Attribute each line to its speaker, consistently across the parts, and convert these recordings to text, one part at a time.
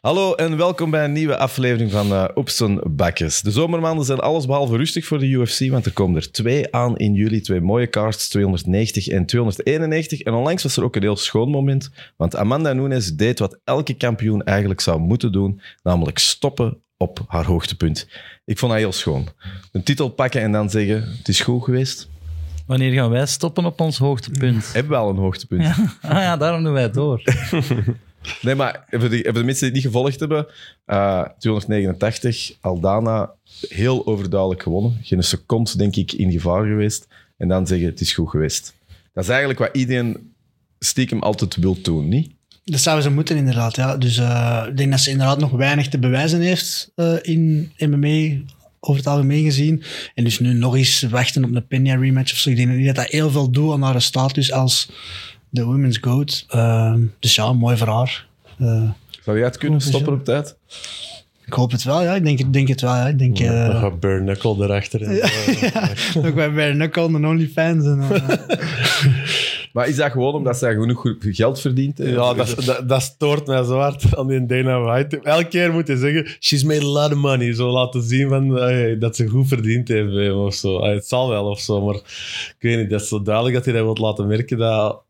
Speaker 1: Hallo en welkom bij een nieuwe aflevering van eh Oepsen Bakkes. De zomermaanden zijn allesbehalve rustig voor de UFC, want er komen er twee aan in juli. Twee mooie cards, 290 en 291. En onlangs was er ook een heel schoon moment, want Amanda Nunes deed wat elke kampioen eigenlijk zou moeten doen, namelijk stoppen op haar hoogtepunt. Ik vond dat heel schoon. Een titel pakken en dan zeggen, het is goed geweest.
Speaker 2: Wanneer gaan wij stoppen op ons hoogtepunt?
Speaker 1: Hebben we al een hoogtepunt.
Speaker 2: Ah ja, daarom doen wij het door.
Speaker 1: Nee, maar voor de, voor de mensen die het niet gevolgd hebben, eh, 289, Aldana heel overduidelijk gewonnen. Geen seconde, denk ik, in gevaar geweest. En dan zeggen, het is goed geweest. Dat is eigenlijk wat iedereen stiekem altijd wil doen, niet?
Speaker 3: Dat zouden ze moeten, inderdaad. Ja. Dus eh, ik denk dat ze inderdaad nog weinig te bewijzen heeft eh, in MMA, over het algemeen gezien. En dus nu nog eens wachten op een Pena rematch of zo. Ik denk niet dat dat heel veel doet aan haar status als de Women's Goat. Eh, dus ja, mooi voor haar. Eh,
Speaker 1: Zou jij het kunnen
Speaker 3: Goed,
Speaker 1: stoppen op tijd?
Speaker 3: ik hoop het wel, ja. Ik denk, ik denk het wel, ja. Ik denk... eh,
Speaker 4: Dan gaat Burn Knuckle erachter. En, zo.
Speaker 3: ook bij bij Knuckle en OnlyFans. En, eh,
Speaker 1: Maar is dat gewoon omdat zij genoeg goed geld verdient? hè?
Speaker 4: ja, dat, dat, dat stoort mij zo hard aan die Dana White. Elke keer moet je zeggen, she's made a lot of money. Zo laten zien van, eh, dat ze goed verdiend heeft bij hem of zo. Eh, het zal wel of zo, maar ik weet niet. Dat is zo duidelijk dat hij dat wil laten merken dat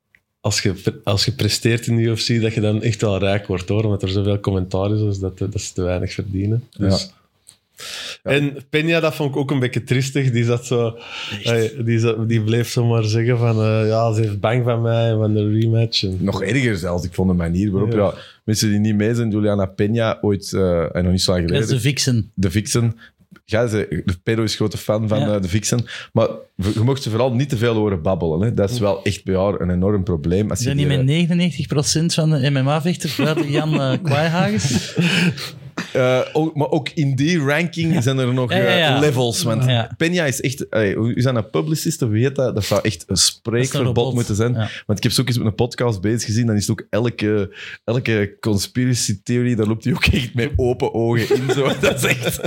Speaker 4: als je, als je presteert in de UFC, dat je dan echt wel rijk wordt hoor. Omdat er zoveel commentaar is, dus dat, dat ze te weinig verdienen. Dus... En Peña, dat vond ik ook een beetje tristig. Die, zat zo, eh, die, zat- die bleef zomaar zeggen van... eh, ja, ze heeft bang van mij en van de rematch. En-
Speaker 1: Nog erger zelfs, ik vond de manier waarop...
Speaker 4: Ja.
Speaker 1: Ja, mensen die niet mee zijn, Juliana Peña, ooit, eh, en nog niet zo lang
Speaker 2: Dat is
Speaker 1: geleden...
Speaker 2: de vixen.
Speaker 1: de Vixen. Ja, ze, de pedo is grote fan van
Speaker 2: Ja.
Speaker 1: eh, de Vixen. Maar v- je mocht ze vooral niet te veel horen babbelen. Hè. Dat is wel echt bij haar een enorm probleem. Als
Speaker 2: Is
Speaker 1: je
Speaker 2: dat
Speaker 1: die,
Speaker 2: niet
Speaker 1: eh,
Speaker 2: met 99% van de MMA-vechters buiten Jan eh Kwaaihagens?
Speaker 1: eh, ook- maar ook in die ranking zijn er nog
Speaker 2: Ja, ja,
Speaker 1: eh,
Speaker 2: ja.
Speaker 1: levels. Want
Speaker 2: Ja.
Speaker 1: Peña is echt... eh, hoe is dat een publicist? Of weet dat? Dat zou echt een
Speaker 2: Dat is een
Speaker 1: spreekverbod
Speaker 2: robot.
Speaker 1: moeten zijn.
Speaker 2: Ja.
Speaker 1: Want ik heb ze ook eens met een podcast bezig gezien. Dan is het ook elke, elke conspiracy theory, daar loopt hij ook echt met open ogen in. Zo. Dat is echt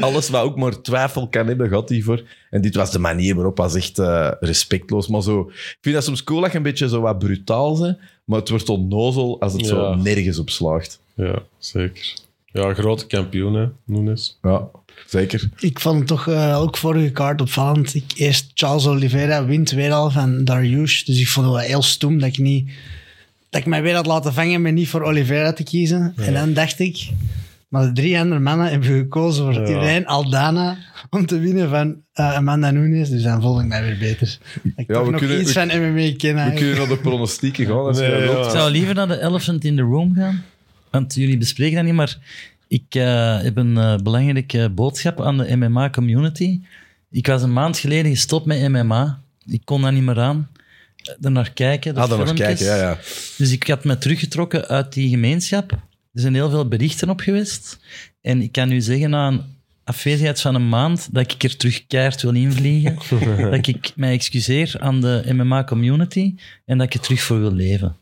Speaker 1: alles wat ook maar twijfel kan hebben, gaat hij voor. En dit was de manier waarop was echt eh, respectloos. Maar zo, ik vind dat soms cool dat je een beetje zo wat brutaal bent. Maar het wordt onnozel als het zo
Speaker 4: Ja.
Speaker 1: nergens op slaagt.
Speaker 4: Ja, zeker. Ja, grote kampioen, hè, Nunes.
Speaker 1: Ja, zeker.
Speaker 3: Ik vond het toch eh, ook vorige kaart opvallend. Ik, eerst Charles Oliveira wint weer al van Darius. Dus ik vond het wel heel stoem dat ik niet... Dat ik mij weer had laten vangen met niet voor Oliveira te kiezen. En dan dacht ik... Maar de drie andere mannen hebben gekozen voor
Speaker 4: Ja.
Speaker 3: Irene Aldana om te winnen van eh, Amanda Nunes. Dus dan voelde ik mij weer beter. Dat ik
Speaker 1: Ja,
Speaker 3: toch
Speaker 1: we
Speaker 3: nog
Speaker 1: kunnen-
Speaker 3: iets
Speaker 1: we-
Speaker 3: van MMA ken
Speaker 1: We
Speaker 3: eigenlijk.
Speaker 1: kunnen naar de pronostieken gaan. Als je
Speaker 4: Nee,
Speaker 1: dat wilt.
Speaker 2: Ik
Speaker 4: ja.
Speaker 2: zou liever naar de elephant in the room gaan. Want jullie bespreken dat niet, maar ik eh, heb een eh, belangrijke boodschap aan de MMA-community. Ik was een maand geleden gestopt met MMA. Ik kon daar niet meer aan. Eh, Er naar kijken, de
Speaker 1: Ah, dan nog
Speaker 2: filmpjes.
Speaker 1: kijken. Ja, ja.
Speaker 2: Dus ik had me teruggetrokken uit die gemeenschap. Er zijn heel veel berichten op geweest. En ik kan nu zeggen, na een afwezigheid van een maand, dat ik er terug keihard wil invliegen. dat ik mij excuseer aan de MMA-community en dat ik er terug voor wil leven.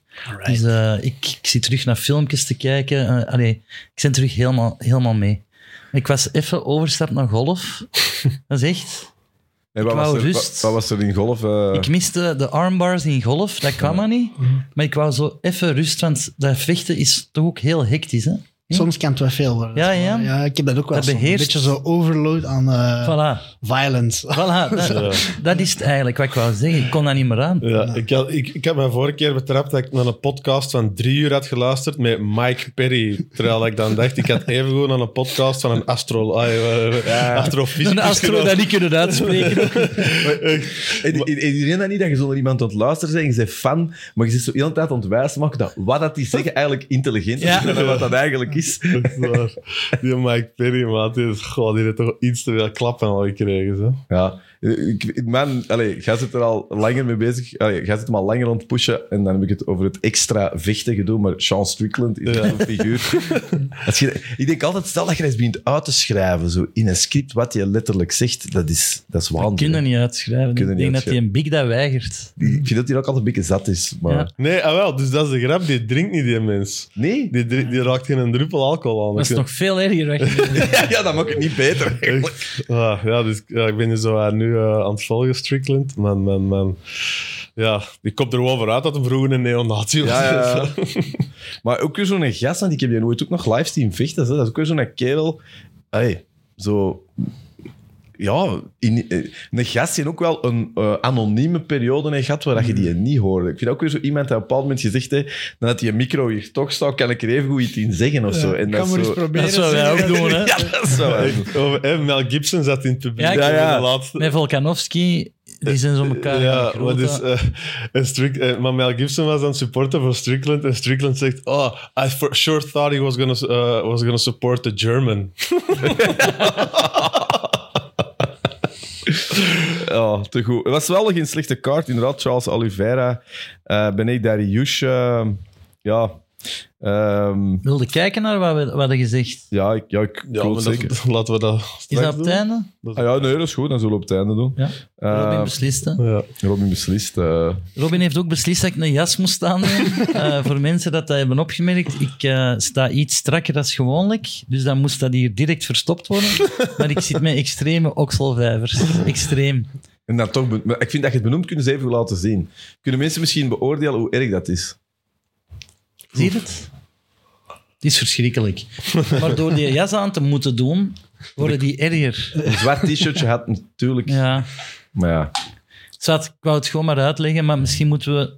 Speaker 2: Dus eh, ik, ik zit terug naar filmpjes te kijken. Eh, allee, ik ben terug helemaal, helemaal mee. Ik was even overstap naar golf. Dat is echt...
Speaker 1: En wat,
Speaker 2: Ik wou
Speaker 1: was er,
Speaker 2: rust.
Speaker 1: wat, wat was er in golf? eh,
Speaker 2: Ik miste de armbars in golf, dat kwam er niet. Maar ik wou zo even rust, want dat vechten is toch ook heel hectisch. Hè?
Speaker 3: Soms kan het wel veel worden.
Speaker 2: Ja, ja.
Speaker 3: ja ik heb dat ook wel.
Speaker 2: Dat
Speaker 3: soms. Een
Speaker 2: beheerst-
Speaker 3: beetje zo overload aan eh,
Speaker 2: Voilà,
Speaker 3: violence.
Speaker 2: voilà dat, dat is het eigenlijk wat ik wou zeggen. Ik kon daar niet meer aan.
Speaker 4: Ja, ik had, ik, ik had mij vorige keer betrapt dat ik naar een podcast van drie uur had geluisterd met Mike Perry. Terwijl ik dan dacht, ik had even gewoon aan een podcast van een astro, ah, eh, eh, astrofysicus
Speaker 2: Een astro dat
Speaker 4: geluisterd.
Speaker 2: niet kunnen uitspreken.
Speaker 1: En en- en iedereen dat niet dat je zonder iemand aan het luisteren bent, en je bent fan, maar je zit zo de hele tijd aan het wijzen maken dat wat dat die zeggen eigenlijk intelligent is
Speaker 2: Ja.
Speaker 1: dan wat dat eigenlijk is.
Speaker 4: Dat is waar. Die Mike Perry, maat, die, is, goh, die heeft toch iets te veel klappen al gekregen. Zo.
Speaker 1: Ja, ik, man, allez, jij zit er al langer mee bezig. Allee, jij zit hem al langer aan het pushen en dan heb ik het over het extra vechten gedoe, maar Sean Strickland is
Speaker 4: Ja.
Speaker 1: een figuur. Als je, ik denk altijd, stel dat je eens begint uit te schrijven zo in een script wat je letterlijk zegt, dat is, dat is
Speaker 2: We kunnen
Speaker 1: waanzin.
Speaker 2: niet uitschrijven.
Speaker 1: Kunnen
Speaker 2: ik
Speaker 1: niet
Speaker 2: denk dat hij
Speaker 1: uitschrijven.
Speaker 2: een big dat weigert.
Speaker 1: Ik vind dat hij ook altijd een beetje zat is, maar...
Speaker 2: Ja.
Speaker 4: Nee, ah wel, dus dat is de grap. Die drinkt niet, die mens.
Speaker 1: Nee?
Speaker 4: Die, dri- die raakt geen druppel druppel alcohol aan.
Speaker 2: Dat is
Speaker 4: Ik-
Speaker 2: nog veel erger weg.
Speaker 1: Ja, ja, dat maakt het niet beter. eigenlijk.
Speaker 4: Echt? Ah, ja, dus ja, ik ben nu zo eh, nu eh, aan het volgen, Strickland. Man, man, man. Ja, die komt er wel vooruit dat hem vroeger een neonazi was.
Speaker 1: Ja, ja, ja. maar ook weer zo'n gast, want ik heb je nooit ook nog live zien vechten. Hè? Dat is ook weer zo'n kerel. Hey, zo... Ja, in, eh, een gast die ook wel een eh, anonieme periode heeft gehad waar dat je die
Speaker 3: Hmm.
Speaker 1: niet hoorde. Ik vind ook weer zo iemand die op een bepaald moment gezegd heeft, nadat die micro hier toch staat, kan ik er even goed iets in zeggen of zo. En
Speaker 3: Ik kan
Speaker 1: dat
Speaker 3: maar
Speaker 1: is
Speaker 3: eens
Speaker 1: zo...
Speaker 3: proberen.
Speaker 2: Dat zou wij ook doen, hè.
Speaker 1: Ja, dat is wel.
Speaker 4: Echt, over- eh, Mel Gibson zat in het publiek.
Speaker 2: Ja, ik-
Speaker 4: hè,
Speaker 1: Ja, ja.
Speaker 4: de laatste.
Speaker 2: Met Volkanovski, die zijn zo elkaar
Speaker 4: Ja,
Speaker 2: groot,
Speaker 4: wat is,
Speaker 2: hè.
Speaker 4: eh, en Strick, eh, maar Mel Gibson was dan supporter van Strickland. En Strickland zegt: Oh, I for sure thought he was gonna, eh, was gonna support the German.
Speaker 1: Ja, te goed. Het was wel geen slechte kaart, inderdaad. Charles Oliveira, eh Benedict Dariush. eh, ja, ehm,
Speaker 2: Wilde kijken naar wat we hadden gezegd.
Speaker 1: ja, ik, ja, ik
Speaker 4: Ja,
Speaker 1: wil
Speaker 4: maar
Speaker 1: het
Speaker 4: dat-
Speaker 1: zeker.
Speaker 4: laten we dat.
Speaker 2: Is
Speaker 4: straks
Speaker 2: dat op het
Speaker 4: doen.
Speaker 2: einde?
Speaker 1: Ah, ja, nee, dat is goed. Dan zullen we op het einde doen.
Speaker 2: Ja.
Speaker 1: Eh,
Speaker 2: Robin beslist, hè.
Speaker 4: Ja.
Speaker 1: Robin beslist. eh,
Speaker 2: Robin heeft ook beslist dat ik een jas moest aandoen. Eh, voor mensen dat dat hebben opgemerkt, ik eh, sta iets strakker dan gewoonlijk. Dus dan moest dat hier direct verstopt worden. Maar ik zit met extreme okselvijvers. Extreem.
Speaker 1: en dan toch, be- maar ik vind dat je het benoemd kunnen ze even goed laten zien. Kunnen mensen misschien beoordelen hoe erg dat is?
Speaker 2: Zie je het? Het is verschrikkelijk. Maar door die jas aan te moeten doen, worden die erger.
Speaker 1: Een zwart t-shirtje had natuurlijk.
Speaker 2: Ja.
Speaker 1: Maar ja.
Speaker 2: Zat, ik wou het gewoon maar uitleggen, maar misschien moeten we...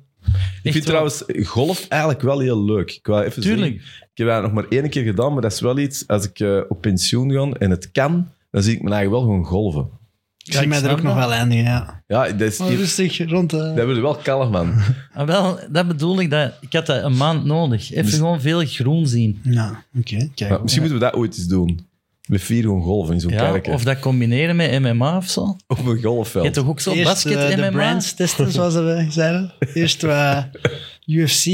Speaker 1: Ik vind trouwens golf eigenlijk wel heel leuk. Ik wou even
Speaker 2: Tuurlijk.
Speaker 1: zeggen, ik heb dat nog maar één keer gedaan, maar dat is wel iets. Als ik eh, op pensioen ga en het kan, dan zie ik me eigen wel gewoon golven.
Speaker 3: Ik zie mij er ook nog wel aan, ja.
Speaker 1: Ja, dat is.
Speaker 3: Maar
Speaker 2: dus-
Speaker 3: rustig, rond de...
Speaker 1: dat wordt wel kalm, man.
Speaker 2: Ah, wel, dat bedoel ik. Dat, ik had dat een maand nodig. Even
Speaker 1: Dus-
Speaker 2: gewoon veel groen zien.
Speaker 3: Ja, oké. kijk.
Speaker 1: Ja, misschien moeten we dat ooit eens doen. Met vier gewoon golven in zo'n
Speaker 2: Ja,
Speaker 1: kerk. hè.
Speaker 2: of dat combineren met MMA of zo.
Speaker 1: op een
Speaker 2: Je hebt
Speaker 1: golfveld.
Speaker 2: toch ook zo
Speaker 3: Eerst
Speaker 2: basket
Speaker 3: eh, de
Speaker 2: MMA?
Speaker 3: brands testen, zoals dat we zeiden. Eerst eh, wat UFC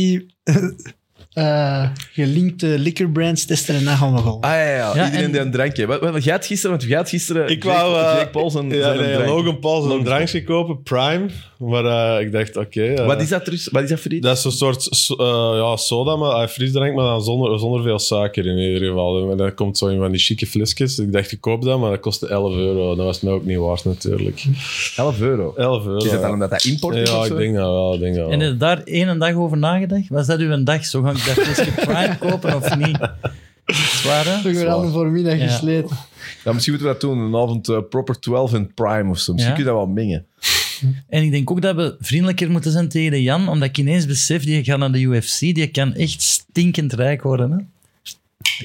Speaker 3: eh, gelinkte liquor brands testen en dan gaan we gewoon.
Speaker 1: Ah ja, ja, ja.
Speaker 2: Ja,
Speaker 1: iedereen
Speaker 2: en-
Speaker 1: die een drankje. Wat, wat, jij had gisteren, want jij had gisteren.
Speaker 4: Ik wou
Speaker 1: Jake,
Speaker 4: eh,
Speaker 1: Jake Paul zijn,
Speaker 4: ja,
Speaker 1: zijn
Speaker 4: nee,
Speaker 1: drankje.
Speaker 4: Logan Paul zijn
Speaker 1: Logan
Speaker 4: drankje kopen, Prime. Maar eh, ik dacht, oké. eh,
Speaker 1: Wat is dat, Rus? Wat is dat voor iets?
Speaker 4: dat is een soort so- eh, ja, soda, maar eh, frisdrank, maar dan zonder, zonder veel suiker in ieder geval. En dat komt zo in van die chique flesjes. Ik dacht, ik koop dat, maar dat kostte 11 euro. Dat was mij ook niet waard, natuurlijk.
Speaker 1: 11 euro.
Speaker 4: 11 euro.
Speaker 1: Is dat dan omdat dat import is?
Speaker 4: Ja,
Speaker 1: of zo?
Speaker 4: ik denk dat wel. Ik denk dat wel.
Speaker 2: En heb je daar één dag over nagedacht? Was dat uw dag? Zo ga ik dat flesje Prime kopen of niet? Zwaar, hè?
Speaker 3: Toch weer
Speaker 1: zwaar.
Speaker 3: al voor mij dat
Speaker 2: Ja.
Speaker 3: gesleten.
Speaker 1: Ja, misschien moeten we dat doen. Een avond eh, proper 12 en prime of zo. Misschien
Speaker 2: Ja.
Speaker 1: kun je dat wel mengen.
Speaker 2: En ik denk ook dat we vriendelijker moeten zijn tegen de Jan, omdat ik ineens besef, die gaat naar de UFC, die kan echt stinkend rijk worden. Hè?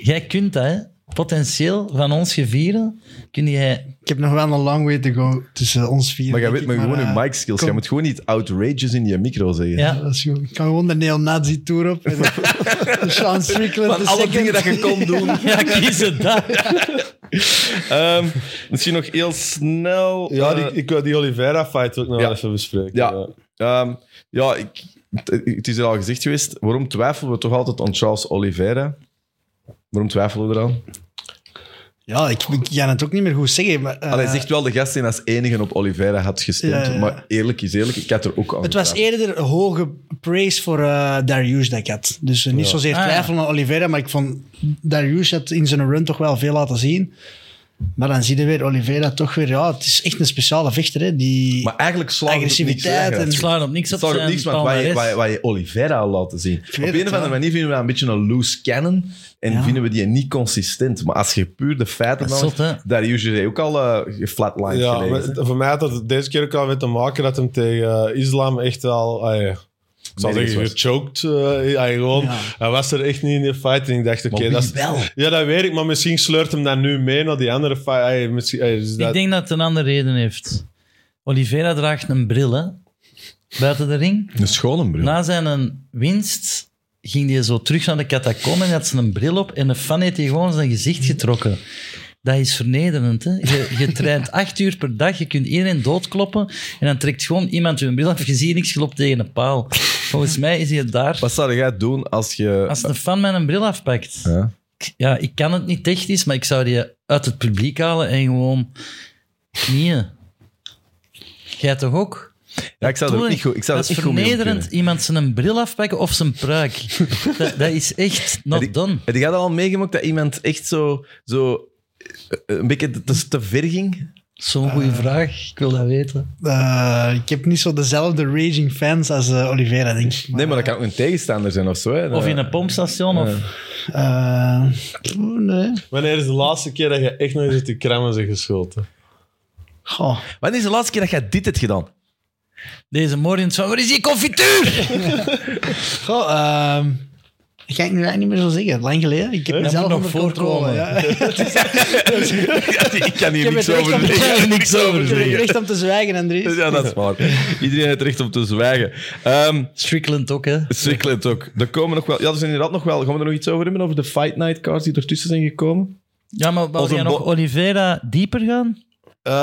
Speaker 2: Jij kunt dat, hè? Potentieel van ons gevieren, kun jij...
Speaker 3: Ik heb nog wel een long way to go tussen ons vier.
Speaker 1: Maar jij
Speaker 3: denk
Speaker 1: weet
Speaker 3: ik,
Speaker 1: maar gewoon
Speaker 3: eh,
Speaker 1: hun mic skills. Je
Speaker 3: kom.
Speaker 1: moet gewoon niet outrageous in je micro zeggen.
Speaker 2: Ja,
Speaker 3: dat is goed. Ik kan gewoon de neonazi-tour op. En de Sean Strickland.
Speaker 1: Van
Speaker 3: de
Speaker 1: alle
Speaker 3: second.
Speaker 1: dingen dat je kon doen.
Speaker 2: ja kiezen dat.
Speaker 1: Ehm, misschien nog heel snel.
Speaker 4: ja,
Speaker 1: eh,
Speaker 4: die, ik wil die Oliveira-fight ook nog
Speaker 1: Ja.
Speaker 4: even bespreken.
Speaker 1: Ja, Ehm, ja ik, het- het is er al gezegd geweest. Waarom twijfelen we toch altijd aan Charles Oliveira? Waarom twijfelen we eraan?
Speaker 3: Ja, ik, ik kan het ook niet meer goed zeggen. Maar, eh,
Speaker 1: Allee, zegt wel de gast die als enige op Oliveira had gestemd.
Speaker 3: Ja, ja, ja.
Speaker 1: Maar eerlijk is eerlijk, ik had er ook aan
Speaker 3: Het was
Speaker 1: getwijfeld.
Speaker 3: eerder een hoge praise voor eh, Darius dat ik had. Dus eh, niet zozeer
Speaker 2: Ah, ja.
Speaker 3: twijfel aan Oliveira, maar ik vond Darius had in zijn run toch wel veel laten zien. Maar dan zie je weer Oliveira toch weer, ja, het is echt een speciale vechter. Hè, die...
Speaker 1: Maar eigenlijk slaat het op niks
Speaker 3: Agressiviteit
Speaker 1: weg, hè.
Speaker 3: en-
Speaker 1: Het
Speaker 2: Ik sla op niks op
Speaker 1: slaat op
Speaker 2: zijn
Speaker 1: niks, want wat je,
Speaker 2: palmarès.
Speaker 1: wat, je, wat je Oliveira al laten zien. Op
Speaker 3: weet
Speaker 1: een
Speaker 3: het,
Speaker 1: of andere
Speaker 3: ja.
Speaker 1: manier vinden we dat een beetje een loose cannon. En
Speaker 3: Ja.
Speaker 1: vinden we die niet consistent. Maar als je puur de feiten
Speaker 2: Dat is
Speaker 1: nam,
Speaker 2: zot, hè?
Speaker 1: daar usually ook al eh geflatlined
Speaker 4: Ja,
Speaker 1: gelegen,
Speaker 4: maar
Speaker 1: hè.
Speaker 4: voor mij had het deze keer ook al met te maken dat hem tegen eh, islam echt wel. ah, ja, ik zal
Speaker 1: Medisch
Speaker 4: zeggen,
Speaker 1: was.
Speaker 4: gechoked. eh, hij, gewoon,
Speaker 3: Ja.
Speaker 4: hij was er echt niet in die fight. En ik dacht, oké,
Speaker 1: Maar
Speaker 4: dat
Speaker 1: wie
Speaker 4: is.
Speaker 1: wel?
Speaker 4: Ja, dat weet ik, maar misschien sleurt hem dat nu mee naar die andere fight. Ah, ja, misschien, ah, dus dat-
Speaker 2: Ik denk dat het een andere reden heeft. Oliveira draagt een bril, hè? Buiten de ring.
Speaker 1: Een schone bril.
Speaker 2: Na zijn een winst ging hij zo terug naar de catacomben en had ze een bril op en een fan heeft hij gewoon zijn gezicht getrokken. Dat is vernederend, hè? Je, je traint acht uur per dag, je kunt iedereen doodkloppen en dan trekt gewoon iemand je bril af. Je ziet niks, je loopt tegen een paal. Volgens mij is hij daar.
Speaker 1: Wat zou jij doen als je...
Speaker 2: Als een fan mijn bril afpakt...
Speaker 1: Ja.
Speaker 2: Ik- ja, ik kan het niet technisch, maar ik zou die uit het publiek halen en gewoon knieën. Jij toch ook?
Speaker 1: Ja, ik zou dat
Speaker 2: Doe-
Speaker 1: niet goed, ik zou
Speaker 2: dat
Speaker 1: dat
Speaker 2: is
Speaker 1: niet goed mee om kunnen.
Speaker 2: vernederend iemand zijn bril afpakken of zijn pruik. dat, dat is echt not
Speaker 1: die-
Speaker 2: done.
Speaker 1: Heb je dat al meegemaakt dat iemand echt zo, zo eh, een beetje te, te ver ging?
Speaker 2: Zo'n goede vraag, ik wil dat weten.
Speaker 3: Eh, ik heb niet zo dezelfde raging fans als eh, Oliveira, denk ik.
Speaker 1: Nee, maar dat kan ook een tegenstander zijn of zo. Hè.
Speaker 2: Of in een pompstation. Of...
Speaker 3: Eh, pff, nee.
Speaker 4: Wanneer is de laatste keer dat je echt nog eens uit je krammen bent geschoten?
Speaker 3: Goh.
Speaker 1: Wanneer is de laatste keer dat jij dit hebt gedaan?
Speaker 2: Deze morgen van, waar is die confituur?
Speaker 3: Goh, ehm, dat ga ik nu eigenlijk niet meer zo zeggen. Lang geleden. Ik heb
Speaker 2: moet
Speaker 3: mezelf
Speaker 2: nog
Speaker 3: onder
Speaker 2: voorkomen.
Speaker 3: controle. Ja. ik
Speaker 1: ik kan hier
Speaker 3: heb
Speaker 1: niks
Speaker 3: het recht
Speaker 1: over
Speaker 3: om-
Speaker 1: zeggen.
Speaker 3: ik heb
Speaker 2: niks
Speaker 3: het
Speaker 2: over zeggen.
Speaker 3: recht om te zwijgen, Andries.
Speaker 1: Ja, dat is waar. Iedereen heeft recht om te zwijgen. Ehm
Speaker 2: Strickland ook, hè.
Speaker 1: Strickland ook. Er komen nog wel... Ja, er zijn inderdaad nog wel... Gaan we er nog iets over hebben? Over de Fight Night cards die ertussen zijn gekomen?
Speaker 2: Ja, maar wou
Speaker 1: Als een
Speaker 2: jij nog
Speaker 1: bo-
Speaker 2: Oliveira dieper gaan?
Speaker 4: Eh,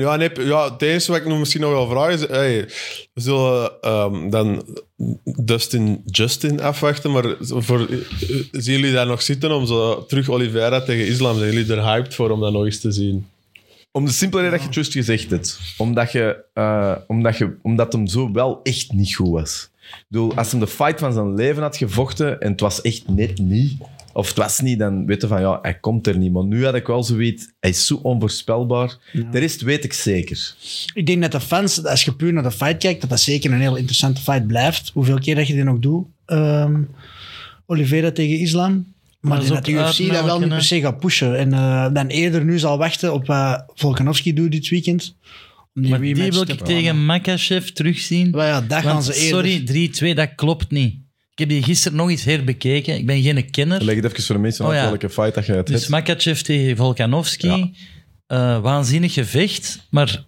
Speaker 4: ja, nee, ja, het eerste wat ik nog misschien nog wil vragen is... Hey, we zullen ehm, dan Dustin Justin afwachten, maar voor, eh, zien jullie daar nog zitten om zo terug Oliveira tegen Islam? Zijn jullie er hyped voor om dat nog eens te zien?
Speaker 1: Om de simpele reden dat je het juist gezegd hebt. Omdat, je, eh, omdat, je, omdat hem zo wel echt niet goed was. Ik bedoel, als hem de fight van zijn leven had gevochten en het was echt net niet... Of het was niet, dan weten van ja, hij komt er niet. Maar nu had ik wel zoiets, hij is zo onvoorspelbaar. De rest weet ik zeker.
Speaker 3: Ik denk dat de fans, als je puur naar de fight kijkt, dat dat zeker een heel interessante fight blijft. Hoeveel keer dat je die nog doet. Ehm Oliveira tegen Islam. Maar,
Speaker 2: dat
Speaker 3: dat,
Speaker 2: is
Speaker 3: dat de
Speaker 2: ook
Speaker 3: UFC dat wel
Speaker 2: uitmelken,
Speaker 3: niet per
Speaker 2: hè.
Speaker 3: se gaat pushen. En eh, dan eerder nu zal wachten op wat Volkanovski doet dit weekend. Om die
Speaker 2: Maar die
Speaker 3: rematch
Speaker 2: wil
Speaker 3: te
Speaker 2: ik
Speaker 3: plannen.
Speaker 2: tegen Makachev terugzien.
Speaker 3: Maar ja, dat gaan
Speaker 2: Want,
Speaker 3: ze eerder.
Speaker 2: sorry, 3-2, dat klopt niet. Ik heb die gisteren nog eens herbekeken. Ik ben geen kenner.
Speaker 1: Leg het even voor de mensen
Speaker 2: Oh
Speaker 1: uit
Speaker 2: ja.
Speaker 1: welke fight dat je het
Speaker 2: Dus
Speaker 1: hebt.
Speaker 2: Makachev tegen Volkanovski.
Speaker 1: Ja.
Speaker 2: Eh, waanzinnig gevecht. Maar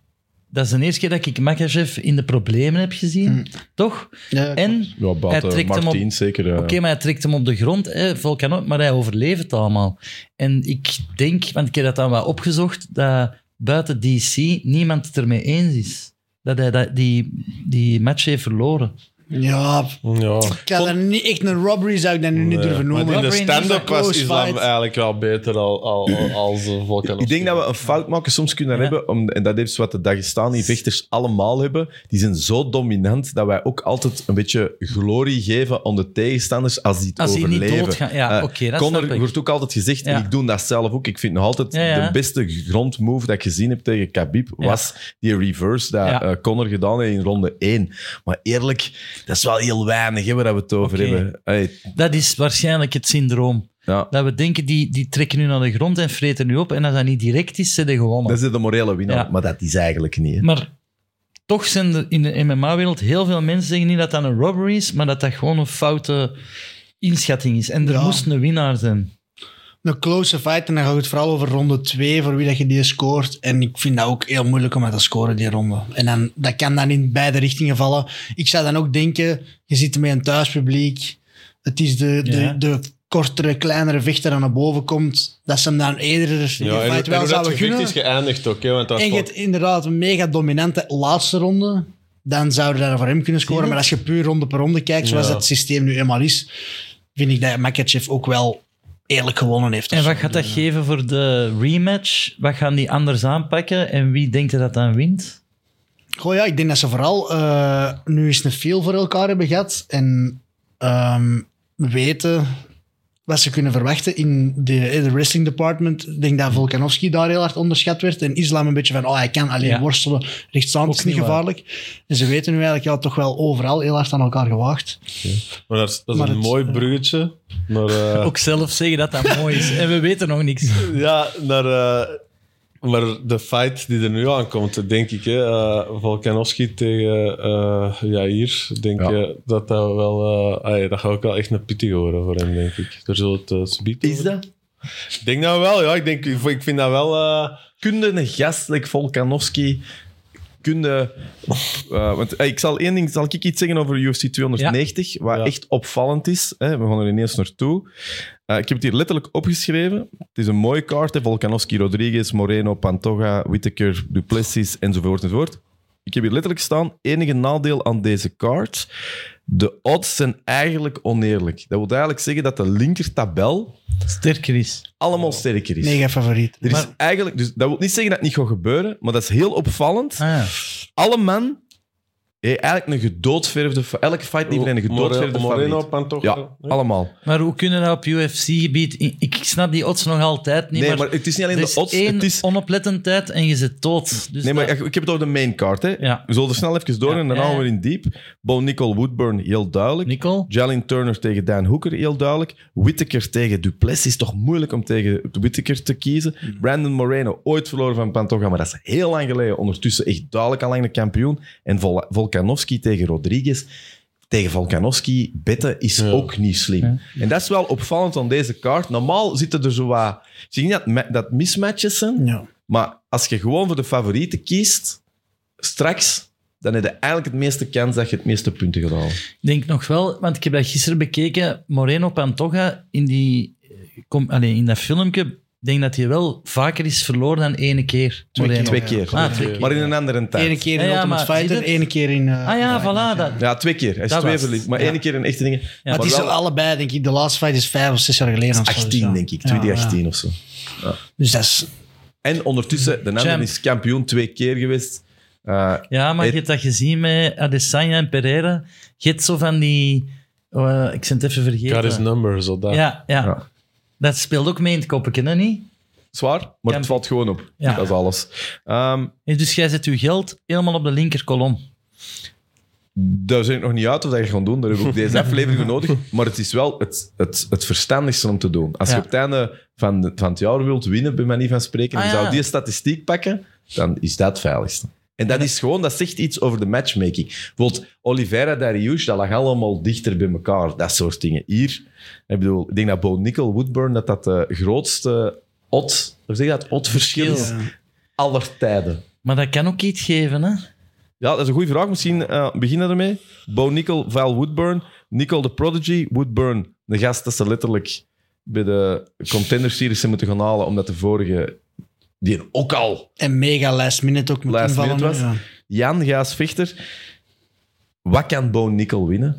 Speaker 2: dat is de eerste keer dat ik Makachev in de problemen heb gezien. Toch?
Speaker 3: Ja,
Speaker 2: en
Speaker 1: Ja,
Speaker 2: hij
Speaker 1: buiten
Speaker 2: trekt hem op...
Speaker 1: Martien zeker. eh.
Speaker 2: Oké, maar hij trekt hem op de grond, hè, Volkanov, maar hij overleeft het allemaal. En ik denk, want ik heb dat dan wel opgezocht, dat buiten DC niemand het ermee eens is. Dat hij dat, die, die match heeft verloren.
Speaker 3: Ja,
Speaker 4: Ja.
Speaker 3: ik had er niet echt een robbery, zou ik dat nu niet durven
Speaker 4: maar
Speaker 3: noemen.
Speaker 4: in de
Speaker 2: Robbery
Speaker 4: stand-up
Speaker 2: is
Speaker 3: een
Speaker 4: was
Speaker 3: close
Speaker 4: Islam
Speaker 3: fight.
Speaker 4: eigenlijk wel beter al, al, al- als eh, Volkanovski.
Speaker 1: Ik denk dat we een fout maken soms kunnen
Speaker 2: Ja.
Speaker 1: hebben, om, en dat is wat de Dagestani-vechters allemaal hebben. Die zijn zo dominant dat wij ook altijd een beetje glorie geven aan de tegenstanders als die het
Speaker 2: Als hij
Speaker 1: overleven.
Speaker 2: niet doodgaan. Ja,
Speaker 1: Eh,
Speaker 2: oké, dat
Speaker 1: Conor
Speaker 2: snap ik.
Speaker 1: wordt ook altijd gezegd,
Speaker 2: Ja.
Speaker 1: en ik doe dat zelf ook. Ik vind nog altijd
Speaker 2: Ja, ja.
Speaker 1: de beste grondmove dat ik gezien heb tegen Khabib,
Speaker 2: Ja.
Speaker 1: was die reverse dat
Speaker 2: Ja.
Speaker 1: eh, Conor gedaan heeft in ronde 1. Maar eerlijk, dat is wel heel weinig hè, waar we het over
Speaker 2: Oké.
Speaker 1: hebben. Hey,
Speaker 2: Dat is waarschijnlijk het syndroom.
Speaker 1: ja.
Speaker 2: Dat we denken, die, die trekken nu naar de grond en vreten nu op. En als dat niet direct is, zijn die gewonnen.
Speaker 1: Dat is de morele winnaar,
Speaker 2: Ja.
Speaker 1: maar dat is eigenlijk niet. hè.
Speaker 2: Maar toch zijn er in de MMA-wereld heel veel mensen zeggen niet dat dat een robbery is, maar dat dat gewoon een foute inschatting is. En er
Speaker 3: Ja.
Speaker 2: moest een winnaar zijn.
Speaker 3: Een close fight en dan gaat het vooral over ronde 2, voor wie dat je die scoort. En ik vind dat ook heel moeilijk om dat te scoren, die ronde. En dan, dat kan dan in beide richtingen vallen. Ik zou dan ook denken, je zit met een thuispubliek. Het is de,
Speaker 2: Ja.
Speaker 3: de, de kortere, kleinere vechter die naar boven komt. Dat ze hem dan eerder die
Speaker 4: Ja, en,
Speaker 3: fight
Speaker 4: en
Speaker 3: wel
Speaker 4: hoe dat
Speaker 3: zouden
Speaker 4: gevecht
Speaker 3: gunnen.
Speaker 4: is geëindigd ook. Hè, want dat
Speaker 3: En je
Speaker 4: was
Speaker 3: hebt inderdaad een mega dominante laatste ronde. Dan zouden daar voor hem kunnen scoren. Maar als je puur ronde per ronde kijkt, zoals
Speaker 4: Ja.
Speaker 3: het systeem nu eenmaal is, vind ik dat Makachev ook wel eerlijk gewonnen heeft.
Speaker 2: En wat gaat dat geven voor de rematch? Wat gaan die anders aanpakken? En wie denkt er dat dan wint?
Speaker 3: Goh ja, ik denk dat ze vooral eh, nu eens een feel voor elkaar hebben gehad. En ehm, weten wat ze kunnen verwachten in de, in de wrestling department. Ik denk dat Volkanovski daar heel hard onderschat werd. En Islam een beetje van, oh hij kan alleen
Speaker 2: Ja.
Speaker 3: worstelen. Rechtsstaand
Speaker 2: Ook
Speaker 3: is niet
Speaker 2: niet waar.
Speaker 3: gevaarlijk. En ze weten nu eigenlijk ja, toch wel overal heel hard aan elkaar gewaagd.
Speaker 4: Maar dat is, dat is
Speaker 3: Maar
Speaker 4: een
Speaker 3: het-
Speaker 4: mooi bruggetje naar, eh,
Speaker 2: Ook zelf zeggen dat dat mooi is. En we weten nog niks.
Speaker 4: ja, naar, eh, maar de fight die er nu aankomt, denk ik. Hè, eh, Volkanovski tegen eh Jair. Denk
Speaker 1: Ja.
Speaker 4: je dat dat wel... eh, ah, ja, dat gaat ook wel echt een pittig worden voor hem, denk ik. Daar zullen we het eh, subiet
Speaker 1: Is
Speaker 4: over-
Speaker 1: dat?
Speaker 4: Ik denk dat wel, ja. Ik, denk, ik vind dat wel... eh,
Speaker 1: kunde een gast like Volkanovski kunde eh, want eh, ik zal één ding zal ik iets zeggen over UFC 290 wat
Speaker 4: Ja.
Speaker 1: echt opvallend is hè? we gaan er ineens naartoe Eh, ik heb het hier letterlijk opgeschreven het is een mooie kaart hè? Volkanovski Rodriguez Moreno Pantoja Whittaker Duplessis enzovoort enzovoort ik heb hier letterlijk staan enige nadeel aan deze kaart de odds zijn eigenlijk oneerlijk dat wil eigenlijk zeggen dat de linker tabel
Speaker 2: Sterker is.
Speaker 4: Oh.
Speaker 1: allemaal sterker is
Speaker 3: Mega favoriet.
Speaker 1: er is
Speaker 2: Maar-
Speaker 1: eigenlijk, dus dat wil niet zeggen dat het niet gaat gebeuren, maar dat is heel opvallend.
Speaker 2: Ah, ja.
Speaker 1: Alle man Eh, eigenlijk een gedoodverfde... fa- Elke fight die een gedoodverfde
Speaker 4: Moreno,
Speaker 1: favoriet.
Speaker 4: Pantoja.
Speaker 1: Ja, allemaal.
Speaker 2: Maar hoe kunnen dat op UFC-gebied... Ik ik snap die odds nog altijd niet,
Speaker 1: Nee, maar,
Speaker 2: maar,
Speaker 1: het is niet alleen
Speaker 2: er is
Speaker 1: de odds.
Speaker 2: één
Speaker 1: Het is,
Speaker 2: onoplettendheid en je zit dood. Dus
Speaker 1: nee, maar
Speaker 2: dat-
Speaker 1: ik ik heb het over de main card. Hè.
Speaker 2: Ja.
Speaker 1: We zullen er snel even door
Speaker 2: Ja.
Speaker 1: en dan
Speaker 2: Ja,
Speaker 1: gaan
Speaker 2: ja.
Speaker 1: we in diep. Bo Nicol Woodburn, heel duidelijk.
Speaker 2: Nicole?
Speaker 1: Jalen Turner tegen Dan Hooker, heel duidelijk. Whittaker tegen Duplessis is toch moeilijk om tegen Whittaker te kiezen. Brandon Moreno, ooit verloren van Pantoja, maar dat is heel lang geleden. Ondertussen echt duidelijk al lang de kampioen. En Vol- Volkanovski tegen Rodriguez. Tegen Volkanovski betten is ook niet slim. En dat is wel opvallend aan deze kaart. Normaal zitten er zo wat... Zie je niet dat, ma- dat mismatches zijn?
Speaker 3: Ja.
Speaker 1: Maar als je gewoon voor de favorieten kiest, straks, dan heb je eigenlijk het meeste kans dat je het meeste punten gaat halen.
Speaker 2: Ik denk nog wel, want ik heb dat gisteren bekeken. Moreno Pantoja in, die, eh, kom, allee, in dat filmpje. Ik denk dat hij wel vaker is verloren dan ene keer.
Speaker 3: Twee
Speaker 2: Moreno.
Speaker 1: Twee
Speaker 3: ja.
Speaker 1: keer.
Speaker 2: Ah, twee keer.
Speaker 1: Maar in een andere tijd.
Speaker 3: Eén keer
Speaker 2: Ja,
Speaker 3: in
Speaker 2: ja,
Speaker 3: Ultimate
Speaker 2: maar zie
Speaker 3: Fighter,
Speaker 2: je het?
Speaker 3: één keer in... eh,
Speaker 2: Ah ja, voilà. Dat,
Speaker 1: Ja, twee keer. Hij is
Speaker 2: Dat
Speaker 1: twee
Speaker 2: was-
Speaker 1: verliefd. Maar
Speaker 2: ja.
Speaker 1: één keer in echte dingen.
Speaker 2: Maar
Speaker 3: Maar
Speaker 1: Maar
Speaker 3: het is
Speaker 1: wel
Speaker 3: er allebei, denk ik. De laatste fight is vijf of zes jaar geleden. of zo, dus
Speaker 1: 18,
Speaker 3: ja.
Speaker 1: denk ik.
Speaker 3: Ja, ja.
Speaker 1: 2018 of zo.
Speaker 3: Dus dat is...
Speaker 1: En ondertussen, de andere
Speaker 2: Champ.
Speaker 1: is kampioen twee keer geweest. Eh,
Speaker 2: ja, maar je
Speaker 1: Het-
Speaker 2: hebt dat gezien met Adesanya en Pereira. Je hebt zo van die... eh, ik ben het even vergeten.
Speaker 4: God is number, zo dat.
Speaker 2: ja, ja,
Speaker 1: Ja.
Speaker 2: Dat speelt ook mee in het koppeken, hè, niet?
Speaker 1: zwaar, maar het
Speaker 2: Kamp-
Speaker 1: valt gewoon op.
Speaker 2: Ja.
Speaker 1: Dat is alles. Ehm,
Speaker 2: Eh, Dus jij zet je geld helemaal op de linkerkolom.
Speaker 1: daar zijn ik nog niet uit of dat je gaat doen. Daar heb ik ook deze aflevering voor nodig. Maar het is wel het, het, het verstandigste om te doen. Als
Speaker 2: Ja.
Speaker 1: je op het einde van, de- van het jaar wilt winnen, bij manier van spreken,
Speaker 2: Ah,
Speaker 1: en je
Speaker 2: ja.
Speaker 1: zou die statistiek pakken, dan is dat het veiligste. En dat is gewoon, dat zegt iets over de matchmaking. Bijvoorbeeld Oliveira Darius, dat lag allemaal dichter bij elkaar. Dat soort dingen. Hier, ik bedoel, ik denk dat Bo Nickel, Woodburn, dat dat de grootste odd, hoe zeg je dat, odd-verschil is
Speaker 2: Verschil,
Speaker 1: aller tijden.
Speaker 2: Maar dat kan ook iets geven, hè?
Speaker 1: Ja, dat is een goede vraag. Misschien eh, beginnen we ermee. Bo Nickel, Val Woodburn. Nickel de Prodigy, Woodburn. De gast dat ze letterlijk bij de Contender Series zijn moeten gaan halen, omdat de vorige, die ook al
Speaker 3: En mega last minute ook met
Speaker 1: last
Speaker 3: invallen.
Speaker 1: minute was.
Speaker 3: ja.
Speaker 1: Jan Gaas Vechter. Wat kan Bo Nickel winnen?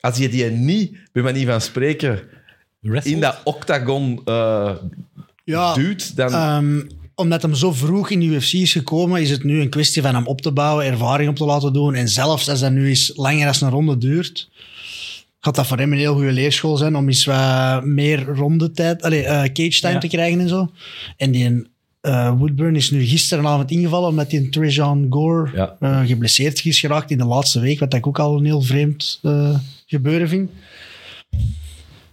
Speaker 1: Als je die niet, bij manier van spreken, in dat octagon eh,
Speaker 3: Ja,
Speaker 1: duwt, dan...
Speaker 3: ehm, omdat hem zo vroeg in de UFC is gekomen, is het nu een kwestie van hem op te bouwen, ervaring op te laten doen. En zelfs als dat nu eens langer als een ronde duurt, gaat dat voor hem een heel goede leerschool zijn om eens wat meer rondetijd, allee, eh, cage time
Speaker 2: Ja.
Speaker 3: te krijgen en zo. En die eh, Woodburn is nu gisteravond ingevallen omdat die Trajan Gore
Speaker 1: Ja.
Speaker 3: eh, geblesseerd is geraakt in de laatste week, wat ik ook al een heel vreemd eh, gebeuren vind.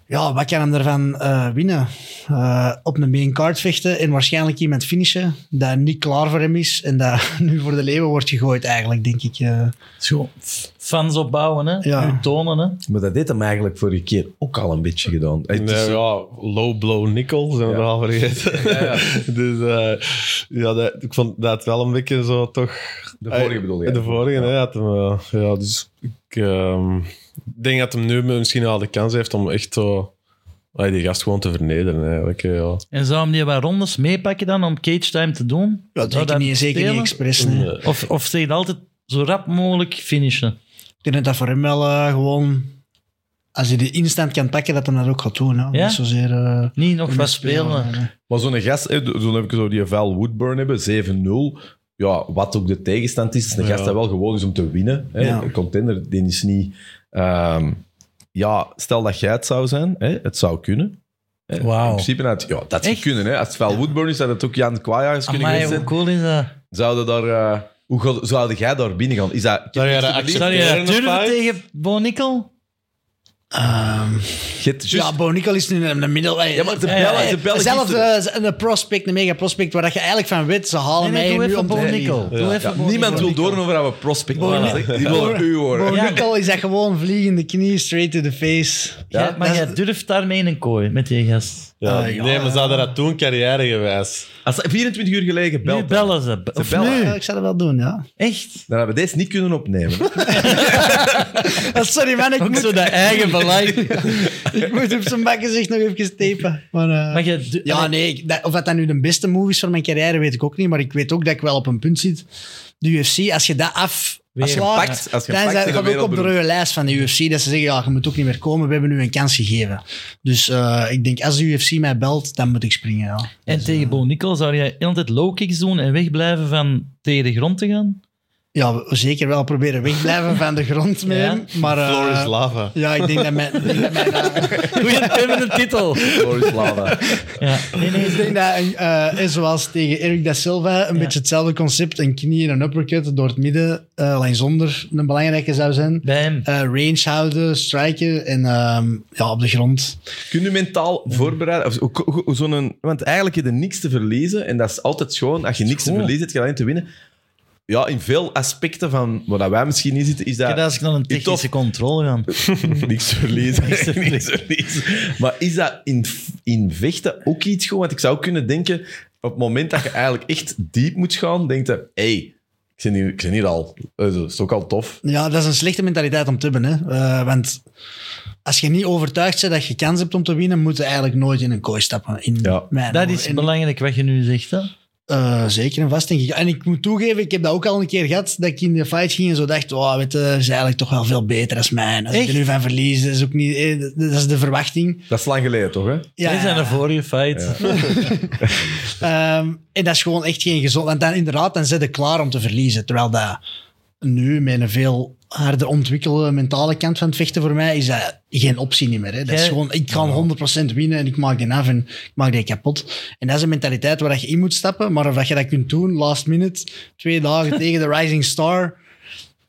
Speaker 3: Ja, wat kan hem daarvan eh, winnen? Eh, op een main card vechten en waarschijnlijk iemand finishen dat niet klaar voor hem is en dat nu voor de leeuwen wordt gegooid eigenlijk, denk ik. eh.
Speaker 2: Zo, f- fans opbouwen, hè?
Speaker 3: Ja.
Speaker 2: U tonen, hè?
Speaker 1: maar dat deed hem eigenlijk vorige keer ook al een beetje gedaan. Het is-
Speaker 4: Nee, ja, low blow nickel, zijn we
Speaker 1: Ja.
Speaker 4: er al vergeten. dus eh, ja, dat, ik vond dat wel een beetje zo toch...
Speaker 1: De vorige bedoel je?
Speaker 4: De vorige, hè, had hem, eh, ja. Dus ik ehm, ik denk dat hem nu misschien al de kans heeft om echt zo... ah, die gast gewoon te vernederen, eigenlijk. hè, Ja.
Speaker 2: En zou hem die wat rondes meepakken dan om cage time te doen?
Speaker 3: ja,
Speaker 2: Zou
Speaker 3: zeker
Speaker 2: dat
Speaker 3: niet, zeker niet
Speaker 2: spelen?
Speaker 3: expres. nee.
Speaker 4: Nee.
Speaker 2: Of, of zeg je altijd zo rap mogelijk finishen?
Speaker 3: Ik denk dat dat voor hem wel eh, gewoon... Als hij de instant kan pakken, dat hij dat ook gaat doen. Hè?
Speaker 2: Ja?
Speaker 3: Niet zozeer... eh,
Speaker 2: Niet nog wat
Speaker 3: spelen,
Speaker 2: spelen.
Speaker 1: Maar zo'n gast, hè, zo'n heb ik zo die Val Woodburn hebben, 7-0. Ja, wat ook de tegenstand is, is een
Speaker 4: Ja.
Speaker 1: gast dat wel gewoon is om te winnen. Hè.
Speaker 3: Ja.
Speaker 1: Een contender, die is niet... ehm, ja, stel dat jij het zou zijn, hè, het zou kunnen. Hè. In
Speaker 2: Wauw.
Speaker 1: principe, had, ja, dat zou
Speaker 2: Echt?
Speaker 1: kunnen. Hè. Als het Val Woodburn is, had het ook Jan Kwaaiers kunnen
Speaker 2: Amai,
Speaker 1: geweest
Speaker 2: hoe
Speaker 1: zijn.
Speaker 2: cool is dat?
Speaker 1: Zouden daar... eh, hoe ga- zouden jij daar binnen gaan? Is dat...
Speaker 4: Zou jij dat
Speaker 2: Zou je
Speaker 4: accepteren?
Speaker 2: dat
Speaker 4: of
Speaker 2: durven
Speaker 4: niet?
Speaker 2: tegen Bo Nickel?
Speaker 3: Ehm,
Speaker 1: Je hebt juist-
Speaker 3: ja, Bonical is nu in de middel.
Speaker 1: Ja, maar de
Speaker 2: Ja, ja,
Speaker 1: Belgen...
Speaker 2: ja.
Speaker 1: de Belgen
Speaker 3: Zelf
Speaker 1: gisteren-
Speaker 3: eh, een prospect, een mega prospect, waar dat je eigenlijk van weet, ze halen
Speaker 2: Nee, nee, doe
Speaker 3: mij nu
Speaker 2: even
Speaker 3: om te
Speaker 2: Bo
Speaker 3: verliezen.
Speaker 2: Nickel. Doe even Bo
Speaker 1: Niemand wil
Speaker 2: Nickel.
Speaker 1: door over dat we prospect
Speaker 2: Voilà.
Speaker 1: waren. Die willen u horen.
Speaker 2: Ja.
Speaker 3: Bonical is dat gewoon vliegende knie, straight to the face.
Speaker 2: Jij- maar
Speaker 3: dat
Speaker 2: jij durft daarmee in een kooi met die gast.
Speaker 4: Ja,
Speaker 3: Ah, ja.
Speaker 4: Nee, maar zouden dat doen, carrièregewijs?
Speaker 1: Als 24 uur geleden
Speaker 2: Nu
Speaker 1: belt,
Speaker 2: bellen ze. Of
Speaker 1: bellen.
Speaker 2: nu?
Speaker 3: Ja, ik zou dat wel doen, ja.
Speaker 2: Echt?
Speaker 1: dan hebben we deze niet kunnen opnemen.
Speaker 3: Oh, Sorry man, ik
Speaker 2: Ook
Speaker 3: moet,
Speaker 2: zo dat eigen belang.
Speaker 3: ik moet op zijn bakken zich nog even tapen. Maar, eh,
Speaker 2: Maar jij du-
Speaker 3: ja, nee, ik- dat- of dat, dat nu de beste move is van mijn carrière, weet ik ook niet. Maar ik weet ook dat ik wel op een punt zit. De UFC, als je dat af...
Speaker 1: Als je
Speaker 3: slaat,
Speaker 1: pakt, als je
Speaker 3: Dan
Speaker 1: pakt, tegen
Speaker 3: zijn dat ook op de
Speaker 1: wereldberoep.
Speaker 3: rode lijst van de UFC. Dat ze zeggen, ja, je moet ook niet meer komen. We hebben nu een kans gegeven. Dus eh, ik denk, als de UFC mij belt, dan moet ik springen, ja.
Speaker 2: En tegen Bo Nickel zou jij altijd low kicks doen en wegblijven van tegen de grond te gaan?
Speaker 3: ja, we- zeker wel proberen wegblijven van de grond mee.
Speaker 2: Ja.
Speaker 3: Maar, eh,
Speaker 4: Floor is lava.
Speaker 3: Ja, ik denk dat mijn, ik denk dat mijn, eh,
Speaker 2: Goeie permanent titel.
Speaker 1: Boris Lava.
Speaker 2: Ja. Nee, nee,
Speaker 3: ik denk dat, eh, eh, zoals tegen Eric da Silva, een
Speaker 2: Ja.
Speaker 3: beetje hetzelfde concept. Een knie en een uppercut door het midden, eh, alleen zonder een belangrijke zou zijn.
Speaker 2: Bij hem.
Speaker 3: Eh, range houden, strijken en ehm, ja, op de grond.
Speaker 1: Kun je mentaal voorbereiden? Of, hoe- hoe- hoe zo'n- want eigenlijk heb je niks te verliezen. En dat is altijd schoon. Als je niks te
Speaker 2: Goed.
Speaker 1: verliezen hebt, je alleen te winnen. Ja, in veel aspecten van waar wij misschien in zitten, is dat...
Speaker 2: Kijk, als ik naar een
Speaker 1: je
Speaker 2: technische controle ga.
Speaker 1: niks verliezen. niks
Speaker 2: verliezen.
Speaker 1: verliezen. Maar is dat in, in vechten ook iets goed? Want ik zou kunnen denken, op het moment dat je eigenlijk echt diep moet gaan, denk je, hé, hey, ik ben hier, ik ben hier al. Eh, Dat is ook al tof.
Speaker 3: Ja, dat is een slechte mentaliteit om te hebben. Hè? Eh, want als je niet overtuigd bent dat je kans hebt om te winnen, moet je eigenlijk nooit in een kooi stappen. In
Speaker 1: Ja.
Speaker 3: mijn
Speaker 2: Dat
Speaker 3: ogen.
Speaker 2: is
Speaker 3: nou, En,
Speaker 2: belangrijk wat je nu zegt. Hè?
Speaker 3: eh, zeker en vast, denk ik. En ik moet toegeven, ik heb dat ook al een keer gehad, dat ik in de fight ging en zo dacht, oh, weet je, ze is eigenlijk toch wel veel beter als mij. Als ik
Speaker 2: Echt?
Speaker 3: er nu van verlies, dat is ook niet... eh, dat- dat is de verwachting.
Speaker 1: Dat is lang geleden, toch? Hè?
Speaker 3: Ja,
Speaker 2: Dit zijn de vorige feit.
Speaker 3: Ehm, en dat is gewoon echt geen gezond. Want dan inderdaad, dan zit je klaar om te verliezen. Terwijl dat nu, met een veel harder ontwikkelde mentale kant van het vechten voor mij, is dat geen optie niet meer. Hè. Dat is
Speaker 2: Jij-
Speaker 3: gewoon, ik kan 100% winnen en ik maak die af en ik maak die kapot. En dat is een mentaliteit waar je in moet stappen. Maar of dat je dat kunt doen, last minute, twee dagen tegen de Rising Star,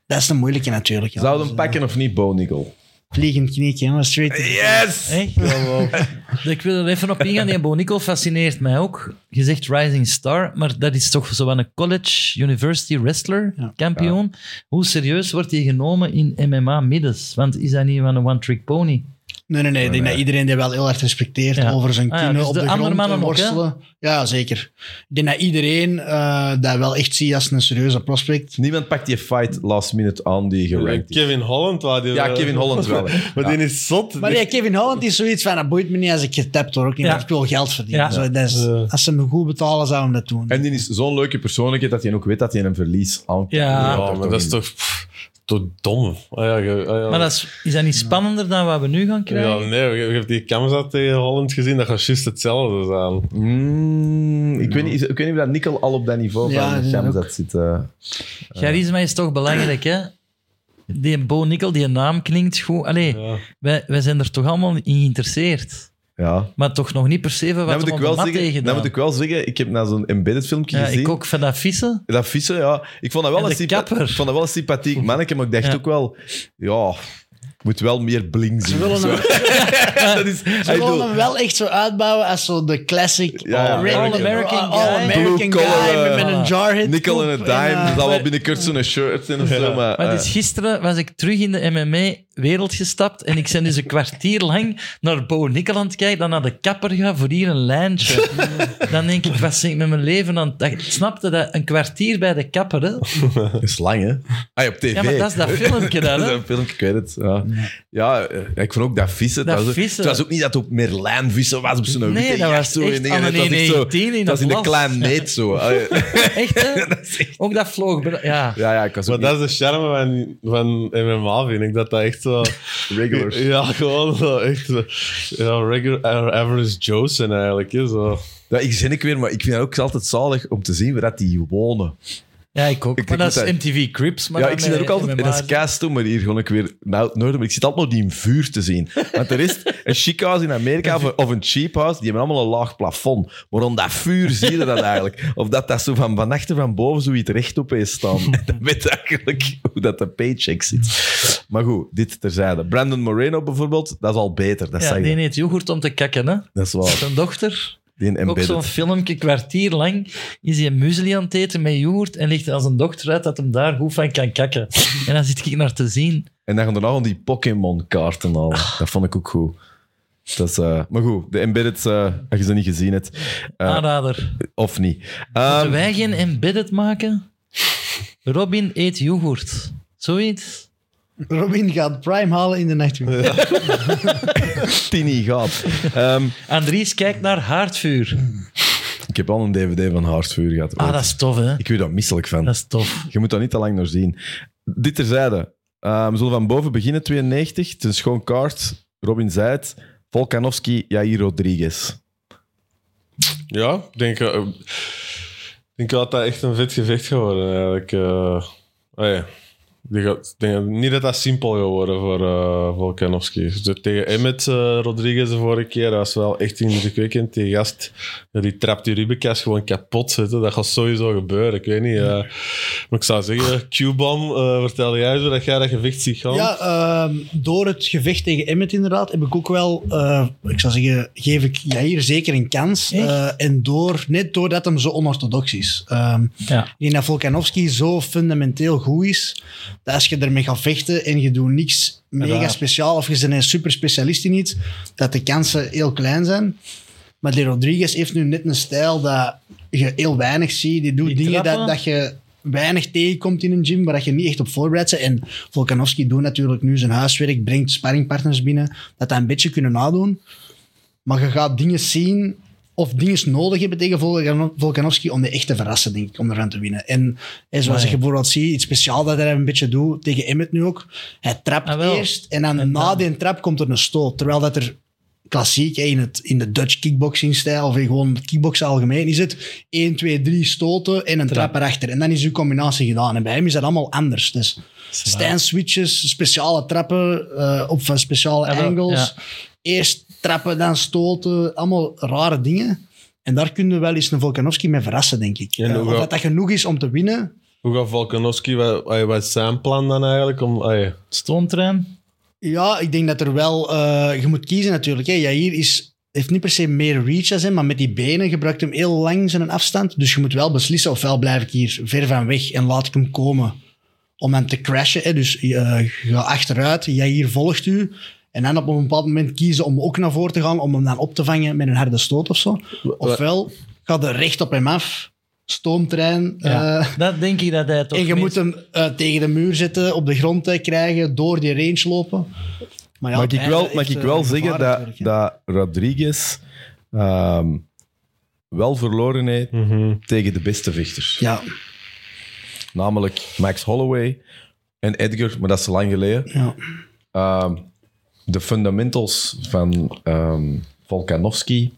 Speaker 3: dat is een moeilijke natuurlijk. ja.
Speaker 1: Zou
Speaker 3: Dus,
Speaker 1: hem
Speaker 3: eh,
Speaker 1: pakken of niet, Bo Nickel?
Speaker 3: Vliegend knietje, jongens. Straight to the-
Speaker 1: Yes!
Speaker 2: Echt? Ik wil er even op ingaan. Die Bonico fascineert mij ook. Je zegt Rising Star, maar dat is toch zo'n een college, university wrestler,
Speaker 3: Ja.
Speaker 2: kampioen. Hoe serieus wordt die genomen in MMA-middens? Want is dat niet van een one-trick pony?
Speaker 3: Nee, nee, nee. Ik denk dat iedereen die wel heel erg respecteert
Speaker 2: Ja.
Speaker 3: over zijn
Speaker 2: Ah ja,
Speaker 3: kunnen
Speaker 2: dus
Speaker 3: op
Speaker 2: de
Speaker 3: de,
Speaker 2: andere
Speaker 3: grond
Speaker 2: mannen
Speaker 3: en
Speaker 2: ook, hè?
Speaker 3: worstelen. ja, zeker. Ik denk dat iedereen eh, dat wel echt ziet als een serieuze prospect.
Speaker 1: Niemand pakt die fight last minute aan die gerankt is.
Speaker 4: Eh, Kevin Holland. Waar die,
Speaker 1: Ja, Kevin Holland wel. hè.
Speaker 4: Maar
Speaker 1: Ja.
Speaker 4: die is zot.
Speaker 3: Maar
Speaker 4: Die-
Speaker 3: ja, Kevin Holland is zoiets van, dat boeit me niet als ik getapt word. Ook niet,
Speaker 2: Ja.
Speaker 3: want ik wil geld verdienen.
Speaker 2: Ja.
Speaker 3: Zo, dat is-
Speaker 4: Ja.
Speaker 3: als ze me goed betalen, zouden we dat doen.
Speaker 1: En die is zo'n leuke persoonlijkheid dat hij ook weet dat hij een verlies aan
Speaker 2: Ja.
Speaker 4: Ja, maar dat is toch, pff, toch dom. Ah, ja, ge- ah, ja.
Speaker 2: Maar dat is, is dat niet spannender dan wat we nu gaan
Speaker 4: ja,
Speaker 2: krijgen?
Speaker 4: nee, je, je hebt die Kamza tegen Holland gezien, dat gaat juist hetzelfde zijn.
Speaker 1: Mm, ik, weet niet, ik weet niet of dat Nikkel al op dat niveau
Speaker 3: Ja,
Speaker 1: van
Speaker 3: die zijn
Speaker 1: Shamzat zit. eh.
Speaker 2: Charisma is toch belangrijk, hè? Die Bo Nickel, die naam klinkt goed. Allee,
Speaker 4: Ja.
Speaker 2: wij, wij zijn er toch allemaal in geïnteresseerd.
Speaker 1: ja.
Speaker 2: Maar toch nog niet per se van
Speaker 1: Dat
Speaker 2: wat
Speaker 1: moet,
Speaker 2: we
Speaker 1: ik
Speaker 2: op de
Speaker 1: wel
Speaker 2: mat
Speaker 1: zeggen,
Speaker 2: tegen
Speaker 1: dat moet ik wel zeggen, ik heb naar zo'n embedded filmpje
Speaker 2: Ja,
Speaker 1: gezien.
Speaker 2: ik ook van dat vissen.
Speaker 1: Dat vissen, ja. Ik vond dat
Speaker 2: En
Speaker 1: wel,
Speaker 2: de
Speaker 1: een, sympa-
Speaker 2: kapper.
Speaker 1: ik vond dat wel een sympathiek manneke, maar ik dacht
Speaker 2: Ja.
Speaker 1: ook wel, ja, ik moet wel meer bling zien.
Speaker 3: Ze willen, hem,
Speaker 1: dat is,
Speaker 3: ze
Speaker 1: ik
Speaker 3: willen
Speaker 1: bedoel,
Speaker 3: hem wel echt zo uitbouwen als zo de classic
Speaker 1: Ja, ja,
Speaker 3: all-
Speaker 2: All-American
Speaker 3: all-
Speaker 2: guy.
Speaker 3: all-American
Speaker 1: Blue
Speaker 3: guy
Speaker 1: collar,
Speaker 3: met
Speaker 2: eh,
Speaker 3: een jar hit.
Speaker 1: Nickel en
Speaker 3: koep
Speaker 1: een dime,
Speaker 3: eh,
Speaker 1: dat zal wel binnenkort zo'n shirt zijn of zo, maar...
Speaker 2: Maar
Speaker 1: eh,
Speaker 2: dus gisteren was ik terug in de MMA-wereld gestapt en ik ben dus een kwartier lang naar Bo Nikkeland kijken, dan naar de kapper gaan voor hier een lijntje. dan denk ik, wat ben ik met mijn leven aan het... Ik snapte dat, een kwartier bij de kapper, hè?
Speaker 1: dat is lang, hè? Ah, op tv.
Speaker 2: Ja, maar dat is dat filmpje dan,
Speaker 1: Dat is
Speaker 2: hè?
Speaker 1: een filmpje, ik weet het. Ja, ja eh, ik vond ook dat vissen.
Speaker 2: Dat
Speaker 1: het, was ook,
Speaker 2: vissen.
Speaker 1: het was ook niet dat het op Merlijn vissen was, op zo'n
Speaker 2: Nee,
Speaker 1: witte
Speaker 2: dat
Speaker 1: jacht,
Speaker 2: was
Speaker 1: zo, en
Speaker 2: echt
Speaker 1: dingen.
Speaker 2: aan
Speaker 1: Het was
Speaker 2: een
Speaker 1: echt zo-
Speaker 2: 1,19 in
Speaker 1: Het was in
Speaker 2: dat
Speaker 1: de
Speaker 2: blad.
Speaker 1: klein neet zo. Ah, ja.
Speaker 2: Echt, hè? Ook dat vloog... bra- Ja.
Speaker 1: Ja, ja, ik was ook
Speaker 4: Maar
Speaker 1: niet
Speaker 4: dat is de charme van, van MMA, vind ik. Dat dat echt zo...
Speaker 1: regulars.
Speaker 4: Ja, gewoon zo echt... zo- Ja, regular uh, average Joe's zijn eigenlijk. Hè, zo.
Speaker 1: Ja, ik zin ik weer, maar ik vind het ook altijd zalig om te zien waar dat die wonen.
Speaker 2: ja, ik ook.
Speaker 1: Ik-
Speaker 2: maar
Speaker 1: ik
Speaker 2: dat is
Speaker 1: moet dat-
Speaker 2: MTV Crips. Maar
Speaker 1: ja,
Speaker 2: dan eh,
Speaker 1: ik zie dat
Speaker 2: met
Speaker 1: ook altijd. En dat is
Speaker 2: MMA's.
Speaker 1: keistom, maar hier gewoon ik weer naar het noorden. Maar ik zit altijd nog die in vuur te zien. Want er is een chic house in Amerika of een, of een cheap house, die hebben allemaal een laag plafond. Maar om dat vuur zie je dat eigenlijk. Of dat dat zo van, van achter van boven zoiets rechtop is staan. Dan weet je eigenlijk hoe dat de paycheck zit. Maar goed, dit terzijde. Brandon Moreno bijvoorbeeld, dat is al beter. Dat,
Speaker 2: Ja,
Speaker 1: zeg je.
Speaker 2: die neemt yoghurt om te kakken, hè?
Speaker 1: dat is waar.
Speaker 2: Zijn dochter...
Speaker 1: Die
Speaker 2: Ook
Speaker 1: embedded.
Speaker 2: zo'n filmpje, kwartier lang, is hij een muesli aan het eten met yoghurt en ligt als een dochter uit dat hem daar goed van kan kakken. En dan zit ik naar te zien.
Speaker 1: En dan gaan er nog al die Pokémon-kaarten al.
Speaker 2: Ah.
Speaker 1: Dat vond ik ook goed. Dat is, eh, maar goed, de embedded, eh, als je ze niet gezien hebt, eh,
Speaker 2: Aanrader.
Speaker 1: of niet.
Speaker 2: Moeten
Speaker 1: Ehm,
Speaker 2: wij geen embedded maken? Robin eet yoghurt. Zoiets.
Speaker 3: Robin gaat Prime halen in de nacht.
Speaker 1: Tini gaat. Ehm,
Speaker 2: Andries kijkt naar haardvuur.
Speaker 1: ik heb al een DVD van Hartvuur gehad.
Speaker 2: Ah,
Speaker 1: ooit.
Speaker 2: dat is tof, hè?
Speaker 1: Ik weet daar misselijk van.
Speaker 2: Dat is tof.
Speaker 1: Je moet daar niet te lang naar zien. Dit terzijde. Ehm, we zullen van boven beginnen, 92. Het is een schoon kaart. Robin Zijt, Volkanovski, Jair Rodriguez.
Speaker 4: Ja, ik denk... eh, ik denk wel dat dat echt een vet gevecht gaat worden, eigenlijk. eh. Hey, die gaat, ik denk, niet dat dat simpel gaat worden voor eh Volkanovski. De- Tegen Emmet eh, Rodriguez de vorige keer, dat was wel echt indrukwekkend. Die gast, ja, die trapt die Rubik's gewoon kapot zitten. Dat gaat sowieso gebeuren, ik weet niet. eh. maar ik zou zeggen, Q-bom, eh, vertel jij eens hoe dat jij dat gevecht ziet gaan.
Speaker 3: Ja, ehm, door het gevecht tegen Emmet inderdaad heb ik ook wel, eh, ik zou zeggen, geef ik Jair zeker een kans.
Speaker 2: Echt?
Speaker 3: Eh, en door, net doordat hem zo onorthodox is. Ehm,
Speaker 2: Ja.
Speaker 3: ik denk dat Volkanovski zo fundamenteel goed is, dat als je ermee gaat vechten en je doet niks mega
Speaker 2: Raar.
Speaker 3: speciaal of je bent een super specialist in iets, dat de kansen heel klein zijn. Maar de Rodriguez heeft nu net een stijl dat je heel weinig ziet. Die doet
Speaker 2: Die
Speaker 3: dingen dat,
Speaker 2: trappen.
Speaker 3: dat je weinig tegenkomt in een gym, waar dat je niet echt op voorbereid bent. En Volkanovski doet natuurlijk nu zijn huiswerk, brengt sparringpartners binnen, dat dat een beetje kunnen nadoen. Maar je gaat dingen zien of dingen nodig hebben tegen Volkan- Volkanovski om de echt te verrassen, denk ik, om eraan te winnen. En hè, zoals
Speaker 2: Maar Ah, ja.
Speaker 3: je bijvoorbeeld ziet, iets speciaal dat hij een beetje doet tegen Emmet nu ook. Hij trapt
Speaker 2: Ah, wel.
Speaker 3: eerst en dan
Speaker 2: En
Speaker 3: na
Speaker 2: dan-
Speaker 3: die trap komt er een stoot. Terwijl dat er klassiek hè, in, het, in de Dutch kickboxing-stijl of in gewoon kickboksen algemeen is het 1, 2, 3 stoten en een trap, erachter. En dan is uw combinatie gedaan. En bij hem is dat allemaal anders. Dus stand-switches, speciale trappen eh, op van speciale
Speaker 2: Ah, wel,
Speaker 3: angles.
Speaker 2: ja.
Speaker 3: Eerst trappen, dan stoten. Allemaal rare dingen. En daar kunnen we wel eens een Volkanovski mee verrassen, denk ik.
Speaker 4: En
Speaker 3: Eh,
Speaker 4: hoe
Speaker 3: of
Speaker 4: ga-
Speaker 3: dat dat genoeg is om te winnen,
Speaker 4: Hoe gaat Volkanovski, wat, ay, wat is zijn plan dan eigenlijk? Om, ay,
Speaker 2: Stoomtrein.
Speaker 3: Ja, ik denk dat er wel... eh, je moet kiezen natuurlijk. Hè. Jair is, heeft niet per se meer reach als hem, maar met die benen gebruikt hem heel lang zijn afstand. Dus je moet wel beslissen, ofwel blijf ik hier ver van weg en laat ik hem komen om hem te crashen. Hè. Dus eh, je gaat achteruit, Jair volgt u. En dan op een bepaald moment kiezen om ook naar voren te gaan, om hem dan op te vangen met een harde stoot of zo. Ofwel, ga er recht op hem af, stoomtrein...
Speaker 2: Ja.
Speaker 3: eh,
Speaker 2: dat denk ik dat hij toch
Speaker 3: en je
Speaker 2: mis-
Speaker 3: moet hem eh, tegen de muur zetten, op de grond eh, krijgen, door die range lopen. Maar ja,
Speaker 1: mag ik
Speaker 3: hij
Speaker 1: wel,
Speaker 3: heeft,
Speaker 1: mag ik
Speaker 3: eh,
Speaker 1: wel
Speaker 3: gevaar
Speaker 1: zeggen dat,
Speaker 3: natuurlijk, hè.
Speaker 1: dat Rodriguez ehm, wel verloren heeft tegen de beste vechters.
Speaker 3: Ja,
Speaker 1: Namelijk Max Holloway en Edgar, maar dat is lang geleden.
Speaker 3: ja.
Speaker 1: Ehm, de fundamentals van ehm Volkanovski.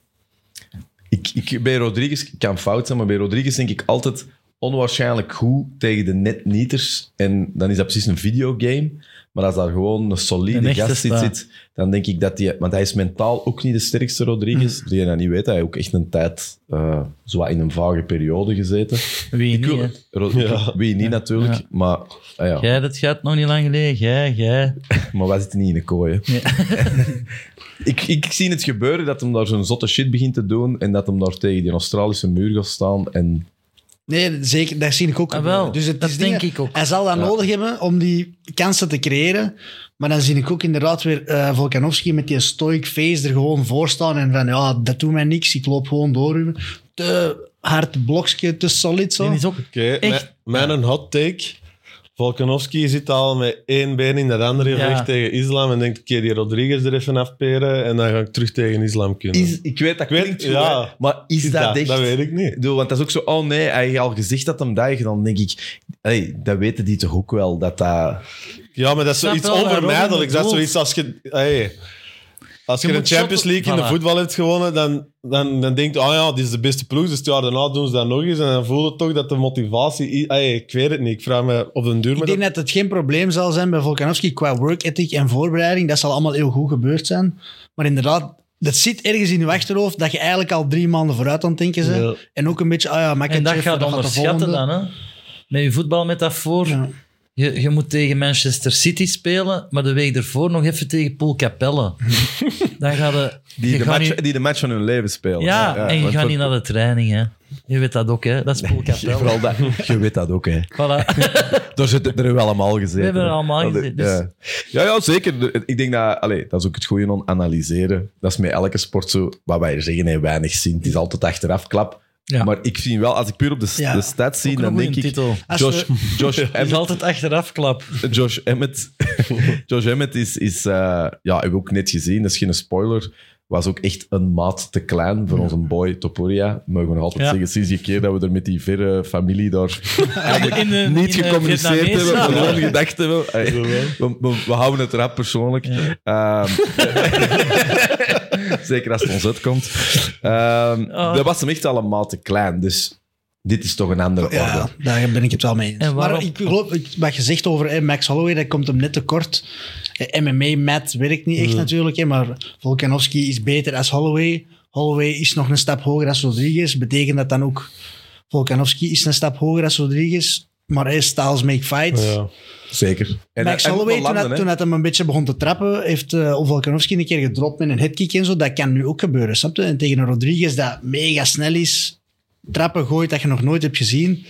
Speaker 1: Ik, ik, bij Rodriguez kan fout zijn, maar bij Rodriguez denk ik altijd onwaarschijnlijk goed tegen de netnieters. En dan is dat precies een videogame. Maar als daar gewoon een
Speaker 2: Een
Speaker 1: solide
Speaker 2: echte
Speaker 1: gast in
Speaker 2: sta.
Speaker 1: zit, dan denk ik dat die... Want hij is mentaal ook niet de sterkste Rodriguez.
Speaker 2: Mm.
Speaker 1: Die je dat niet weet, hij heeft ook echt een tijd eh, zo wat in een vage periode gezeten.
Speaker 2: Wie
Speaker 1: Ik
Speaker 2: niet,
Speaker 1: wil-
Speaker 2: hè?
Speaker 1: Ro- Wie niet natuurlijk,
Speaker 2: Ja.
Speaker 1: maar... ah ja.
Speaker 2: Jij, dat gaat nog niet lang geleden. Jij, jij.
Speaker 1: Maar wij zitten niet in de kooi. hè.
Speaker 2: Nee.
Speaker 1: ik, ik zie het gebeuren dat hem daar zo'n zotte shit begint te doen en dat hem daar tegen die Australische muur gaat staan. En
Speaker 3: Nee, zeker, dat zie ik ook.
Speaker 2: Ah,
Speaker 3: gebeuren.
Speaker 2: wel,
Speaker 3: dus het
Speaker 2: dat
Speaker 3: is
Speaker 2: denk
Speaker 3: dingen-
Speaker 2: ik ook.
Speaker 3: Hij zal dat nodig hebben om die kansen te creëren. Maar dan zie ik ook inderdaad weer eh Volkanovski met die stoic face er gewoon voor staan. En van, ja, dat doet mij niks, ik loop gewoon door. u. Te hard blokje, te solid zo.
Speaker 2: Die is ook...
Speaker 4: Oké,
Speaker 2: Echt?
Speaker 4: mijn- mijn een hot take. Volkanovski zit al met één been in dat andere
Speaker 2: Ja.
Speaker 4: gevecht tegen Islam en denkt, oké, die Rodriguez er even afperen en dan ga ik terug tegen Islam kunnen.
Speaker 1: is, ik weet dat
Speaker 4: Ik weet-
Speaker 1: klinkt goed,
Speaker 4: ja.
Speaker 1: hè, maar is, dat, echt?
Speaker 4: Dat weet ik niet.
Speaker 1: Ik bedoel, want dat is ook zo, oh nee, hij heeft al gezegd dat hem dat heeft gedaan. Dan denk ik, hey, dat weten die toch ook wel, dat dat...
Speaker 4: Ja, maar dat is
Speaker 2: snap
Speaker 4: zoiets
Speaker 2: wel waarom
Speaker 4: onvermijdelijks.
Speaker 2: je
Speaker 4: Dat is
Speaker 2: bedoelt.
Speaker 4: zoiets als je... Hey, als je,
Speaker 2: Je
Speaker 4: de
Speaker 2: moet
Speaker 4: Champions
Speaker 2: shotten-
Speaker 4: League in de
Speaker 2: Voilà.
Speaker 4: voetbal hebt gewonnen, dan, dan, dan denk je, oh ja, dit is de beste ploeg, dus het jaar daarna doen ze dat nog eens. En dan voel je toch dat de motivatie... Hey, ik weet het niet, ik vraag me op den duur...
Speaker 3: Ik
Speaker 4: maar
Speaker 3: denk dat het geen probleem zal zijn bij Volkanovski qua work ethic en voorbereiding. Dat zal allemaal heel goed gebeurd zijn. Maar inderdaad, dat zit ergens in je achterhoofd dat je eigenlijk al drie maanden vooruit aan het denken bent.
Speaker 4: Ja.
Speaker 3: En ook een beetje, ah ja,
Speaker 2: En
Speaker 3: Makachev,
Speaker 2: dat gaat
Speaker 3: de
Speaker 2: onderschatten
Speaker 3: volgende.
Speaker 2: dan, hè. Met je voetbalmetafoor.
Speaker 3: Ja.
Speaker 2: Je, je moet tegen Manchester City spelen, maar de week ervoor nog even tegen Paul Capelle. dan ga je...
Speaker 1: Die
Speaker 2: je
Speaker 1: de,
Speaker 2: gaat
Speaker 1: match,
Speaker 2: niet-
Speaker 1: die de match van hun leven spelen.
Speaker 2: ja, en je
Speaker 1: want
Speaker 2: gaat
Speaker 1: voor-
Speaker 2: niet naar de training, hè. Je weet dat ook, hè. Dat is Paul Capelle.
Speaker 1: Vooral dat, je weet dat ook, hè.
Speaker 2: voilà.
Speaker 1: Daar zitten er wel allemaal gezeten.
Speaker 2: We hebben er
Speaker 1: hè.
Speaker 2: allemaal
Speaker 1: Allee,
Speaker 2: gezeten, dus-
Speaker 1: Ja. ja, ja, zeker. Ik denk dat... Allee, dat is ook het goede aan analyseren. Dat is met elke sport zo. Wat wij er zeggen, hij weinig zien. Het is altijd achteraf klap.
Speaker 2: Ja.
Speaker 1: Maar ik zie wel, als ik puur op de, s-
Speaker 3: Ja.
Speaker 1: de stats zie,
Speaker 2: Ook een
Speaker 1: dan
Speaker 2: goeie
Speaker 1: denk ik...
Speaker 2: titel.
Speaker 3: Als
Speaker 1: Josh, Josh,
Speaker 2: Het is
Speaker 1: Emmett,
Speaker 2: altijd achteraf klap.
Speaker 1: Josh Emmett... Josh Emmett is... is eh, ja, heb ik ook net gezien. Dat is geen spoiler. Was ook echt een maat te klein voor onze boy Topuria. Mogen we nog altijd
Speaker 2: Ja.
Speaker 1: zeggen, sinds die keer dat we er met die verre familie daar
Speaker 2: In de-
Speaker 1: niet
Speaker 2: in eh, Ah. de
Speaker 1: gecommuniceerd hebben,
Speaker 2: Vietnamese-
Speaker 1: gewoon gedacht hebben. Eh, We, we- we houden het rap persoonlijk. Ehm, zeker als het ons uitkomt. Ehm
Speaker 2: Oh. Ah.
Speaker 1: Dat was hem echt allemaal te klein. Dus Dit is toch een andere orde.
Speaker 3: Ja, daar ben ik het wel mee eens.
Speaker 2: En waarom-
Speaker 3: Maar ik geloof, ik- wat je zegt over eh, Max Holloway, dat komt hem net te kort. Eh, MMA, Matt werkt niet echt natuurlijk, hè, maar Volkanovski is beter als Holloway. Holloway is nog een stap hoger als Rodriguez. Betekent dat dan ook, Volkanovski is een stap hoger als Rodriguez, maar hij styles make fights.
Speaker 4: Ja.
Speaker 1: Zeker. En
Speaker 3: Max
Speaker 1: en
Speaker 3: Holloway,
Speaker 1: hoeveel
Speaker 3: toen, dat,
Speaker 1: landen,
Speaker 3: toen
Speaker 1: hè?
Speaker 3: dat hem een beetje begon te trappen, heeft eh Volkanovski een keer gedropt met een headkick en zo. Dat kan nu ook gebeuren, snap je? En tegen een Rodriguez dat mega snel is, trappen gooit dat je nog nooit hebt gezien.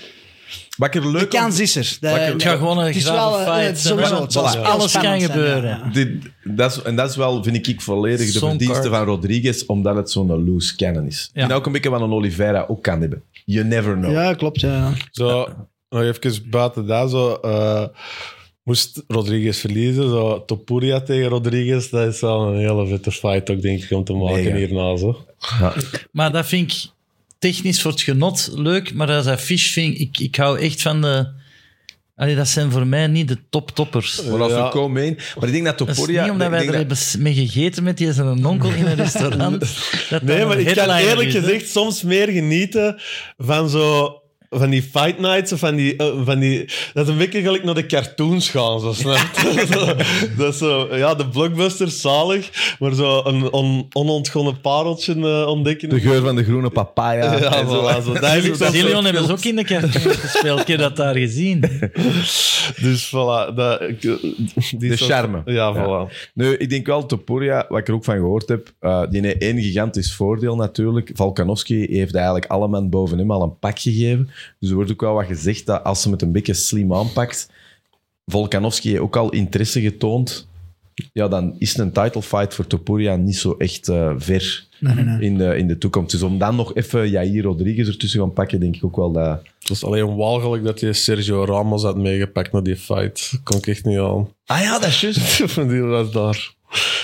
Speaker 1: Wat ik er
Speaker 3: De
Speaker 1: leuk
Speaker 3: kans is er. De-
Speaker 1: Maar ik-
Speaker 2: Het gaat gewoon een
Speaker 3: het is
Speaker 2: grave
Speaker 3: wel, eh,
Speaker 2: fight
Speaker 3: het is
Speaker 2: zijn,
Speaker 3: sowieso,
Speaker 2: hè.
Speaker 3: het zal
Speaker 2: Voilà.
Speaker 3: heel
Speaker 2: Alles kan
Speaker 3: spannend zijn,
Speaker 2: gebeuren.
Speaker 3: ja.
Speaker 1: Dit, dat is, en dat is wel, vind ik, volledig de
Speaker 2: Zo'n
Speaker 1: verdienste
Speaker 2: card.
Speaker 1: van Rodriguez, omdat het zo'n loose cannon is.
Speaker 2: Ja.
Speaker 1: En ook een beetje wat een Oliveira ook kan hebben. You never know.
Speaker 3: Ja, klopt. Ja.
Speaker 4: Zo, nog even buiten daar, zo, eh, moest Rodriguez verliezen. Zo, Topuria tegen Rodriguez, dat is wel een hele vette fight ook, denk ik, om te maken
Speaker 1: Mega.
Speaker 4: hierna. Zo.
Speaker 2: Maar dat vind ik technisch voor het genot leuk, maar als affiche vind ik, ik, ik hou echt van de... Allee, dat zijn voor mij niet de top-toppers.
Speaker 1: Maar als
Speaker 4: Ja.
Speaker 1: we komen heen. Maar ik denk dat
Speaker 2: Dat is
Speaker 1: Toporia.
Speaker 2: niet omdat
Speaker 1: ik
Speaker 2: wij
Speaker 1: denk
Speaker 2: er
Speaker 1: dat-
Speaker 2: hebben s- mee gegeten met die zijn onkel in een restaurant. dat dat
Speaker 4: Nee,
Speaker 2: een
Speaker 4: maar ik kan
Speaker 2: headliner
Speaker 4: eerlijk
Speaker 2: is, hè.
Speaker 4: gezegd soms meer genieten van zo... Van die fight nights, of van die, eh, van die... Dat is een beetje gelijk naar de cartoons gaan, zo snap je? Zo, dat is zo... Ja, de blockbusters, zalig. Maar zo een on, onontgonnen pareltje eh, ontdekken.
Speaker 1: De geur van de groene papaya.
Speaker 4: Ja,
Speaker 1: en zo.
Speaker 4: voilà, zo. Dat heb ik soms wel.
Speaker 2: Zillion hebben ze ook in de cartoons gespeeld. Ik heb dat daar gezien.
Speaker 4: Dus voilà. Dat, ik- eh, die
Speaker 1: De
Speaker 4: soort-
Speaker 1: charme.
Speaker 4: Ja, voilà.
Speaker 1: Nee, ik denk wel Topuria, wat ik er ook van gehoord heb, eh, die heeft één gigantisch voordeel natuurlijk. Valkanovski heeft eigenlijk alle man boven hem al een pak gegeven. Dus er wordt ook wel wat gezegd dat als ze het een beetje slim aanpakt, Volkanovski heeft ook al interesse getoond. Ja, dan is een title fight voor Topuria niet zo echt eh, ver In, de, in de toekomst. Dus om dan nog even Jair Rodriguez ertussen gaan pakken, denk ik ook wel dat...
Speaker 4: Het was alleen walgelijk dat je Sergio Ramos had meegepakt naar die fight. Kon ik echt niet aan.
Speaker 1: Ah ja, dat is juist.
Speaker 4: die was daar.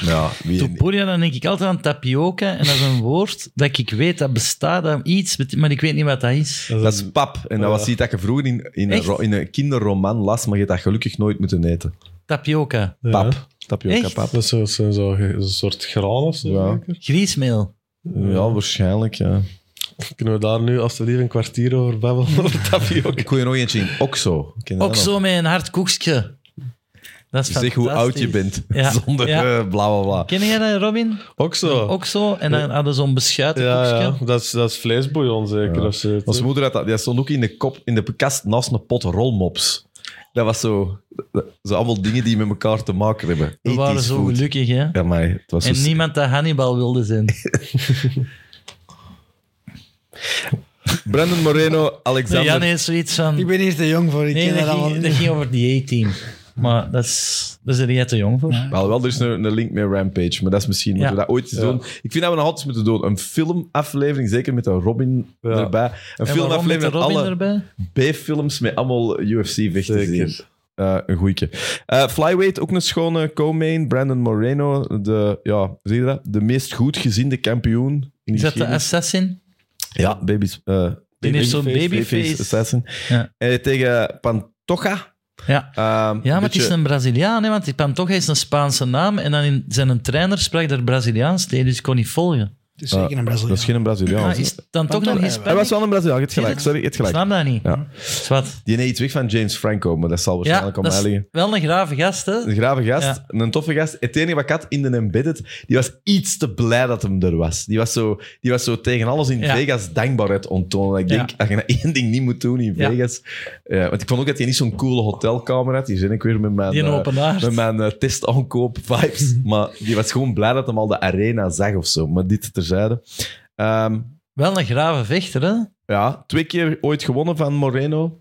Speaker 1: Ja, wie,
Speaker 2: Topuria, dan denk ik altijd aan tapioca. En dat is een woord dat ik weet dat bestaat, dat iets, bet- maar ik weet niet wat dat is.
Speaker 1: Dat is pap. En dat was iets dat je vroeger in, in, een,
Speaker 2: Echt?
Speaker 1: ro- in een kinderroman las, maar je hebt dat gelukkig nooit moeten eten.
Speaker 2: Tapioca.
Speaker 1: Pap. Tapioca
Speaker 2: Echt?
Speaker 1: pap.
Speaker 4: Dat is zo- zo'n zo, zo'n soort graan of zo.
Speaker 1: Ja.
Speaker 4: zeker?
Speaker 2: Griesmeel.
Speaker 1: Ja, waarschijnlijk. Ja.
Speaker 4: Kunnen we daar nu alsjeblieft een kwartier over babbelen? Over tapioca.
Speaker 1: Ik gooi er nog eentje in. Oxo. Ken je dat
Speaker 2: Ook
Speaker 1: nog?
Speaker 2: zo met een hard koekje. Dat is
Speaker 1: Zeg hoe oud je
Speaker 2: fantastisch.
Speaker 1: bent.
Speaker 2: Ja.
Speaker 1: Zonder
Speaker 2: Ja.
Speaker 1: eh, Oh. bla bla bla.
Speaker 2: Ken jij dat, Robin?
Speaker 4: Ook zo.
Speaker 2: Ook zo. En dan hadden ze zo'n beschuiten
Speaker 4: ja,
Speaker 2: koekje.
Speaker 4: ja. Dat, is, dat is vleesbouillon zeker.
Speaker 1: Ja.
Speaker 4: Of zo.
Speaker 1: Onze moeder had dat, die stond ook in de, kop, in de kast naast een pot rolmops. Dat was zo, zo allemaal dingen die met elkaar te maken hebben.
Speaker 2: We waren
Speaker 1: Ethisch
Speaker 2: zo
Speaker 1: food.
Speaker 2: gelukkig, hè.
Speaker 1: Ja, maar het was zo
Speaker 2: En niemand dat Hannibal wilde zijn.
Speaker 1: Brandon Moreno, Alexander.
Speaker 2: Jan heeft zoiets van...
Speaker 3: Ik ben hier te jong voor, ik
Speaker 2: Nee,
Speaker 3: ken dat
Speaker 2: dat
Speaker 3: allemaal
Speaker 2: ging, dat
Speaker 3: niet.
Speaker 2: ging over die A-team. Maar dat is, daar zijn jij te jong voor.
Speaker 1: Wel, wel, er is een, een link met Rampage, maar dat is misschien moeten we
Speaker 2: Ja.
Speaker 1: dat ooit eens doen. Ik vind dat we nog altijd moeten doen. Een filmaflevering, zeker met een Robin
Speaker 4: Ja.
Speaker 1: erbij. Een
Speaker 2: En waarom met
Speaker 1: filmaflevering
Speaker 2: de
Speaker 1: met
Speaker 2: Robin
Speaker 1: alle
Speaker 2: erbij?
Speaker 1: B-films met allemaal UFC-vechters
Speaker 4: Zeker.
Speaker 1: hier. Eh, een goeieke. Eh, Flyweight, ook een schone co-main. Brandon Moreno, de, ja, zie je dat? de meest goed geziende kampioen. in
Speaker 2: Is dat de
Speaker 1: geschiedenis.
Speaker 2: assassin?
Speaker 1: Ja, baby's. eh,
Speaker 2: Die heeft zo'n
Speaker 4: Babyface,
Speaker 1: babyface
Speaker 2: babyface.
Speaker 1: assassin.
Speaker 2: Ja.
Speaker 1: En tegen Pantoja. Ehm,
Speaker 2: Ja. Ja, maar het is een Braziliaan, hè, want die Pantoja is een Spaanse naam. En dan in zijn een trainer sprak er Braziliaans tegen, dus ik kon niet volgen.
Speaker 3: Het is zeker een
Speaker 1: Dat is
Speaker 3: Braziliaan.
Speaker 1: geen een Braziliaan.
Speaker 2: Ah, is het dan toch nog
Speaker 3: Pantoja,
Speaker 2: een
Speaker 1: Hij was
Speaker 2: Hispanic?
Speaker 1: wel een Braziliaan, je hebt
Speaker 2: Nee,
Speaker 1: gelijk.
Speaker 2: dat-
Speaker 1: Sorry, je hebt
Speaker 2: Ik
Speaker 1: gelijk.
Speaker 2: snap dat niet.
Speaker 1: Ja.
Speaker 2: Wat?
Speaker 1: Die neemt iets weg van James Franco, maar dat zal
Speaker 2: Ja,
Speaker 1: waarschijnlijk om
Speaker 2: dat
Speaker 1: mij
Speaker 2: is
Speaker 1: liggen.
Speaker 2: wel een grave gast, hè?
Speaker 1: Een grave gast,
Speaker 2: Ja.
Speaker 1: een toffe gast. Het enige wat ik had in de Embedded, die was iets te blij dat hem er was. Die was zo, die was zo tegen alles in
Speaker 2: Ja.
Speaker 1: Vegas dankbaarheid onttonen. Ik denk,
Speaker 2: Ja.
Speaker 1: als je nou één ding niet moet doen in
Speaker 2: Ja.
Speaker 1: Vegas... eh, want ik vond ook dat hij niet zo'n coole hotelkamer had. Hier zit ik weer met mijn,
Speaker 2: Die een
Speaker 1: eh,
Speaker 2: open haard.
Speaker 1: met mijn eh, testaankoop-vibes. maar die was gewoon blij dat hem al de arena zag of zo. Maar dit terzijde. Ehm
Speaker 2: Wel een grave vechter, hè?
Speaker 1: Ja, twee keer ooit gewonnen van Moreno.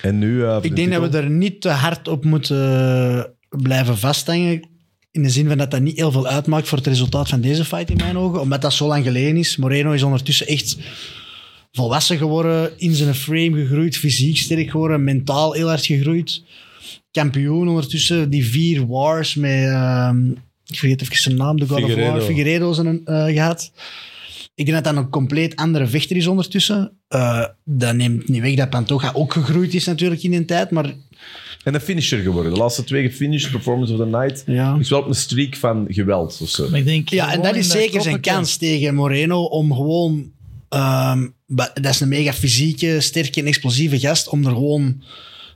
Speaker 1: En nu... eh, voor de
Speaker 3: Ik denk dat
Speaker 1: titel.
Speaker 3: we er niet te hard op moeten eh, blijven vasthangen. In de zin van dat dat niet heel veel uitmaakt voor het resultaat van deze fight in mijn ogen. Omdat dat zo lang geleden is. Moreno is ondertussen echt volwassen geworden. In zijn frame gegroeid. Fysiek sterk geworden. Mentaal heel hard gegroeid. Kampioen ondertussen. Die vier wars met... ehm, ik vergeet even zijn naam. De God of War.
Speaker 4: Figueiredo.
Speaker 3: Figueiredo zijn, eh, gehad. Ik denk dat dat een compleet andere vechter is ondertussen. Eh, dat neemt niet weg dat Pantoja ook gegroeid is natuurlijk in een tijd. Maar
Speaker 1: En een finisher geworden. De laatste twee gefinished, Performance of the Night.
Speaker 3: ja.
Speaker 1: Is wel op een streak van geweld of zo.
Speaker 2: Maar ik denk,
Speaker 3: Ja, en
Speaker 2: gewoon
Speaker 3: dat is
Speaker 2: in
Speaker 3: zeker zijn
Speaker 2: koppenkamp.
Speaker 3: kans tegen Moreno om gewoon Ehm, maar dat is een mega fysieke, sterke en explosieve gast om er gewoon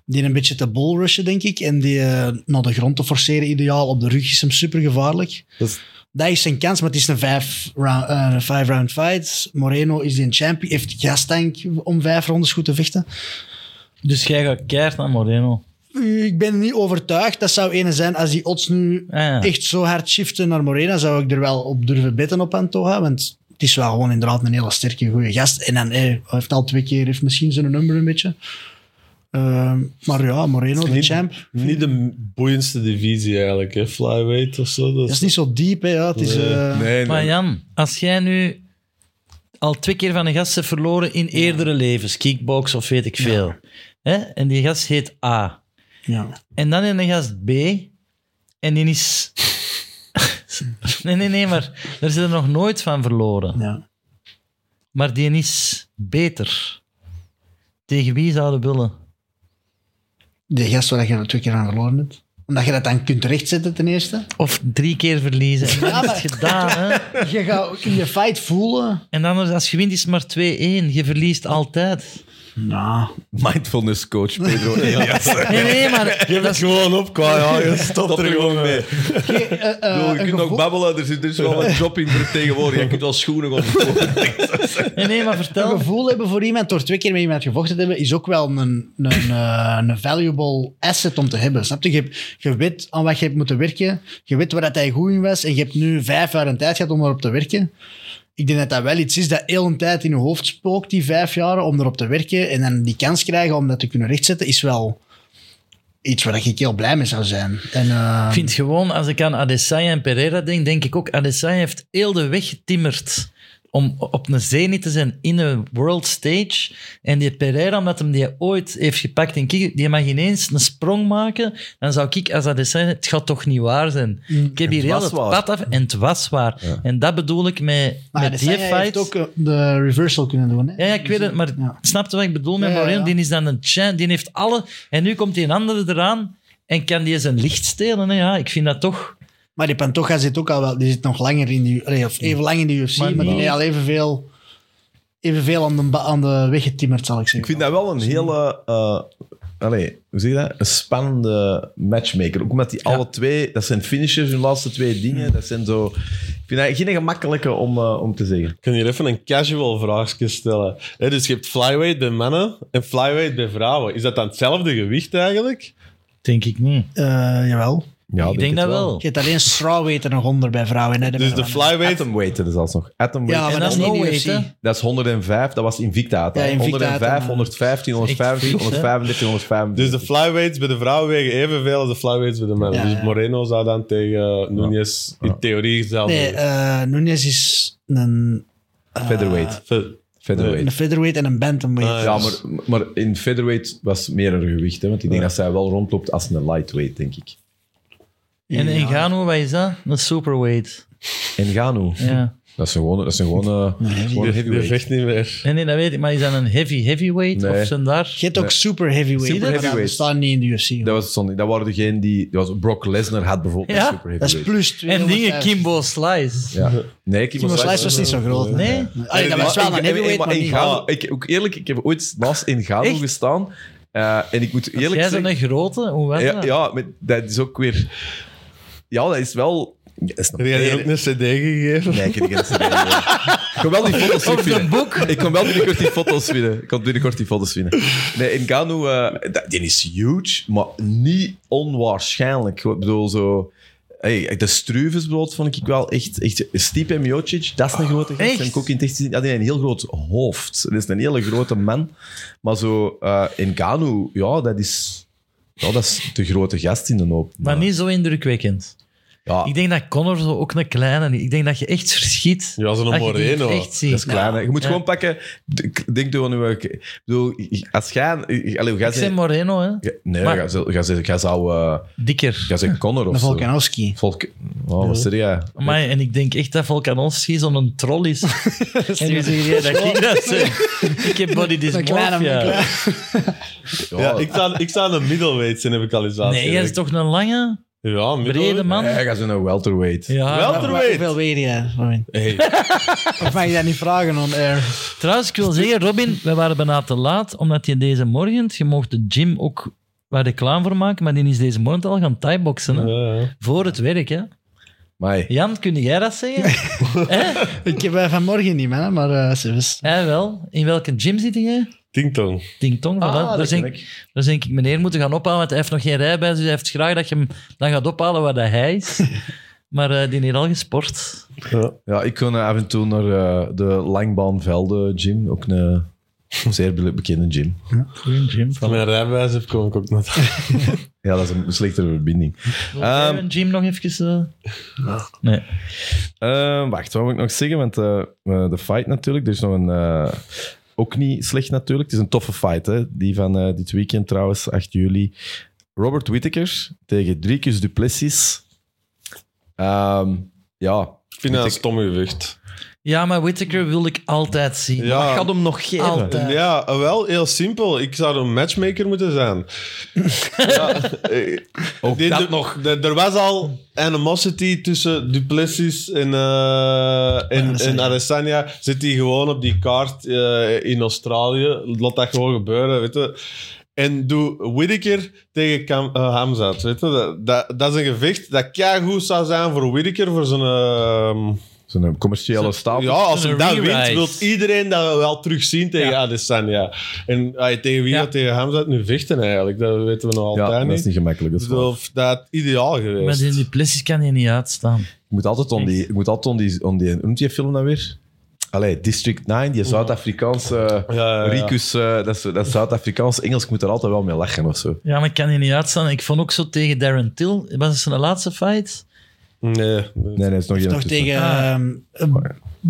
Speaker 3: die een beetje te bullrushen, denk ik. En die eh, naar de grond te forceren, ideaal. Op de rug is hem super gevaarlijk.
Speaker 4: Dat is-
Speaker 3: Dat is zijn kans, maar het is een vijf round, eh, een vijf round fight. Moreno is die een champion, heeft gastank om vijf rondes goed te vechten.
Speaker 2: Dus jij gaat keihard naar Moreno.
Speaker 3: Ik ben niet overtuigd. Dat zou ene zijn als die odds nu
Speaker 2: Ah, ja.
Speaker 3: echt zo hard shiften naar Morena, zou ik er wel op durven betten op Antoja. Want het is wel gewoon inderdaad een hele sterke, goede gast. En dan eh, hij heeft al twee keer heeft misschien zijn nummer een beetje. Ehm, maar ja, Moreno, de
Speaker 4: Niet-
Speaker 3: champ.
Speaker 4: Niet de boeiendste divisie eigenlijk, hè? flyweight of zo. Dat
Speaker 3: Dat is
Speaker 4: is,
Speaker 3: niet zo diep, hè. Ja, het is, eh,
Speaker 1: Nee,
Speaker 2: Maar
Speaker 1: nee.
Speaker 2: Jan, als jij nu al twee keer van een gast hebt verloren in eerdere levens, kickbox of weet ik veel, hè? en die gast heet A,
Speaker 3: ja.
Speaker 2: en dan in een gast B, en die is... nee, nee, nee, maar daar zit er nog nooit van verloren.
Speaker 3: ja.
Speaker 2: Maar die is beter. Tegen wie zouden willen?
Speaker 3: De gast waar je er twee keer aan verloren hebt. Omdat je dat dan kunt rechtzetten ten eerste.
Speaker 2: Of drie keer verliezen. En dan is het gedaan, hè?
Speaker 3: Je gaat in je fight voelen.
Speaker 2: En dan als je wint is het maar 2-1. Je verliest altijd.
Speaker 3: Nou,
Speaker 1: Mindfulness coach Pedro Elias.
Speaker 2: Nee, nee, maar...
Speaker 4: Geef het gewoon op, qua ja, je stopt
Speaker 1: Stop
Speaker 4: er gewoon mee.
Speaker 3: Oké, eh, eh,
Speaker 1: Ik bedoel, je
Speaker 3: een
Speaker 1: kunt nog
Speaker 3: gevo-
Speaker 1: babbelen, er zit dus wel een job in voor tegenwoordig. Je kunt wel schoenen op
Speaker 2: Nee, nee, maar
Speaker 3: een
Speaker 2: vertel.
Speaker 3: gevoel hebben voor iemand door twee keer met iemand gevochten te hebben, is ook wel een, een, eh, een valuable asset om te hebben. Snap je? Je, hebt- je weet aan wat je hebt moeten werken. Je weet waar dat hij goed in was. En je hebt nu vijf jaar een tijd gehad om erop te werken. Ik denk dat dat wel iets is dat heel een tijd in je hoofd spookt, die vijf jaar, om erop te werken. En dan die kans krijgen om dat te kunnen rechtzetten, is wel iets waar ik heel blij mee zou zijn. En, eh,
Speaker 2: Ik vind gewoon, als ik aan Adesanya en Pereira denk, denk ik ook, Adesanya heeft heel de weg getimmerd om op een zenit te zijn in een world stage. En die Pereira, omdat hem die ooit heeft gepakt in kick, die mag ineens een sprong maken. Dan zou ik als Adesanya, het gaat toch niet waar zijn.
Speaker 3: Mm.
Speaker 2: Ik heb hier heel
Speaker 1: was
Speaker 2: het
Speaker 1: waar.
Speaker 2: pad af en het was waar. En dat bedoel ik met,
Speaker 3: maar
Speaker 2: met die
Speaker 3: Adesanya
Speaker 2: fight.
Speaker 3: heeft ook eh, de reversal kunnen doen. Hè?
Speaker 2: Ja, ja, ik weet het, maar
Speaker 3: Ja.
Speaker 2: snap je wat ik bedoel met
Speaker 3: Ja, ja,
Speaker 2: Moreno?
Speaker 3: ja.
Speaker 2: Die is dan een champ, die heeft alle... En nu komt die een andere eraan en kan die zijn licht stelen. Hè? Ja, ik vind dat toch...
Speaker 3: Maar die Pantoja zit ook al wel, die zit nog langer in de, allee, of even lang in de UFC,
Speaker 2: Maar
Speaker 3: maar, die
Speaker 2: niet-
Speaker 3: heeft al evenveel, evenveel aan, de, ba- aan de weg getimmerd, zal ik zeggen.
Speaker 1: Ik vind dat wel een hele... eh, allee, hoe zeg je dat? Een spannende matchmaker. Ook omdat die alle twee... Dat zijn finishers, hun laatste twee dingen. Dat zijn zo... Ik vind dat geen gemakkelijke om, eh, om te zeggen.
Speaker 4: Ik kan hier even een casual vraagje stellen. Hè, dus je hebt flyweight bij mannen en flyweight bij vrouwen. Is dat dan hetzelfde gewicht eigenlijk?
Speaker 2: Denk ik niet.
Speaker 3: Eh, jawel.
Speaker 1: Ja,
Speaker 2: ik denk dat wel.
Speaker 3: Je hebt alleen strawweight er nog onder bij vrouwen. Hè,
Speaker 4: Dus de flyweight...
Speaker 1: Atomweight is zelfs nog. Atomweight.
Speaker 3: Ja, maar
Speaker 2: En
Speaker 3: dat is
Speaker 2: dan
Speaker 3: niet
Speaker 2: no
Speaker 3: UFC.
Speaker 2: weight, hè?
Speaker 1: Dat is 105, dat was Invicta. hè?
Speaker 3: Ja, Invicta,
Speaker 1: 105,
Speaker 3: hè.
Speaker 1: 115,
Speaker 2: Echt
Speaker 1: 115,
Speaker 2: vies, hè?
Speaker 1: 135, 135.
Speaker 4: Dus de flyweights bij de vrouwen wegen evenveel als de flyweights bij de mannen.
Speaker 3: Ja, ja.
Speaker 4: Dus Moreno zou dan tegen Nunez
Speaker 1: Ja.
Speaker 4: in theorie hetzelfde
Speaker 3: Nee, eh Nunes is een,
Speaker 1: Featherweight.
Speaker 4: Ver-
Speaker 1: Featherweight.
Speaker 3: een featherweight en een bantamweight.
Speaker 4: Ah,
Speaker 1: Ja,
Speaker 4: Dus-
Speaker 1: maar, maar in featherweight was meer een gewicht. Hè? Want ik denk dat zij wel rondloopt als een lightweight, denk ik.
Speaker 2: En
Speaker 3: Ja.
Speaker 2: in Gano, wat is dat? Een superweight.
Speaker 1: En Gano.
Speaker 2: Ja.
Speaker 1: Dat is gewoon, dat is gewoon, eh, gewoon
Speaker 4: Die- Die
Speaker 1: heavyweight.
Speaker 4: vecht niet meer.
Speaker 2: Nee, nee, dat weet ik. Maar is dat een heavy heavyweight?
Speaker 1: Nee.
Speaker 2: Of zijn daar...
Speaker 3: Je hebt ook super heavyweight,
Speaker 1: Super
Speaker 3: hè, maar
Speaker 1: heavyweight.
Speaker 3: dat bestaat niet in de UFC.
Speaker 1: Dat was zonde. Dat waren degene die... Dat was Brock Lesnar had bijvoorbeeld
Speaker 2: Ja?
Speaker 1: een super
Speaker 3: dat is
Speaker 1: heavyweight.
Speaker 3: plus
Speaker 2: En
Speaker 3: 205.
Speaker 2: dingen, Kimbo Slice.
Speaker 1: Ja. Nee, Kimbo
Speaker 3: Kimo Slice was niet zo groot.
Speaker 2: Nee?
Speaker 3: Allee, dat was wel een heavyweight, maar
Speaker 1: in
Speaker 3: niet-
Speaker 1: Gano, ik, ook eerlijk, ik heb ooit naast in Gano
Speaker 2: Echt?
Speaker 1: gestaan. eh, en ik moet eerlijk
Speaker 2: Jij
Speaker 1: zeggen...
Speaker 2: bent een grote, hoe was
Speaker 1: Ja,
Speaker 2: dat?
Speaker 1: ja maar dat is ook weer... Ja, dat is wel... Dat is nog
Speaker 4: Heb jij die
Speaker 1: meer-
Speaker 4: ook een cd gegeven?
Speaker 1: Nee, ik heb die geen CD. Ik kon wel die foto's
Speaker 2: Of
Speaker 1: vinden.
Speaker 2: een boek.
Speaker 1: Ik kon wel binnenkort die foto's vinden. Ik kon binnenkort die foto's vinden. Nee, in Gano, eh, dat- die is huge, maar niet onwaarschijnlijk. Ik bedoel, zo... Hey, de Struves brood vond ik wel echt... echt Stipe Miocic, dat is een grote gast.
Speaker 2: Oh, echt?
Speaker 1: En Kok in het echt gezien, ja, die heeft een heel groot hoofd. Dat is een hele grote man. Maar zo, eh in Gano, ja, dat is... Ja, dat is de grote gast in de hoop.
Speaker 2: Maar niet zo indrukwekkend.
Speaker 1: Ja,
Speaker 2: Ik denk dat Connor zo ook een kleine... Ik denk dat je echt verschiet.
Speaker 4: Ja, zo'n
Speaker 2: Dat je die
Speaker 4: Moreno.
Speaker 2: Echt ziet.
Speaker 1: Dat is klein. hè. Je moet
Speaker 2: Ja.
Speaker 1: gewoon pakken. Ik denk door nu. Ik ik bedoel, als jij. Allee, jij
Speaker 2: Ik zei
Speaker 1: zei,
Speaker 2: Moreno, hè.
Speaker 1: nee,
Speaker 2: maar-
Speaker 1: jij zou- jij zou- jij zou. eh,
Speaker 2: Dikker.
Speaker 1: Jij zei Connor
Speaker 3: Een
Speaker 1: of zo.
Speaker 3: Volkanovski.
Speaker 1: Volk, oh, wat zeg jij?
Speaker 2: Amai, en ik denk echt dat Volkanovski zo'n troll is. en nu zeg jij dat ik dat zeg. Ik heb body
Speaker 3: kleine,
Speaker 2: dysmorphia.
Speaker 1: Ja,
Speaker 4: Ja, ik sta, ik sta aan de middleweights en heb ik al eens
Speaker 2: Nee, jij is
Speaker 4: uitgelegd.
Speaker 2: toch een lange?
Speaker 4: Ja,
Speaker 2: Brede man.
Speaker 1: Hij gaat zo'n welterweight.
Speaker 2: Ja,
Speaker 4: Wel
Speaker 3: Maar Hoeveel
Speaker 4: terwijl.
Speaker 3: weet jij, Robin?
Speaker 4: Hey.
Speaker 3: Of mag je dat niet vragen eh, on air?
Speaker 2: Trouwens, ik wil zeggen, Robin, wij waren bijna te laat, omdat je deze morgen, je mocht de gym ook waar reclame voor maken, maar die is deze morgen al gaan thaiboxen. hè.
Speaker 4: Ja, ja.
Speaker 2: Voor het werk, hè.
Speaker 1: Amai.
Speaker 2: Jan, kun jij dat zeggen? Hè?
Speaker 3: Ik heb eh, vanmorgen niet, man, maar eh, ze wist.
Speaker 2: Hij wel. In welke gym zit jij?
Speaker 4: Ting tong.
Speaker 2: Ding Tong. voilà. daar, denk,
Speaker 1: ken
Speaker 2: ik. daar denk ik meneer moeten gaan ophalen, want hij heeft nog geen rijbewijs, dus hij heeft graag dat je hem dan gaat ophalen waar dat hij is. maar eh, die heeft al gesport.
Speaker 4: Ja.
Speaker 1: Ja, ik kon eh, af en toe naar eh, de Langbaanvelden gym, ook een zeer be- bekende gym.
Speaker 2: Goeie gym.
Speaker 4: Als mijn rijbewijs heb, kom ik ook nog.
Speaker 1: Ja, dat is een slechtere verbinding. Ehm,
Speaker 2: een gym nog even... eh? Nee.
Speaker 1: Eh, wacht, wat moet ik nog zeggen? Want eh, eh, de fight natuurlijk, er is nog een... eh, ook niet slecht natuurlijk. Het is een toffe fight, hè? die van eh, dit weekend trouwens, 8 juli. Robert Whittaker tegen Dricus Duplessis. Ehm, ja,
Speaker 4: Ik vind dat een stomme gewicht.
Speaker 2: Ja, maar Whittaker wil ik altijd zien.
Speaker 4: Ja.
Speaker 1: ik had hem nog geven.
Speaker 2: Altijd.
Speaker 4: Ja, wel heel simpel. Ik zou een matchmaker moeten zijn. ja, eh,
Speaker 1: Ook
Speaker 4: die-
Speaker 1: dat
Speaker 4: de-
Speaker 1: nog.
Speaker 4: de- er was al animosity tussen Duplessis en, eh, en, en
Speaker 3: Adesanya.
Speaker 4: Adesanya. Zit die gewoon op die kaart eh, in Australië? Laat dat gewoon gebeuren, weet je. En doe Whittaker tegen Kam, eh, Hamzat, weet je. Dat, dat, dat is een gevecht dat keigoed zou zijn voor Whittaker, voor zijn... ehm,
Speaker 1: Zo'n commerciële stapel.
Speaker 4: ja, als hij
Speaker 2: een
Speaker 4: dat
Speaker 2: re-rise.
Speaker 4: wint, wil iedereen dat wel terugzien tegen
Speaker 2: Ja.
Speaker 4: Adesanya. En ah, tegen wie
Speaker 2: Ja.
Speaker 4: dat tegen Hamzat nu vechten eigenlijk, dat weten we nog altijd
Speaker 1: Ja, dat is
Speaker 4: niet.
Speaker 1: niet gemakkelijk. Dat
Speaker 4: Ik
Speaker 1: is
Speaker 4: bedoel,
Speaker 1: waar.
Speaker 4: Of dat ideaal
Speaker 2: Maar
Speaker 4: geweest.
Speaker 2: die Duplessis kan je niet uitstaan.
Speaker 1: Ik moet altijd om die, ik moet altijd om die, om die, hoe noemt die film dan weer? Allee, District 9, die Zuid-Afrikaanse eh,
Speaker 4: Ja, ja, ja.
Speaker 1: Ricus, eh, dat, is, dat is Zuid-Afrikaans Engels, ik moet er altijd wel mee lachen of zo.
Speaker 2: Ja, maar ik kan je niet uitstaan. Ik vond ook zo tegen Darren Till. Was het zijn laatste fight?
Speaker 4: Nee.
Speaker 1: Nee, nee, is nog geen
Speaker 3: Toch tegen... ehm, eh,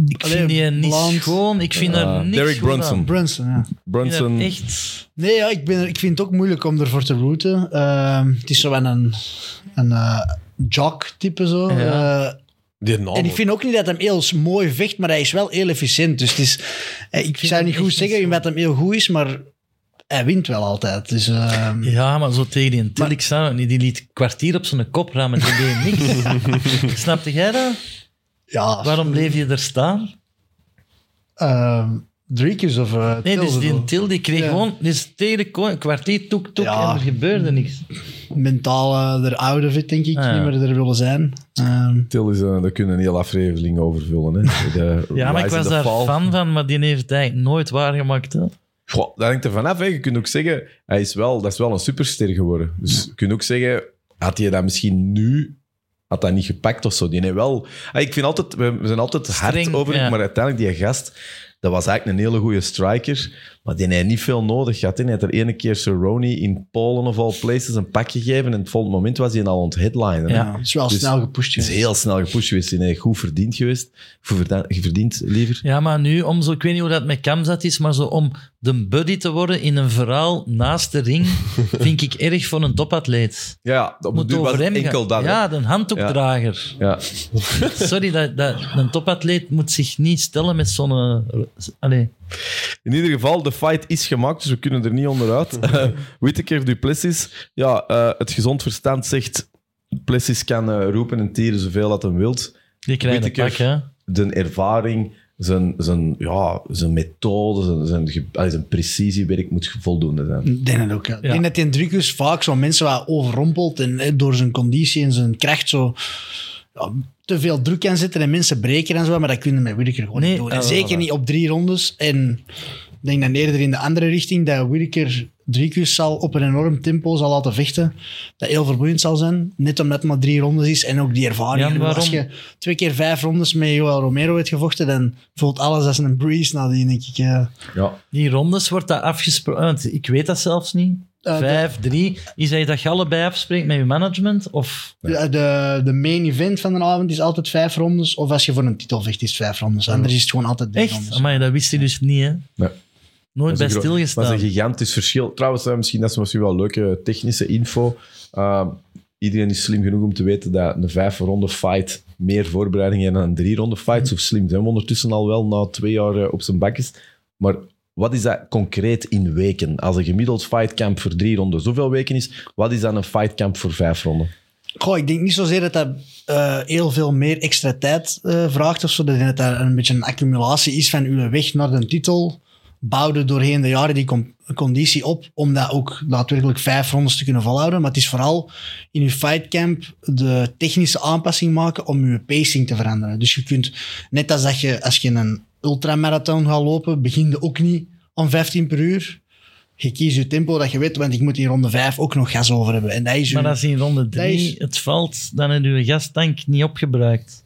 Speaker 2: Ik
Speaker 3: Allee,
Speaker 2: vind die niet
Speaker 3: blond.
Speaker 2: schoon. Ik vind
Speaker 1: Ah,
Speaker 2: er niks
Speaker 1: Derek
Speaker 2: goed aan.
Speaker 1: Brunson.
Speaker 3: Brunson, ja.
Speaker 2: Ik vind
Speaker 1: Brunson.
Speaker 2: er Echt.
Speaker 3: Nee, ja, ik, ben er- ik vind het ook moeilijk om ervoor te routen. Ehm, het is zo wel een, een eh, jock-type zo.
Speaker 2: Ja.
Speaker 3: Eh,
Speaker 4: Die naam.
Speaker 3: en ik vind ook niet dat hij heel mooi vecht, maar hij is wel heel efficiënt. Dus het is, eh, ik zou
Speaker 2: hem
Speaker 3: niet goed
Speaker 2: echt niet
Speaker 3: zeggen
Speaker 2: zo.
Speaker 3: omdat hij heel goed is, maar hij wint wel altijd. Dus, ehm,
Speaker 2: Ja, maar zo tegen die Till. Ik snap het niet. Die liet kwartier op zijn kop rammen. Die deed niks. Snapte jij dat?
Speaker 3: ja,
Speaker 2: Waarom bleef je er staan?
Speaker 3: ehm, Driekjes of eh,
Speaker 2: Nee,
Speaker 3: Tills
Speaker 2: dus
Speaker 3: of
Speaker 2: die
Speaker 3: zo.
Speaker 2: Till die kreeg
Speaker 3: Ja.
Speaker 2: gewoon... Dus tegen de ko- een kwartier toek toek
Speaker 3: Ja.
Speaker 2: en er gebeurde niks.
Speaker 3: mentaal eh, er out of it, denk ik,
Speaker 2: Ah, ja.
Speaker 3: niet meer er willen zijn. Ehm,
Speaker 1: Til is, eh, daar kunnen een hele aflevering over vullen. Hè. De
Speaker 2: Ja, maar ik
Speaker 1: Rise
Speaker 2: was
Speaker 1: and the
Speaker 2: daar
Speaker 1: Fall.
Speaker 2: fan van, maar die heeft het eigenlijk nooit waargemaakt. Hè?
Speaker 1: Goh, dat hangt er vanaf. hè. Je kunt ook zeggen, hij is wel, dat is wel een superster geworden. Dus je kunt ook zeggen, had hij dat misschien nu had dat niet gepakt of zo. Die heeft wel... Ah, Ik vind altijd, we we zijn altijd hard
Speaker 2: Streng,
Speaker 1: over hem,
Speaker 2: ja.
Speaker 1: maar uiteindelijk die gast, dat was eigenlijk een hele goede striker, maar die heeft niet veel nodig gehad. hè. Hij had er ene keer Cerrone in Polen of all places een pak gegeven en het volgende moment was hij al aan het headlinen. hè.
Speaker 2: Ja.
Speaker 3: ja, het is wel
Speaker 1: Dus-
Speaker 3: snel gepusht.
Speaker 1: Het is heel snel gepusht geweest. Hij heeft goed verdiend geweest. Goed verda- Verdiend, liever.
Speaker 2: Ja, maar nu, om zo, ik weet niet hoe dat met Kamzat is, maar zo om de buddy te worden in een verhaal naast de ring, vind ik erg voor een topatleet.
Speaker 1: Ja, op de
Speaker 2: Moet
Speaker 1: duur was
Speaker 2: over
Speaker 1: het
Speaker 2: hem gaan.
Speaker 1: enkel dat. hè.
Speaker 2: Ja, een handdoekdrager.
Speaker 1: Ja.
Speaker 2: Sorry, dat, dat, een topatleet moet zich niet stellen met zo'n... eh, Allee.
Speaker 1: In ieder geval, de fight is gemaakt, dus we kunnen er niet onderuit. Eh, Whittaker, Duplessis. Ja, eh, het gezond verstand zegt... Duplessis kan eh, roepen en tieren zoveel dat hij wilt.
Speaker 2: Die krijgt een pak,
Speaker 1: Whittaker.
Speaker 2: hè.
Speaker 1: De ervaring, zijn, zijn, ja, zijn methode, zijn, zijn, ge- allee, zijn precisiewerk moet voldoende zijn.
Speaker 3: Ik denk het ook, ja. Ik
Speaker 2: Ja.
Speaker 3: denk dat in Dricus vaak zo mensen wel overrompelt en eh, door zijn conditie en zijn kracht zo ja, te veel druk kan zetten en mensen breken en zo, maar dat kunnen met Whittaker gewoon
Speaker 2: Nee,
Speaker 3: niet doen. En
Speaker 2: eh,
Speaker 3: zeker
Speaker 2: voilà.
Speaker 3: niet op drie rondes. En ik denk dan eerder in de andere richting dat Whittaker Dricus zal op een enorm tempo zal laten vechten, dat heel vermoeiend zal zijn, net omdat het maar drie rondes is en ook die ervaring.
Speaker 2: Ja, maar
Speaker 3: Ik bedoel, Als je
Speaker 2: waarom?
Speaker 3: twee keer vijf rondes met Joel Romero hebt gevochten, dan voelt alles als een breeze nadien, denk ik. eh.
Speaker 1: Ja.
Speaker 2: Die rondes wordt dat afgesproken. want Ik weet dat zelfs niet.
Speaker 3: Eh, de-
Speaker 2: Vijf, drie. Is hij dat je allebei afspreekt met je management? Of...
Speaker 1: Ja.
Speaker 3: De, de, de main event van de avond is altijd vijf rondes. Of als je voor een titel vecht, is het vijf rondes. Anders is het gewoon altijd drie
Speaker 2: Echt?
Speaker 3: rondes.
Speaker 2: Amai, dat wist hij dus niet, hè. Nooit bij
Speaker 1: Dat is een gro-
Speaker 2: stilgestaan.
Speaker 1: Dat is een gigantisch verschil. Trouwens, eh, misschien, dat is misschien wel leuke technische info. Ehm, iedereen is slim genoeg om te weten dat een vijf-ronde fight meer voorbereiding heeft dan een drie-ronde fight. Zo slim zijn we ondertussen al wel na twee jaar eh, op zijn bak is. Maar wat is dat concreet in weken? Als een gemiddeld fightcamp voor drie ronden zoveel weken is, wat is dan een fightcamp voor vijf ronden?
Speaker 3: Goh, ik denk niet zozeer dat dat eh, heel veel meer extra tijd eh, vraagt of zo. Dat ik denk dat dat een beetje een accumulatie is van uw weg naar de titel. Bouwde doorheen de jaren die com- conditie op om dat ook daadwerkelijk vijf rondes te kunnen volhouden. Maar het is vooral in uw fightcamp de technische aanpassing maken om uw pacing te veranderen. Dus je kunt, net als dat je als je een ultramarathon gaat lopen, begin je ook niet om 15 per uur. Je kiest je tempo dat je weet, want ik moet in ronde 5 ook nog gas over hebben. En dat is
Speaker 2: Maar
Speaker 3: uw-
Speaker 2: als in ronde drie
Speaker 3: is-
Speaker 2: het valt, dan heb je je gastank niet opgebruikt.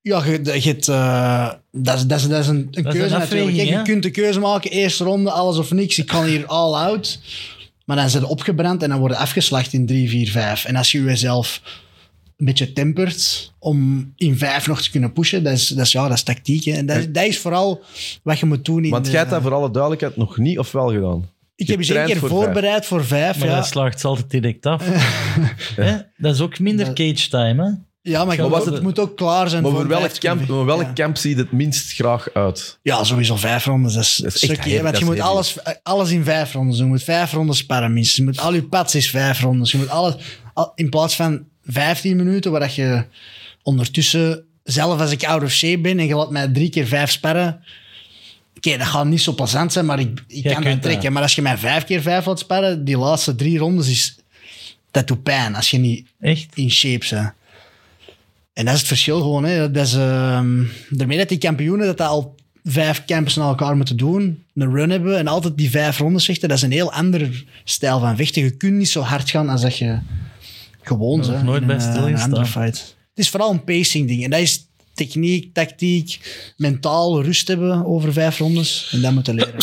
Speaker 3: Ja, je, je hebt, eh, dat, is, dat, is, dat is een, een
Speaker 2: een
Speaker 3: keuze natuurlijk.
Speaker 2: afweging,
Speaker 3: Kijk, je
Speaker 2: hè?
Speaker 3: kunt de keuze maken, eerste ronde, alles of niks. Ik kan hier all out. Maar dan zijn ze opgebrand en dan worden afgeslacht in 3, 4, 5. En als je jezelf een beetje tempert om in 5 nog te kunnen pushen, dat is, dat is, ja, dat is tactiek. Hè. En dat, is- dat is vooral wat je moet doen. In eh,
Speaker 1: Want
Speaker 3: de-
Speaker 1: jij hebt dat voor alle duidelijkheid nog niet of wel gedaan?
Speaker 3: ik heb eens één
Speaker 1: getraind voor
Speaker 3: keer voorbereid voor 5.
Speaker 2: Maar
Speaker 3: Ja.
Speaker 2: dat slaagt ze altijd direct af. Hè? Dat is ook minder
Speaker 3: Dat-
Speaker 2: cage time, hè?
Speaker 3: ja, maar, je
Speaker 2: Maar
Speaker 3: moet
Speaker 2: was
Speaker 3: ook-
Speaker 2: het-
Speaker 3: moet ook klaar zijn
Speaker 1: Maar
Speaker 3: voor
Speaker 1: voor
Speaker 3: een
Speaker 1: welk,
Speaker 3: vijf-
Speaker 1: camp, voor welk
Speaker 3: Ja.
Speaker 1: camp zie je het minst graag uit?
Speaker 3: Ja, sowieso vijf rondes. Dat is,
Speaker 1: Dat is
Speaker 3: een
Speaker 1: echt
Speaker 3: stukje,
Speaker 1: heel-
Speaker 3: want
Speaker 1: dat
Speaker 3: je
Speaker 1: is
Speaker 3: moet
Speaker 1: heel
Speaker 3: alles, alles in vijf rondes doen. Je moet vijf rondes sparren minstens. Je moet al je pads is vijf rondes. Je moet alles, al- in plaats van 15 minuten, waar dat je ondertussen, zelf als ik out of shape ben en je laat mij drie keer vijf sparren, oké, dat gaat niet zo plezant zijn, maar ik, ik
Speaker 2: Jij
Speaker 3: kan dat
Speaker 2: kunt dat.
Speaker 3: trekken. Maar als je mij vijf keer vijf laat sparren, die laatste drie rondes, is, dat doet pijn als je niet
Speaker 2: Echt?
Speaker 3: in shape zijn. En dat is het verschil gewoon. Hè. Dat is, ehm, daarmee dat die kampioenen dat, dat al vijf camps na elkaar moeten doen, een run hebben en altijd die vijf rondes vechten, dat is een heel ander stijl van vechten. Je kunt niet zo hard gaan als dat je gewoon
Speaker 2: Daar heb
Speaker 3: bent.
Speaker 2: ik nooit
Speaker 3: in
Speaker 2: bij
Speaker 3: een, eh,
Speaker 2: stilgestaan.
Speaker 3: een andere fight. Het is vooral een pacing ding. En dat is techniek, tactiek, mentaal rust hebben over vijf rondes. En dat moeten leren.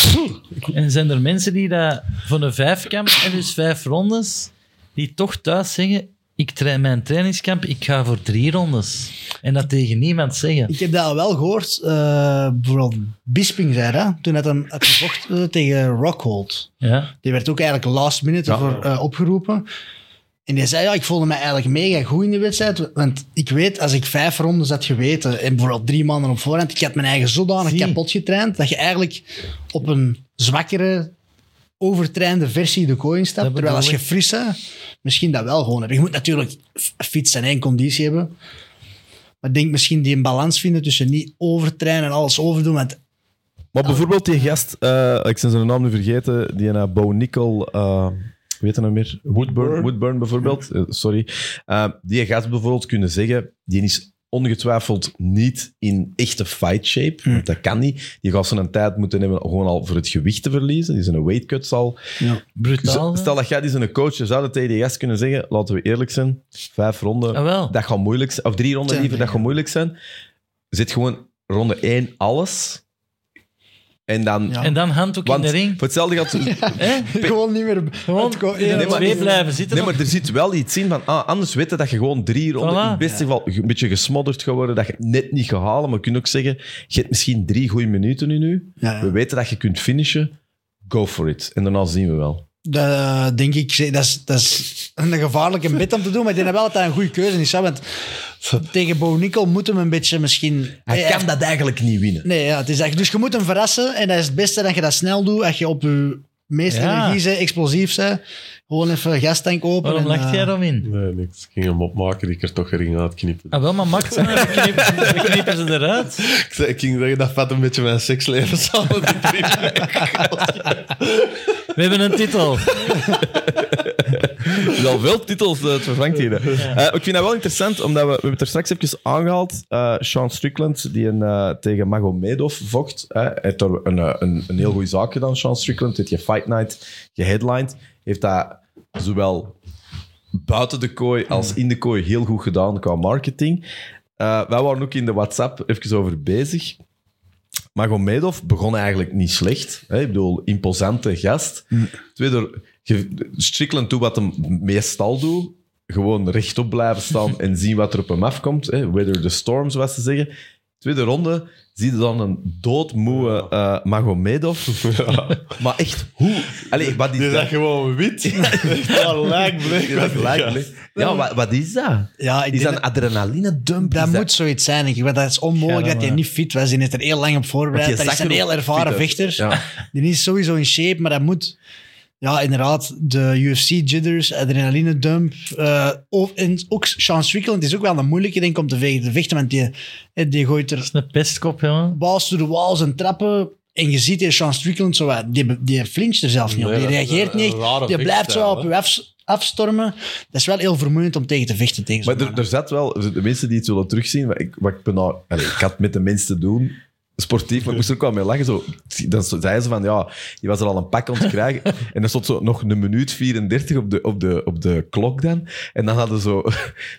Speaker 2: En zijn er mensen die dat van een vijfkamp en dus vijf rondes, die toch thuis zeggen: Ik train mijn trainingskamp, ik ga voor drie rondes. En dat tegen niemand zeggen.
Speaker 3: Ik heb dat al wel gehoord. eh, bijvoorbeeld Bisping zei dat, toen hij hem had gevocht eh, tegen Rockhold.
Speaker 2: Ja.
Speaker 3: Die werd ook eigenlijk last minute
Speaker 1: Ja.
Speaker 3: ervoor, eh, opgeroepen. En die zei, ja, ik voelde me eigenlijk mega goed in de wedstrijd. Want ik weet, als ik vijf rondes had geweten, en vooral drie maanden op voorhand, ik had mijn eigen zodanig
Speaker 2: Zie.
Speaker 3: kapot getraind, dat je eigenlijk op een zwakkere, overtrainde versie de kooi
Speaker 2: Dat
Speaker 3: instapt. Terwijl als
Speaker 2: bedoel
Speaker 3: je fris bent, misschien dat wel gewoon hebt. Je moet natuurlijk f- fiets en en conditie hebben. Maar ik denk misschien die een balans vinden tussen niet overtrainen en alles overdoen. Want
Speaker 1: Maar bijvoorbeeld die gast, eh, ik ben zijn naam nu vergeten, die naar Bo Nickel, eh weet je nog meer? Woodburn, Woodburn bijvoorbeeld, eh, sorry. Eh, die gast bijvoorbeeld kunnen zeggen, die is ongetwijfeld niet in echte fight shape, want dat kan niet. Die gaat zo'n tijd moeten hebben gewoon al voor het gewicht te verliezen. Die zijn een weight cut zal.
Speaker 2: Brutaal.
Speaker 1: Z- Stel dat jij die zijn coach, je zou dat tegen die gast kunnen zeggen, laten we eerlijk zijn, vijf ronden,
Speaker 2: Ah, wel.
Speaker 1: dat gaat moeilijk zijn. Of drie ronden
Speaker 3: Tuurlijk,
Speaker 1: liever, dat gaat
Speaker 3: ja.
Speaker 1: moeilijk zijn. Zit gewoon ronde één alles. En dan...
Speaker 3: Ja.
Speaker 2: En dan hand ook
Speaker 1: Want
Speaker 2: in de ring.
Speaker 1: voor hetzelfde gaat...
Speaker 2: Hè?
Speaker 3: gewoon niet meer...
Speaker 2: Gewoon
Speaker 3: Het kon-
Speaker 2: in de
Speaker 1: Nee, maar-
Speaker 2: twee blijven zitten.
Speaker 1: Nee, maar er zit wel iets in van... Ah, anders weten dat je gewoon drie ronden...
Speaker 2: Voilà.
Speaker 1: In het beste geval een beetje gesmodderd gaat worden, dat je het net niet gaat halen. Maar je kunt ook zeggen, je hebt misschien drie goede minuten nu nu.
Speaker 3: Ja, ja.
Speaker 1: We weten dat je kunt finishen. Go for it. En daarna zien we wel.
Speaker 3: Dat eh, denk ik, dat is, dat is een gevaarlijke bit om te doen, maar ik denk dat wel dat dat een goede keuze is. Hè? Want tegen Bo Nickel moet hem een beetje misschien...
Speaker 1: Hij
Speaker 3: Hij-
Speaker 1: kan dat eigenlijk niet winnen.
Speaker 3: Nee, ja, het is echt, dus je moet hem verrassen en dat is het beste dat je dat snel doet. Als je op je meest
Speaker 2: Ja.
Speaker 3: energie bent, explosief bent, gewoon even gastank open.
Speaker 2: Waarom
Speaker 3: en,
Speaker 2: lacht
Speaker 3: eh,
Speaker 2: jij daarom in?
Speaker 4: Nee, niks. Ik ging hem opmaken, die ik er toch gering uitknippen.
Speaker 2: Ah, wel, maar maakt ze maar, dan knippen, ze- dan knippen ze eruit.
Speaker 4: Ik, zei- ik ging zeggen, dat vat een beetje mijn seksleven samen.
Speaker 2: We hebben een titel.
Speaker 1: Er zijn al veel titels eh, het vervangt hier. hè. Eh, ik vind dat wel interessant, omdat we, we hebben het er straks even aangehaald. eh Sean Strickland, die een, eh, tegen Magomedov vocht. hè, heeft daar een, eh, een, een heel goede zaak gedaan, Sean Strickland. Dit je Fight Night geheadlined. Heeft dat zowel buiten de kooi als in de kooi heel goed gedaan qua marketing. Eh, wij waren ook in de WhatsApp even over bezig. Magomedov begon eigenlijk niet slecht. Hè? Ik bedoel, imposante gast.
Speaker 4: Mm.
Speaker 1: Tweede, ge- Strickland doet wat hem meestal doet. Gewoon rechtop blijven staan en zien wat er op hem afkomt. Hè? Weather the storm, zoals ze zeggen. Tweede ronde zie je dan een doodmoe eh Magomedov. Maar echt, hoe... Allee, wat
Speaker 4: Die
Speaker 1: is
Speaker 4: zag
Speaker 1: dat?
Speaker 4: gewoon wit. Ja, lijkbleek.
Speaker 1: Die zag gelijk, hè? Ja, wat, wat is dat?
Speaker 3: Ja, ik
Speaker 1: Is
Speaker 3: denk
Speaker 1: dat
Speaker 3: dat,
Speaker 1: een adrenaline-dump?
Speaker 3: dat
Speaker 1: Is
Speaker 3: moet zoiets zijn. Ik, want dat is onmogelijk
Speaker 2: Ja,
Speaker 3: dat hij
Speaker 2: maar-
Speaker 3: niet fit was. Die heeft er heel lang op
Speaker 1: Want
Speaker 3: voorbereid.
Speaker 1: je
Speaker 3: Dat is
Speaker 1: zag
Speaker 3: een
Speaker 1: er
Speaker 3: heel
Speaker 1: ook
Speaker 3: ervaren
Speaker 1: fit uit.
Speaker 3: vechter.
Speaker 1: Ja.
Speaker 3: Die is sowieso in shape, maar dat moet... ja, inderdaad, de UFC jitters, adrenaline dump. eh, of, en ook Sean Strickland is ook wel een moeilijke denk ik, om te vechten, te vechten want die, eh, die gooit er
Speaker 2: is een pestkop, jongen.
Speaker 3: balls door de walls en trappen. En je ziet die Sean Strickland zo wat, die, die flincht er zelf niet op.
Speaker 4: Nee,
Speaker 3: Die
Speaker 4: dat is
Speaker 3: reageert
Speaker 4: een-
Speaker 3: niet,
Speaker 4: een rare
Speaker 3: die blijft zo
Speaker 4: vechtstijl,
Speaker 3: op je af, afstormen. Dat is wel heel vermoeiend om tegen te vechten. Tegen zo'n
Speaker 1: Maar er,
Speaker 3: mannen.
Speaker 1: er zat wel, de mensen die het zullen terugzien, wat ik, wat ik, ben nou, allee, ik had met de mensen te doen, sportief, maar ik moest er ook wel mee lachen. Zo, dan zeiden ze van, ja, je was er al een pak aan het krijgen. En dan stond zo nog een minuut 34 op de, op de, op de klok dan. En dan hadden zo...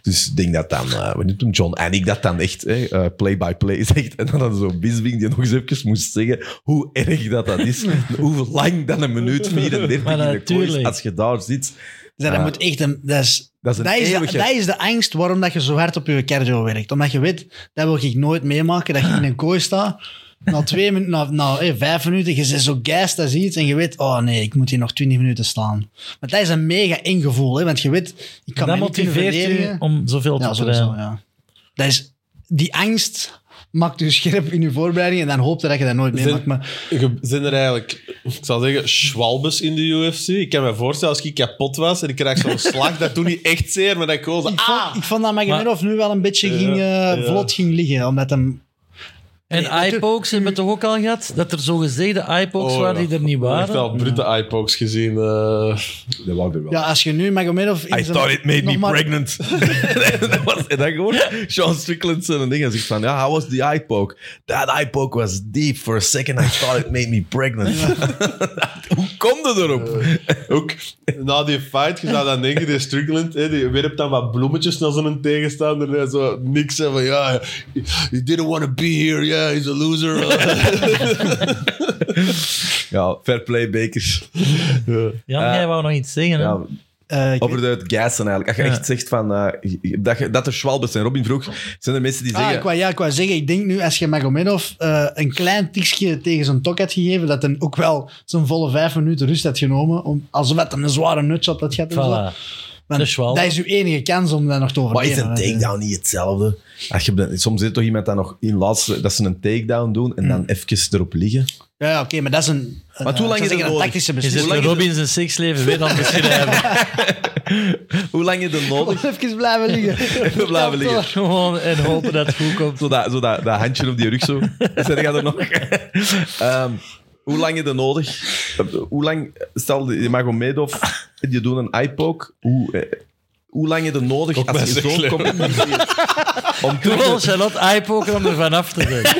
Speaker 1: Dus ik denk dat dan, eh, wat noemt hem, John en ik dat dan echt, hè, eh, play-by-play zegt. En dan hadden ze zo Bisbing die nog eens even moest zeggen hoe erg dat dat is. En hoe lang dan een minuut 34 in
Speaker 2: Maar
Speaker 1: de kooi is
Speaker 2: natuurlijk.
Speaker 1: als je daar zit.
Speaker 3: Dus dat
Speaker 1: Ja.
Speaker 3: moet echt een, dat is,
Speaker 1: Dat is een
Speaker 3: dat, is de,
Speaker 1: eeuwige-
Speaker 3: dat is de angst waarom dat je zo hard op je cardio werkt. Omdat je weet, dat wil ik nooit meemaken, dat je in een kooi staat. Na twee minuten, na, na eh, vijf minuten, je zit zo geist als iets en je weet, oh nee, ik moet hier nog twintig minuten staan. Maar dat is een mega eng gevoel, hè, want je weet, ik kan
Speaker 2: Dat
Speaker 3: mij niet kunnen
Speaker 2: motiveert u
Speaker 3: verdedigen.
Speaker 2: om zoveel te
Speaker 3: Ja,
Speaker 2: trainen.
Speaker 3: sowieso, ja. Dat is, die angst maakt je scherp in je voorbereiding en dan hoop je dat je dat nooit meemaakt. Maar
Speaker 4: Je- Zijn er eigenlijk, ik zou zeggen, schwalbes in de UFC? Ik kan me voorstellen, als ik kapot was en ik krijg zo'n slag, dat doet niet echt zeer, maar dat ik gewoon zo,
Speaker 3: ik,
Speaker 4: ah!
Speaker 3: vond, ik vond dat Magomedov nu wel een beetje ging, eh,
Speaker 4: ja.
Speaker 3: vlot ging liggen, omdat hem
Speaker 2: En
Speaker 3: Nee, natuurlijk-
Speaker 2: eyepokes hebben we toch ook al gehad? Dat er zogezegde eyepokes
Speaker 4: Oh,
Speaker 2: waren
Speaker 4: ja.
Speaker 2: die er niet
Speaker 4: Echt
Speaker 2: waren.
Speaker 4: wel brute eyepokes gezien. eh.
Speaker 1: Dat wou er wel.
Speaker 3: Ja, als je nu Magomedov... in
Speaker 1: I
Speaker 3: zijn-
Speaker 1: thought it made me
Speaker 3: nog maar-
Speaker 1: pregnant. dat was, en dan gewoon Sean Strickland zijn ding. En zegt van, ja, how was the eye poke? That eye poke was deep. For a second I thought it made me pregnant. Hoe kom je erop?
Speaker 4: Ook na die fight, je zou dan denken, die Strickland, hè, die werpt dan wat bloemetjes naar zo'n tegenstander. En zo niks hè, van, ja, he didn't want to be here, yeah, he's a loser.
Speaker 1: ja, fair play, Bakers.
Speaker 2: Jan,
Speaker 1: Eh,
Speaker 2: jij wou nog iets zeggen. hè?
Speaker 1: Ja,
Speaker 3: Eh, ik
Speaker 1: over de gassen eigenlijk. Als je
Speaker 2: Ja.
Speaker 1: echt zegt van, eh, dat, je- dat er Schwalbes zijn. Robin vroeg, zijn er mensen die
Speaker 3: Ah,
Speaker 1: zeggen...
Speaker 3: ik wou, ja, ik wou zeggen, ik denk nu als je Magomedov eh, een klein tikje tegen zijn tok had gegeven, dat hij ook wel zijn volle vijf minuten rust had genomen, om, alsof het een zware nutshot had gehad. en
Speaker 2: Voilà.
Speaker 3: zo. Want
Speaker 2: de schwalbe.
Speaker 3: dat is uw enige kans om dat nog te
Speaker 1: Maar is
Speaker 3: overleven.
Speaker 1: een takedown niet hetzelfde? Als je, soms zit toch iemand dan nog in laatste dat ze een takedown doen en
Speaker 2: Mm.
Speaker 1: dan even erop liggen.
Speaker 3: Ja, ja, oké, maar dat is een, een,
Speaker 1: hoe
Speaker 3: eh,
Speaker 1: lang
Speaker 3: ik zou
Speaker 1: is het
Speaker 3: zeggen, een
Speaker 1: nodig?
Speaker 3: tactische
Speaker 2: Je zit
Speaker 3: beslissing.
Speaker 2: de
Speaker 1: lang is
Speaker 2: Robin zijn seksleven weer aan het beschrijven.
Speaker 1: Hoe lang je er nodig?
Speaker 3: Even blijven liggen.
Speaker 1: We blijven liggen.
Speaker 2: Gewoon en hopen dat het goed komt.
Speaker 1: Zo dat, Ah, zo dat, dat handje op die rug zo. Zeg je er nog? Ehm, hoe lang heb je nodig? Hoe lang, stel, je Magomedov, je doet een eyepoke. Hoe, eh, hoe lang heb je nodig
Speaker 4: Komt
Speaker 1: als je
Speaker 4: mij
Speaker 1: zo'n
Speaker 4: zeggen.
Speaker 1: competitie hebt om terug
Speaker 2: Gewoon Charlotte eyepoken om er vanaf te zijn.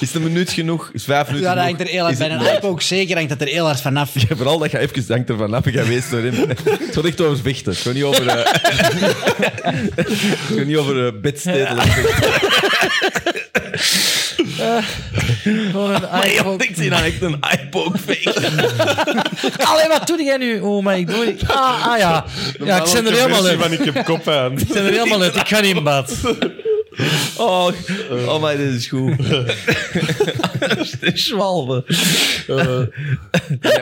Speaker 1: Is het een minuut genoeg? Is vijf minuten
Speaker 3: Ja, dat
Speaker 1: genoeg?
Speaker 3: hangt er heel hard
Speaker 1: Is het
Speaker 3: bij een
Speaker 1: nooit?
Speaker 3: hype ook zeker hangt dat er heel hard vanaf.
Speaker 1: Ja, vooral dat je even dankt ervan af geweest door hem. Het gaat echt over vechten. Het gaat niet over... eh, het gaat niet over eh, bedstedelen.
Speaker 2: Gewoon een
Speaker 1: Ja,
Speaker 2: eyepoke.
Speaker 1: ik zie dan echt een eyepoke fake.
Speaker 2: Allee, wat doe jij nu? Oh, maar ik doe niet. Ah, ah ja. Ja, ik ben er helemaal uit.
Speaker 4: van, ik heb kop aan.
Speaker 2: Ik ben er helemaal uit. Ik ga niet in bad.
Speaker 1: Oh, oh maar dit is goed. Schwalbe. Ja,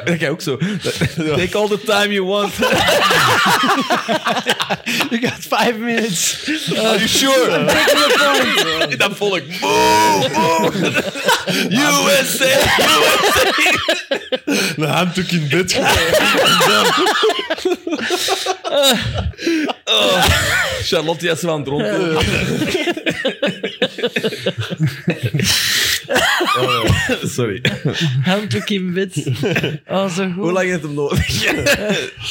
Speaker 1: dat jij ook zo. Take all the time you want.
Speaker 3: Je gaat vijf minutes.
Speaker 1: Are you sure? Dan volg ik. Boe, boe. USA.
Speaker 4: Een handdoek in bed.
Speaker 1: Charlotte is van het rond. Sorry.
Speaker 2: Handdoek in bed. Oh, zo
Speaker 1: Hoe
Speaker 2: goed.
Speaker 1: lang heeft hem nodig?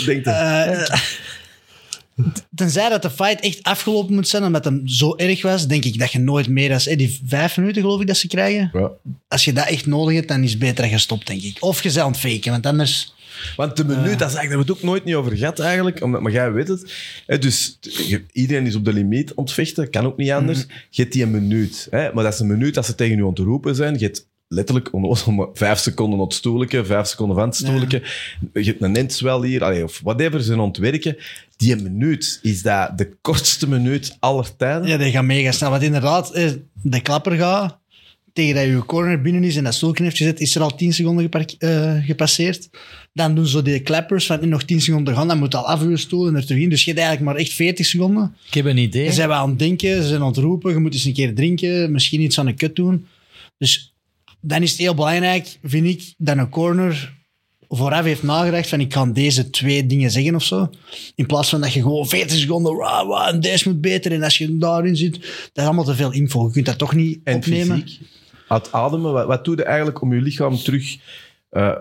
Speaker 1: Denk het.
Speaker 3: Tenzij dat de fight echt afgelopen moet zijn, omdat hem zo erg was, denk ik dat je nooit meer als... eh, die vijf minuten geloof ik dat ze krijgen.
Speaker 1: Ja.
Speaker 3: Als je dat echt nodig hebt, dan is het beter dat je stopt, denk ik. Of je bent aan het faken, want anders...
Speaker 1: Want de minuut, dat is eigenlijk, daar hebben we het ook nooit niet over gehad eigenlijk. Omdat, maar jij weet het. Hè, dus t- je- iedereen is op de limiet ontvechten, kan ook niet anders.
Speaker 3: Mhm.
Speaker 1: Je hebt die een minuut. Hè? Maar dat is een minuut dat ze tegen je aan het roepen zijn. Je hebt letterlijk onnozel maar vijf seconden op het stoeltje, vijf seconden van het stoeltje. Je hebt een entzwel hier, allee, of whatever, ze ontwerken. Die minuut, is dat de kortste minuut aller tijden?
Speaker 3: Ja, die gaat mega snel. Want inderdaad, eh, de klapper gaat tegen dat je corner binnen is en dat stoelknipje heeft gezet, is er al 10 seconden gepark- eh, gepasseerd. Dan doen ze die clappers van "Eh, nog 10 seconden te gaan, dan moet al af uw stoel en er terug in. Dus je hebt eigenlijk maar echt 40 seconden.
Speaker 2: Ik heb een idee.
Speaker 3: Ze zijn wel aan het denken, ze zijn aan het roepen, je moet eens een keer drinken, misschien iets aan de kut doen. Dus dan is het heel belangrijk, vind ik, dat een corner vooraf heeft nagedacht van ik kan deze twee dingen zeggen of zo. In plaats van dat je gewoon 40 seconden, wauw, wauw, en deze moet beter. En als je daarin zit, dat is allemaal te veel info. Je kunt dat toch niet
Speaker 1: En
Speaker 3: opnemen.
Speaker 1: fysiek? Het ademen, wat, wat doe je eigenlijk om je lichaam terug... eh,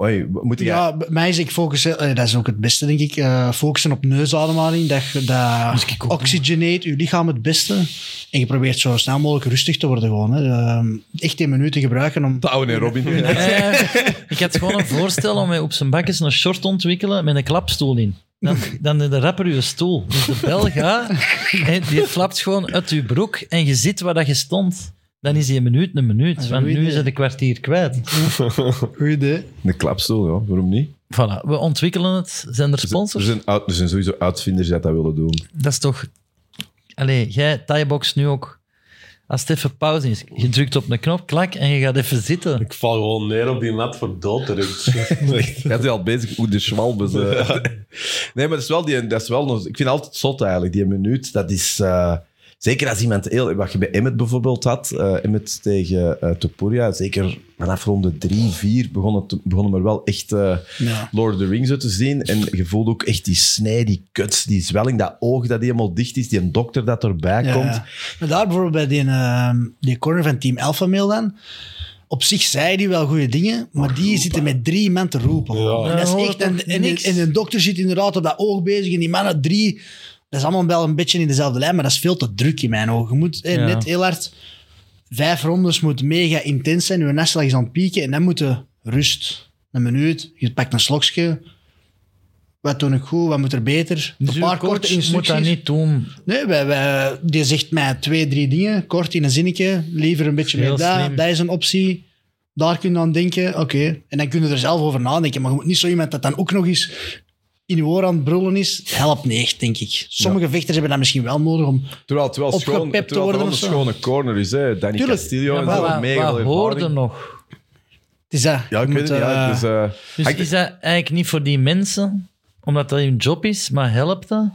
Speaker 1: oei, moet je...
Speaker 3: Ja, bij mij is ik focussen, eh, dat is ook het beste denk ik, eh, focussen op neusademhaling. Dat, je- dat oxygeneert je lichaam het beste. En je probeert zo snel mogelijk rustig te worden gewoon. Hè. Ehm, echt 10 minuten gebruiken om...
Speaker 1: Touwen en Oh, Robin.
Speaker 2: Eh, ik had gewoon een voorstel om op zijn bakjes een short te ontwikkelen met een klapstoel in. Dan, dan de rapper je stoel. Dus de bel gaat, en die flapt gewoon uit je broek en je zit waar dat je stond. Dan is die een minuut een minuut,
Speaker 3: is
Speaker 2: want
Speaker 3: een goed
Speaker 2: nu is
Speaker 3: idee.
Speaker 2: het een kwartier kwijt.
Speaker 3: Goed idee.
Speaker 1: Een klapstoel, ja. Waarom niet?
Speaker 2: Voilà, we ontwikkelen het. Zijn er
Speaker 1: Er
Speaker 2: sponsors?
Speaker 1: zijn, uit- er zijn dus sowieso uitvinders die dat willen doen.
Speaker 2: Dat is toch... Allee, jij, Thaibox nu ook. Als het even pauze is, je drukt op een knop, klak, en je gaat even zitten.
Speaker 4: Ik val gewoon neer op die mat voor dood terug.
Speaker 1: Jij bent al bezig hoe de schwalbes... eh. Nee, maar dat is wel... Die, dat is wel nog, ik vind altijd zot eigenlijk, die minuut. Dat is... eh, zeker als iemand heel... Wat je bij Emmet bijvoorbeeld had. eh, Emmet tegen eh Topuria. Zeker vanaf ronde drie, vier begon het, te- begonnen er wel echt... eh,
Speaker 3: Ja.
Speaker 1: Lord of the Rings uit te zien. En je voelt ook echt die snij, die kuts, die zwelling, dat oog dat helemaal dicht is, die een dokter dat erbij
Speaker 3: Ja,
Speaker 1: komt.
Speaker 3: ja. Maar daar bijvoorbeeld bij die, ehm, die corner van Team Alpha Male dan. Op zich zei die wel goede dingen, maar die zitten met drie man te roepen.
Speaker 4: Ja.
Speaker 3: En, dat
Speaker 2: Ja,
Speaker 3: is
Speaker 2: hoor,
Speaker 3: echt,
Speaker 2: dat
Speaker 3: en,
Speaker 2: is
Speaker 3: en,
Speaker 2: niks.
Speaker 3: en de dokter zit inderdaad op dat oog bezig en die mannen drie. Dat is allemaal wel een beetje in dezelfde lijn, maar dat is veel te druk in mijn ogen. Je moet eh,
Speaker 2: Ja.
Speaker 3: net heel hard... Vijf rondes moet mega intens zijn, je naslag is aan het pieken en dan moet je rust. Een minuut, je pakt een slokje. Wat doe ik goed, wat moet er beter?
Speaker 2: Dus
Speaker 3: Een
Speaker 2: uw
Speaker 3: paar
Speaker 2: coach
Speaker 3: korte
Speaker 2: moet dat
Speaker 3: instructies.
Speaker 2: niet doen.
Speaker 3: Nee, wij, wij- die zegt mij twee, drie dingen, kort in een zinnetje. Liever een beetje meer
Speaker 2: Heel
Speaker 3: daar,
Speaker 2: slim.
Speaker 3: dat is een optie. Daar kun je aan denken, oké. En dan kun je er zelf over nadenken. Maar je moet niet zo iemand dat dan ook nog eens in je oor aan het brullen is. Helpt niet echt, denk ik. Sommige vechters hebben dat misschien wel nodig om...
Speaker 1: Terwijl het wel
Speaker 3: Opgepept
Speaker 1: schoon,
Speaker 3: te
Speaker 1: terwijl het wel
Speaker 3: worden
Speaker 1: een
Speaker 3: of zo.
Speaker 1: schone corner is. Hè. Danny
Speaker 3: Tuurlijk.
Speaker 1: Castillo
Speaker 2: Ja,
Speaker 1: en
Speaker 2: maar
Speaker 1: zo,
Speaker 2: wat,
Speaker 1: mega
Speaker 2: wat
Speaker 1: veel
Speaker 2: hoorde
Speaker 1: ervaring.
Speaker 2: nog?
Speaker 3: Het is dat.
Speaker 1: Ja, ik
Speaker 3: Je
Speaker 1: weet het
Speaker 3: moet,
Speaker 1: niet. ja,
Speaker 3: eh,
Speaker 1: dus, eh,
Speaker 2: Dus
Speaker 1: hangt-
Speaker 2: is dat eigenlijk niet voor die mensen, omdat dat hun job is, maar helpt dat?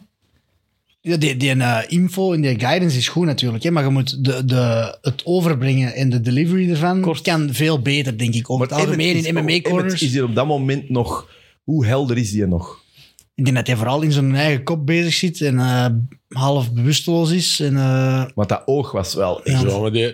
Speaker 3: Ja, die, die eh, info en die guidance is goed natuurlijk, hè, maar je moet de, de, het overbrengen en de delivery ervan kan veel beter, denk ik. Over
Speaker 1: maar
Speaker 3: het algemeen
Speaker 1: Emmett
Speaker 3: in
Speaker 1: is- Emmett
Speaker 3: MMA-corners.
Speaker 1: Is hier op dat moment nog... Hoe helder is die nog?
Speaker 3: Ik denk dat hij vooral in zijn eigen kop bezig zit en eh, half bewusteloos is. En, eh,
Speaker 1: Want dat oog was wel echt...
Speaker 4: Ja, maar die,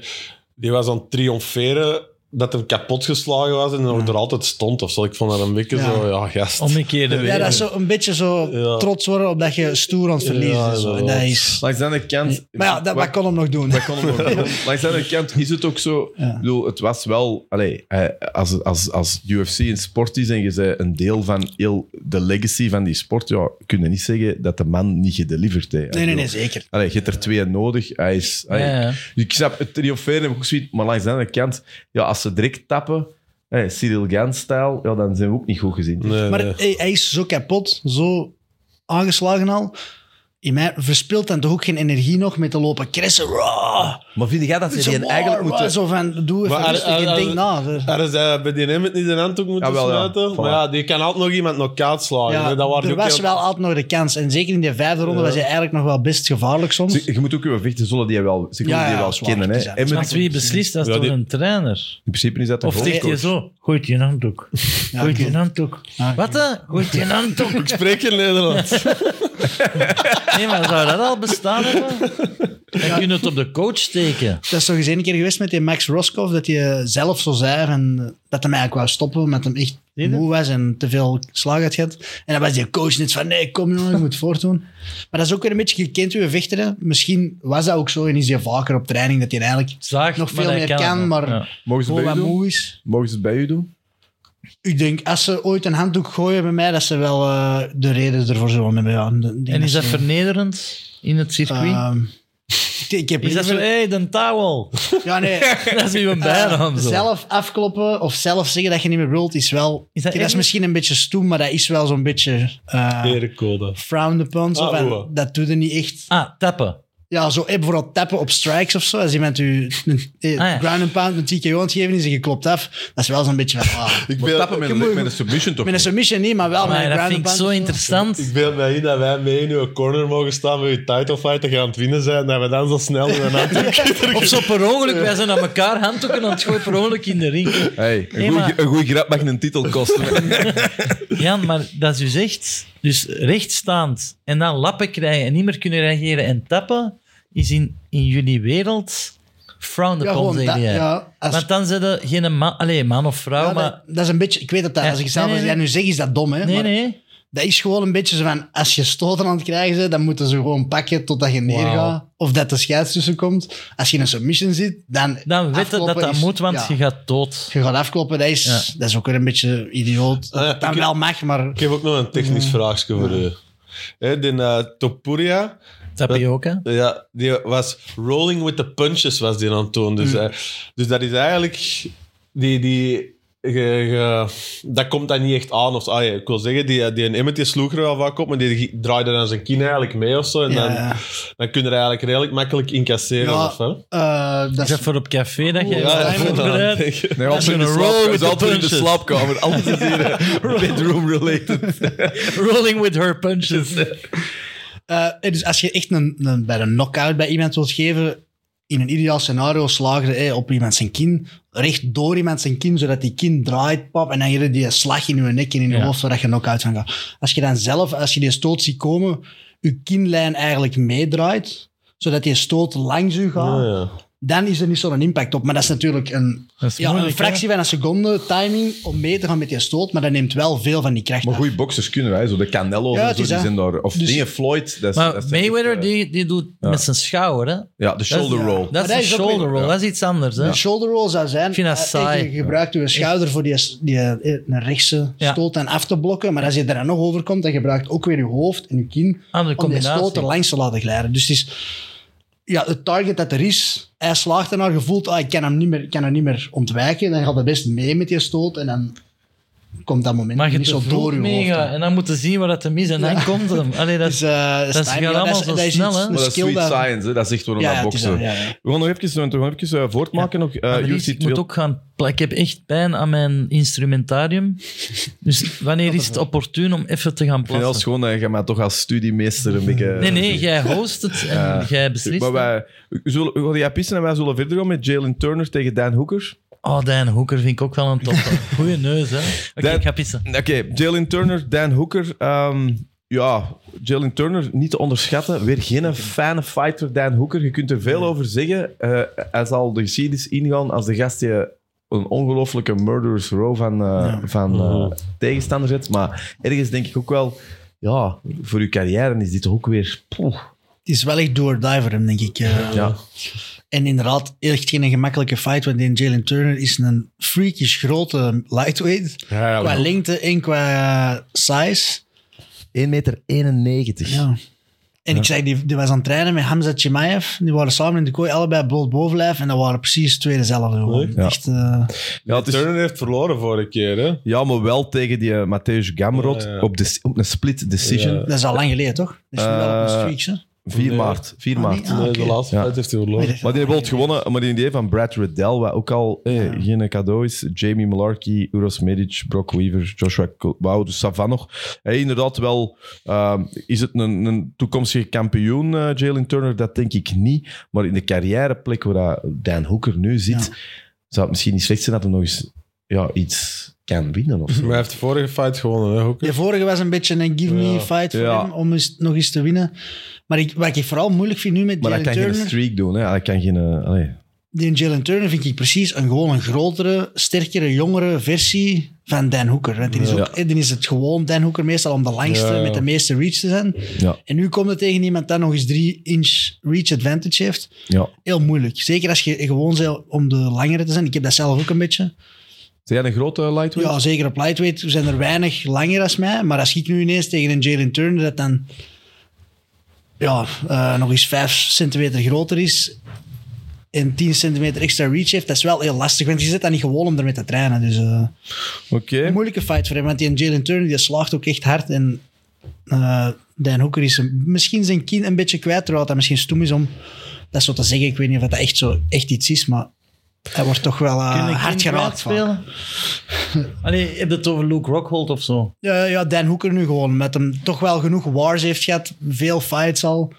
Speaker 4: die was aan het triomferen dat hem kapot geslagen was en nog er altijd stond of zo. Ik vond dat een beetje
Speaker 3: Ja.
Speaker 4: zo, ja, gast.
Speaker 2: Omgekeerde
Speaker 3: ja, dat is zo een beetje zo
Speaker 4: Ja.
Speaker 3: trots worden op dat je stoer aan het verliezen
Speaker 4: Ja,
Speaker 3: is. zo. En dat
Speaker 4: inderdaad.
Speaker 3: is
Speaker 1: Langs de andere kant...
Speaker 3: maar ja, dat, wat kon hem nog doen?
Speaker 1: Dat kon hem ook doen. Langs de andere kant is het ook zo.
Speaker 3: Ja.
Speaker 1: Ik bedoel, het was wel. Allee, eh, als, als, als UFC een sport is en je bent een deel van heel de legacy van die sport, ja, kun je niet zeggen dat de man niet gedeliverd heeft.
Speaker 3: Nee, nee, nee,
Speaker 1: Ik bedoel,
Speaker 3: zeker.
Speaker 1: Allee, je hebt er twee nodig. Hij is, allee,
Speaker 2: Ja, ja.
Speaker 1: Dus Ik snap het triomferen, heb ik ook zoiets, maar langs de andere kant, ja, als ze direct tappen, eh, Cyril Gans-stijl, ja, dan zijn we ook niet goed gezien.
Speaker 4: Nee,
Speaker 3: Maar
Speaker 4: nee.
Speaker 3: hij, hij is zo kapot, zo aangeslagen al. In mij verspilt dan toch ook geen energie nog met te lopen kressen. Raw,
Speaker 1: Maar vind jij dat
Speaker 3: zo, eigenlijk moeten... zo van, doe even
Speaker 4: Maar-
Speaker 3: rustig en denk nou, na.
Speaker 4: Er is eh, bij die Emmet niet een handdoek moeten
Speaker 1: Jawel, ja.
Speaker 4: sluiten.
Speaker 1: Voilà.
Speaker 4: Maar ja, die kan altijd nog iemand knock-out slagen.
Speaker 3: Ja,
Speaker 4: hè. dat waren
Speaker 3: er
Speaker 4: ook
Speaker 3: was
Speaker 4: heel-
Speaker 3: wel altijd nog de kans. En zeker in die vijfde ronde was hij eigenlijk nog wel best gevaarlijk soms.
Speaker 1: Ze- Je moet ook uw vechten, zullen die wel, ze kunnen
Speaker 3: Ja,
Speaker 1: die
Speaker 3: ja,
Speaker 1: wel
Speaker 3: zwaar,
Speaker 1: kennen.
Speaker 3: het
Speaker 1: Hè.
Speaker 3: is echt
Speaker 1: Emmet-
Speaker 2: Want wie beslist, dat is
Speaker 4: Ja,
Speaker 2: toch
Speaker 4: die-
Speaker 2: een trainer?
Speaker 1: in principe is dat een
Speaker 2: Of zegt
Speaker 1: hoofdcoach.
Speaker 2: je zo, gooit je een handdoek. Gooit je
Speaker 3: oké.
Speaker 2: een handdoek.
Speaker 3: Ja,
Speaker 2: Wat hè? Gooit je een handdoek.
Speaker 4: Ik spreek in Nederland.
Speaker 2: Nee, maar zou dat al bestaan hebben? Dan kun je het op de coach steken.
Speaker 3: Dat is toch eens één keer geweest met die Max Roscoff, dat hij zelf zo zei en dat hem eigenlijk wou stoppen, omdat hem echt
Speaker 2: Zie je?
Speaker 3: moe was en te veel slag had gehad. En dan was die coach net van, nee, kom jongen, je moet voortdoen. Maar dat is ook weer een beetje gekend, uw vechter. hè. Misschien was dat ook zo en is hij vaker op training dat hij eigenlijk
Speaker 2: Zaag,
Speaker 3: nog
Speaker 2: maar
Speaker 3: veel
Speaker 2: hij
Speaker 3: meer
Speaker 2: kan
Speaker 3: kan,
Speaker 2: het nog.
Speaker 3: maar
Speaker 2: Ja.
Speaker 1: Mogen ze
Speaker 3: gewoon
Speaker 1: het bij
Speaker 3: wat
Speaker 1: u doen?
Speaker 3: moe is.
Speaker 1: Mogen ze het bij u doen?
Speaker 3: Ik denk, als ze ooit een handdoek gooien bij mij, dat ze wel eh, de reden ervoor zullen hebben. Ja. Ik denk
Speaker 2: En is dat
Speaker 3: ze,
Speaker 2: vernederend in het circuit?
Speaker 3: ehm, ik, ik heb
Speaker 2: is dat zo,
Speaker 3: liever-
Speaker 2: hé, hey, de towel.
Speaker 3: Ja, nee.
Speaker 2: dat is uw
Speaker 3: Eh,
Speaker 2: bijnaam. zo.
Speaker 3: zelf afkloppen of zelf zeggen dat je niet meer wilt, is wel...
Speaker 2: Is
Speaker 3: Is
Speaker 2: dat
Speaker 3: dat,
Speaker 2: erg?
Speaker 3: is misschien een beetje stoem, maar dat is wel zo'n beetje eh
Speaker 4: Erecode.
Speaker 3: frowned upon. Zo,
Speaker 4: Ah,
Speaker 3: van,
Speaker 4: oeh.
Speaker 3: dat doet er niet echt.
Speaker 2: Ah, tappen.
Speaker 3: Ja, zo eh, bijvoorbeeld tappen op strikes of zo. Als iemand u een, eh,
Speaker 2: Ah, ja.
Speaker 3: ground and pound een TKO aan het geven is en je klopt af, dat is wel zo'n beetje van... ah.
Speaker 4: Ik
Speaker 5: Maar
Speaker 4: beeld-
Speaker 5: tappen met een, met een submission toch?
Speaker 3: met een
Speaker 5: niet?
Speaker 3: submission niet, maar wel met
Speaker 2: Ah, Maar
Speaker 3: een
Speaker 2: dat
Speaker 3: ground
Speaker 2: vind
Speaker 3: and
Speaker 2: ik
Speaker 3: pound.
Speaker 2: zo interessant.
Speaker 4: Ik beeld mij in dat wij mee in uw corner mogen staan met uw title fight en gaan aan het winnen zijn. En dat we dan zo snel met een hand
Speaker 2: Of zo per ongeluk, wij zijn aan elkaar handdoeken aan het gooien per ongeluk in de ring.
Speaker 5: Hey, een,
Speaker 2: Nee,
Speaker 5: goeie-
Speaker 2: maar-
Speaker 5: een goede grap mag een titel kosten.
Speaker 2: Jan, maar dat is dus echt... Dus rechtstaand en dan lappen krijgen en niet meer kunnen reageren en tappen, is in, in jullie wereld frowned
Speaker 3: Ja,
Speaker 2: upon,
Speaker 3: gewoon
Speaker 2: zeg
Speaker 3: dat,
Speaker 2: jij.
Speaker 3: ja, als-
Speaker 2: Want dan zijn er geen man, allee, man of vrouw,
Speaker 3: Ja,
Speaker 2: maar...
Speaker 3: dat, dat is een beetje... Ik weet dat dat,
Speaker 2: Ja,
Speaker 3: als ik zelf
Speaker 2: nee,
Speaker 3: als
Speaker 2: nee,
Speaker 3: jij nu zeg, is dat dom, hè.
Speaker 2: nee,
Speaker 3: maar
Speaker 2: nee.
Speaker 3: Dat is gewoon een beetje zo van, als je stoten aan het krijgen bent, dan moeten ze gewoon pakken totdat je neergaat. Of dat de scheids tussen komt. Als je in een submission zit, dan...
Speaker 2: Dan weet je
Speaker 3: afkloppen
Speaker 2: dat dat
Speaker 3: is-
Speaker 2: moet, want
Speaker 3: ja.
Speaker 2: je gaat dood.
Speaker 3: Je gaat afkloppen, dat is,
Speaker 2: Ja.
Speaker 3: dat is ook weer een beetje idioot.
Speaker 4: ja,
Speaker 3: dan
Speaker 4: ik-
Speaker 3: wel mag, maar...
Speaker 4: Ik heb ook nog een technisch vraagje voor u. Hè, die eh, Topuria, eh,
Speaker 2: Tapioca.
Speaker 4: ja, die was rolling with the punches, was die aan het doen. Dus, eh, dus dat is eigenlijk... Die, die, ge- ge- dat komt dan niet echt aan. Of, zo. ah, ja, ik wil zeggen, die, die Emmet die sloeg er wel vaak op, maar die draaide dan zijn kin eigenlijk mee of zo. En
Speaker 3: Ja,
Speaker 4: dan,
Speaker 3: ja.
Speaker 4: dan kun je er eigenlijk redelijk makkelijk incasseren.
Speaker 3: Ja,
Speaker 4: Of, hè?
Speaker 3: eh, dat
Speaker 2: Is dat
Speaker 3: is,
Speaker 2: voor op café dat je
Speaker 3: Ja,
Speaker 2: ja,
Speaker 3: ja,
Speaker 2: voorbereid?
Speaker 5: Nee, altijd in de
Speaker 2: een
Speaker 5: slaap-
Speaker 2: roll with
Speaker 5: is
Speaker 2: the
Speaker 5: altijd in de
Speaker 2: punches.
Speaker 5: slaapkamer. Alles is hier eh, bedroom-related.
Speaker 2: Rolling with her punches.
Speaker 3: eh, dus als je echt een, een, bij een knockout bij iemand wilt geven, in een ideaal scenario slagen ze eh, op iemand zijn kin, recht door iemand zijn kin, zodat die kin draait, pap, en dan heb je die slag in je nek en in je
Speaker 2: Ja.
Speaker 3: hoofd, zodat je knock-out van gaat. Als je dan zelf, als je die stoot ziet komen, je kinlijn eigenlijk meedraait, zodat die stoot langs u gaat,
Speaker 4: Ah, ja.
Speaker 3: dan is er niet zo'n impact op. Maar dat is natuurlijk een,
Speaker 2: Dat is
Speaker 3: ja,
Speaker 2: moeilijk,
Speaker 3: een fractie van een seconde timing om mee te gaan met die stoot, maar dat neemt wel veel van die kracht
Speaker 5: Maar
Speaker 3: af.
Speaker 5: goede boxers kunnen wij, zo de Canelo's
Speaker 3: Ja,
Speaker 5: en
Speaker 3: het
Speaker 5: zo,
Speaker 3: is
Speaker 5: die
Speaker 3: dat.
Speaker 5: zijn daar. Of
Speaker 3: Dus-
Speaker 5: dingen Floyd. Dat is,
Speaker 2: Maar
Speaker 5: dat is
Speaker 2: Mayweather
Speaker 5: echt, eh,
Speaker 2: die, die doet met zijn schouder, hè?
Speaker 1: eh,
Speaker 5: Ja, de shoulder
Speaker 3: ja.
Speaker 5: roll.
Speaker 2: Dat
Speaker 3: dat
Speaker 2: is een
Speaker 3: is ook weer-
Speaker 2: shoulder roll,
Speaker 5: ja.
Speaker 2: dat is iets anders. Hè?
Speaker 3: Een shoulder roll zou zijn.
Speaker 2: Ik vind dat
Speaker 3: eh,
Speaker 2: saai.
Speaker 3: Je gebruikt je schouder voor die, die, eh, een rechtse
Speaker 2: Ja.
Speaker 3: stoot en af te blokken. Maar als je er dan nog over komt, dan gebruikt ook weer je hoofd en je kin
Speaker 2: Andere
Speaker 3: om die
Speaker 2: Ah, combinatie.
Speaker 3: stoot er langs te laten glijden. Dus het is, ja, het target dat er is, hij slaagt ernaar, je voelt, ah, ik kan hem niet meer, ik kan hem niet meer ontwijken. Dan gaat hij best mee met die stoot en dan komt dat moment
Speaker 2: Maar je
Speaker 3: niet
Speaker 2: te
Speaker 3: zo door
Speaker 2: vroeg
Speaker 3: je hoofd.
Speaker 2: meegaan en dan moeten zien waar het hem is en dan komt hem. Allee, dat
Speaker 3: Dus,
Speaker 2: is,
Speaker 3: eh, dat is
Speaker 2: dat
Speaker 3: timing.
Speaker 2: gaat
Speaker 3: Ja,
Speaker 2: allemaal
Speaker 3: is-
Speaker 2: zo
Speaker 3: dat is
Speaker 2: snel,
Speaker 3: iets-
Speaker 2: hè?
Speaker 3: een
Speaker 5: Maar dat is
Speaker 3: skill
Speaker 5: sweet
Speaker 3: dat-
Speaker 5: science, hè. dat is echt waarom
Speaker 3: Ja,
Speaker 5: dat
Speaker 3: het is
Speaker 5: boksen.
Speaker 3: dat, ja, ja.
Speaker 1: We gaan nog even, we gaan nog even eh, voortmaken. Nog, eh,
Speaker 2: maar
Speaker 1: UFC
Speaker 2: Dries, ik moet
Speaker 1: 200.
Speaker 2: ook gaan pla- Ik heb echt pijn aan mijn instrumentarium. Dus wanneer is het opportuun om even te gaan
Speaker 1: Ik vind het wel
Speaker 2: plassen?
Speaker 1: schoon dat eh, je mij toch als studiemeester een beetje...
Speaker 2: Nee, nee, jij host het en jij beslist.
Speaker 1: Maar wij, zullen, we gaan jij pissen en wij zullen verder gaan met Jalen Turner tegen Dan Hooker.
Speaker 2: Oh, Dan Hoeker vind ik ook wel een top. Goeie neus, hè? Oké,
Speaker 1: Dan-
Speaker 2: ik ga pissen.
Speaker 1: Oké, Jalen Turner, Dan Hooker. ehm, ja, Jalen Turner niet te onderschatten. Weer geen fijne fighter, Dan Hooker. Je kunt er veel over zeggen. Eh, hij zal de geschiedenis ingaan als de gast die een ongelofelijke murderous row van, eh, van eh, tegenstander zet. Maar ergens denk ik ook wel... Ja, voor uw carrière is dit toch ook weer... poeh.
Speaker 3: Het is wel echt do or die voor hem, denk ik. eh.
Speaker 1: Ja.
Speaker 3: En inderdaad, echt geen gemakkelijke fight, want die Jalen Turner is een freakish grote lightweight.
Speaker 1: eh,
Speaker 4: Ja, ja,
Speaker 3: qua
Speaker 4: maar-
Speaker 3: lengte en qua eh, size.
Speaker 1: 1,91 meter.
Speaker 3: Ja. En ik zei, die, die was aan het trainen met Hamza Chimaev. Die waren samen in de kooi, allebei bloot bovenlijf. En dat waren precies twee dezelfde. gewoon.
Speaker 4: Leuk.
Speaker 1: Ja.
Speaker 3: Echt, eh,
Speaker 1: Ja, het is,
Speaker 4: Turner heeft verloren vorige keer, hè?
Speaker 1: ja, maar wel tegen die eh, Matthäus Gamrot
Speaker 4: Ja, ja.
Speaker 1: Op, de, op een split decision.
Speaker 4: Ja.
Speaker 3: dat is al lang geleden, toch? Dat is nu wel op
Speaker 1: Eh,
Speaker 3: een streak, hè?
Speaker 1: 4
Speaker 4: Nee.
Speaker 1: maart. 4
Speaker 3: Ah,
Speaker 1: maart.
Speaker 3: nee, ah.
Speaker 4: Nee,
Speaker 3: oké.
Speaker 4: De laatste
Speaker 1: Ja.
Speaker 4: tijd heeft hij verloren.
Speaker 3: Weet
Speaker 1: Maar die
Speaker 3: ik
Speaker 1: heeft
Speaker 3: wel.
Speaker 1: gewonnen, maar die idee van Brad Riddell, wat ook al eh, geen cadeau is. Jamie Malarkey, Uros Medic, Brock Weaver, Joshua Wauw, dus Savan nog. Hey, inderdaad wel, ehm, is het een, een toekomstige kampioen, eh, Jalen Turner? Dat denk ik niet. Maar in de carrièreplek waar dat Dan Hoeker nu zit,
Speaker 3: Ja.
Speaker 1: zou het misschien niet slecht zijn dat hij nog eens ja, iets kan winnen of zo.
Speaker 4: Maar hij heeft de vorige fight gewonnen, hè? Hoeken?
Speaker 3: De vorige was een beetje een give me
Speaker 4: Ja.
Speaker 3: fight voor
Speaker 1: Ja.
Speaker 3: hem om eens, nog eens te winnen. Maar ik, wat ik vooral moeilijk vind nu met
Speaker 1: Maar
Speaker 3: Jalen
Speaker 1: dat kan geen
Speaker 3: Turner...
Speaker 1: streak doen, hè. Dat kan geen... eh, allee.
Speaker 3: Die Jalen Turner vind ik precies een gewoon een grotere, sterkere, jongere versie van Dan Hoeker. Want die is, ook, eh, die is het gewoon Dan Hoeker meestal om de langste
Speaker 4: Ja.
Speaker 3: met de meeste reach te zijn.
Speaker 1: Ja.
Speaker 3: En nu komt het tegen iemand dat nog eens 3 inch reach advantage heeft.
Speaker 1: Ja.
Speaker 3: Heel moeilijk. Zeker als je gewoon bent om de langere te zijn. Ik heb dat zelf ook een beetje.
Speaker 1: Zijn jij een grote lightweight?
Speaker 3: Ja, zeker op lightweight zijn er weinig langer als mij. Maar als ik nu ineens tegen een Jalen Turner dat dan ja, eh, nog eens 5 centimeter groter is en 10 centimeter extra reach heeft, dat is wel heel lastig. Want je zit dan niet gewoon om ermee te trainen. Dus eh,
Speaker 1: Oké.
Speaker 3: een moeilijke fight voor hem. Want die Jalen Turner die slaagt ook echt hard. En eh, Dan Hoeker is een- misschien zijn kin een beetje kwijt, terwijl dat misschien stoem is om dat zo te zeggen. Ik weet niet of dat echt, zo, echt iets is, maar hij wordt toch wel eh,
Speaker 2: Kunnen
Speaker 3: hard
Speaker 2: kinderen
Speaker 3: geraakt van.
Speaker 2: spelen? Allee, heb je het over Luke Rockhold of zo?
Speaker 3: Ja, ja, Dan Hoeker nu gewoon, met hem toch wel genoeg wars heeft gehad, veel fights al.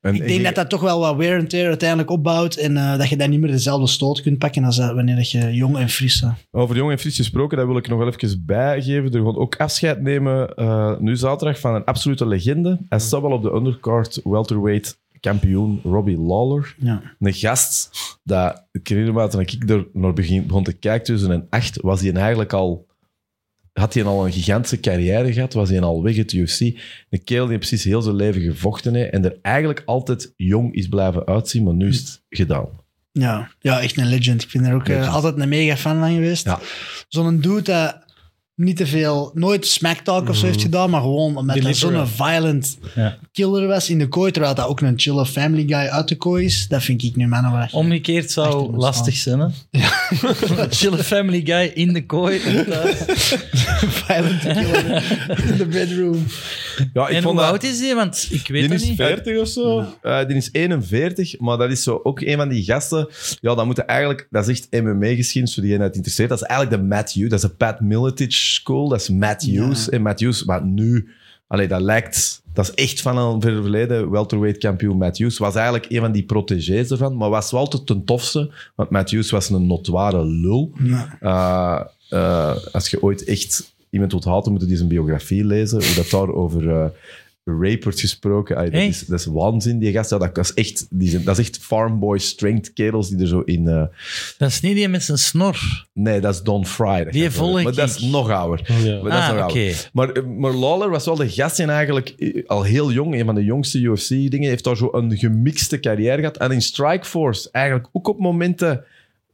Speaker 1: En-
Speaker 3: Ik denk dat dat toch wel wat wear and tear uiteindelijk opbouwt en eh, dat je dan niet meer dezelfde stoot kunt pakken als dat wanneer dat je jong en fris bent.
Speaker 1: Over jong en fris gesproken, dat wil ik nog wel even bijgeven. Er gewoon ook afscheid nemen, eh, nu zaterdag, van een absolute legende. Hij staat wel op de undercard welterweight kampioen Robbie Lawler.
Speaker 3: Ja.
Speaker 1: Een gast dat, ik herinner me, toen ik er naar begin, begon te kijken, 2008, was hij eigenlijk al... Had hij al een gigantische carrière gehad? Was hij al weg uit de UFC? Een kerel die precies heel zijn leven gevochten heeft en er eigenlijk altijd jong is blijven uitzien, maar nu is het gedaan.
Speaker 3: Ja. ja, echt een legend. Ik ben er ook eh,
Speaker 1: Legend.
Speaker 3: altijd een mega fan van geweest.
Speaker 1: Ja.
Speaker 3: Zo'n dude dat niet te veel, nooit smacktalk of zo
Speaker 1: Mm.
Speaker 3: heeft gedaan, maar gewoon omdat hij zo'n violent
Speaker 2: Ja.
Speaker 3: killer was in de kooi, terwijl dat ook een chille family guy uit de kooi is. Dat vind ik nu mannenwaar.
Speaker 2: Omgekeerd
Speaker 3: Echt
Speaker 2: zou
Speaker 3: ontstaan.
Speaker 2: lastig zijn, hè? Ja. Chille family guy in de kooi. thuis.
Speaker 3: violent killer in de bedroom.
Speaker 1: Ja,
Speaker 2: En hoe oud is die? Want ik weet
Speaker 1: Die
Speaker 2: het
Speaker 1: is
Speaker 2: niet.
Speaker 4: 40 of zo?
Speaker 1: Eh, die is 41, maar dat is zo ook een van die gasten. Ja, dat moeten eigenlijk, dat is echt MMA-geschiedenis voor diegene dat het interesseert. Dat is eigenlijk de Matt Hughes, dat is de Pat Miletic School, dat is Matt Hughes. En Matt Hughes, wat nu, allee, dat lijkt, dat is echt van een verder verleden welterweight kampioen Matt Hughes. Was eigenlijk een van die protégés ervan, maar was wel altijd ten tofste, want Matt Hughes was een notoire lul.
Speaker 3: Ja.
Speaker 1: Eh, eh, als je ooit echt iemand wilt haten, moet je die zijn biografie lezen. Hoe dat daar over eh, rape wordt gesproken. Ay, dat,
Speaker 2: Hey.
Speaker 1: is, dat is waanzin, die gast. Ja, dat, dat is echt, die zijn, dat is echt farmboy strength kerels die er zo in... eh,
Speaker 2: Dat is niet die met zijn snor.
Speaker 1: nee, dat is Don Fry. dat
Speaker 2: Die
Speaker 1: gaat
Speaker 2: volg
Speaker 1: worden. Maar dat
Speaker 2: ik.
Speaker 1: is nog ouder.
Speaker 4: Ja.
Speaker 1: Maar dat is
Speaker 2: Ah,
Speaker 1: nog ouder.
Speaker 2: oké.
Speaker 1: Maar, eh, maar Lawler was wel de gast in eigenlijk eh, al heel jong, een van de jongste UFC-dingen. Heeft daar zo een gemixte carrière gehad. En in Strikeforce eigenlijk ook op momenten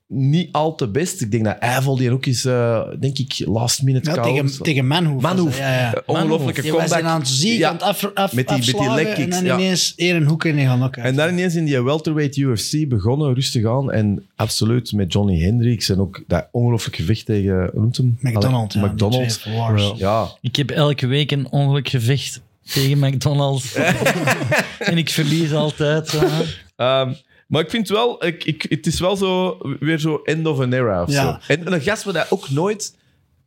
Speaker 1: niet al te best. Ik denk dat Eiffel die ook is, eh, denk ik, last minute
Speaker 3: Ja,
Speaker 1: KO.
Speaker 3: tegen, tegen Manhoef. was
Speaker 1: Manhoef.
Speaker 3: dat, Ja, ja.
Speaker 1: Eh, Ongelooflijke
Speaker 3: Die was
Speaker 1: comeback.
Speaker 3: aan het ziek,
Speaker 1: Ja.
Speaker 3: aan het af, af,
Speaker 1: Met die- met die
Speaker 3: afslagen
Speaker 1: leg kicks,
Speaker 3: en dan
Speaker 1: ja.
Speaker 3: ineens eer een hoek in gaan lokken.
Speaker 1: En dan ineens in die welterweight UFC begonnen, rustig aan. En absoluut met Johnny Hendricks en ook dat ongelooflijke gevecht tegen, hoe noemt hem?
Speaker 3: McDonald's.
Speaker 1: Allee,
Speaker 3: ja,
Speaker 1: McDonald's.
Speaker 3: die twee wars.
Speaker 1: Ja,
Speaker 2: Ik heb elke week een ongeluk gevecht tegen McDonald's. en ik verlies altijd. zo.
Speaker 1: Ehm, maar ik vind wel, ik, ik, het is wel zo, weer zo end of an era of
Speaker 3: Ja.
Speaker 1: zo. En een gast waar dat ook nooit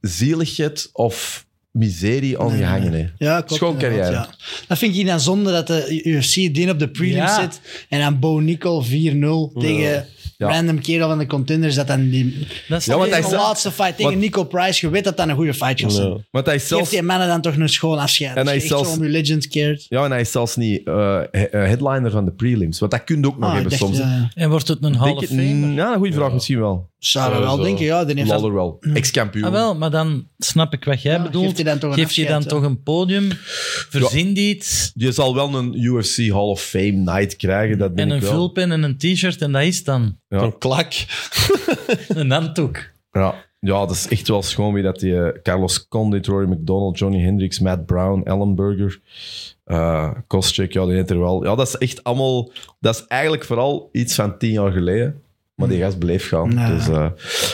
Speaker 1: zieligheid of miserie aan gehangen heeft.
Speaker 3: Ja, klopt.
Speaker 1: Schoon
Speaker 3: inderdaad,
Speaker 1: carrière.
Speaker 3: ja. Dat vind ik dan zonde dat de UFC die op de prelims
Speaker 2: Ja.
Speaker 3: zit en dan Bo Nickel 4-0 tegen
Speaker 1: Ja.
Speaker 3: random kerel van de contenders. Dat dan die,
Speaker 2: Dat is
Speaker 1: Ja, want
Speaker 3: die
Speaker 1: hij
Speaker 2: hij
Speaker 1: is-
Speaker 3: laatste fight tegen
Speaker 1: want-
Speaker 3: Nico Price, je weet dat dat een goede fight gaat zijn.
Speaker 4: Ja.
Speaker 1: Want hij is
Speaker 3: Geeft
Speaker 1: zelfs,
Speaker 3: die mannen dan toch een schoon afscheid.
Speaker 1: En
Speaker 3: Als
Speaker 1: hij
Speaker 3: je
Speaker 1: is
Speaker 3: echt zo
Speaker 1: zelfs-
Speaker 3: om je legend keert.
Speaker 1: ja, en hij is zelfs niet eh, he- eh, headliner van de prelims. Want dat kun je ook nog
Speaker 3: Ah, ik
Speaker 1: hebben
Speaker 3: dacht,
Speaker 1: soms.
Speaker 3: ja, ja.
Speaker 2: En wordt het een halve
Speaker 1: Denk je-
Speaker 2: fame?
Speaker 1: ja, een goede vraag misschien wel.
Speaker 3: Zou dat wel
Speaker 4: Sowieso.
Speaker 3: denken, ja. Die heeft dat- Hmm.
Speaker 1: Lawler wel. Ex-kampioen.
Speaker 2: Ah, wel, maar dan snap ik wat jij
Speaker 3: Ja,
Speaker 2: bedoelt.
Speaker 3: geeft hij dan toch een
Speaker 2: Geeft hij dan
Speaker 3: afscheid,
Speaker 2: toch een podium? Verzin die iets?
Speaker 1: Je zal wel een UFC Hall of Fame night krijgen, dat denk
Speaker 2: En een
Speaker 1: ik wel.
Speaker 2: vulpen en een t-shirt en dat is het dan.
Speaker 1: Ja.
Speaker 4: Een klak.
Speaker 2: Een handdoek.
Speaker 1: Ja. ja, dat is echt wel schoon wie dat die eh, Carlos Condit, Rory McDonald, Johnny Hendricks, Matt Brown, Ellenberger, eh Koscheck, ja, die heeft er wel. Ja, dat is echt allemaal... Dat is eigenlijk vooral iets van tien jaar geleden. Maar die gast bleef gaan.
Speaker 3: Nou.
Speaker 1: Dus, eh,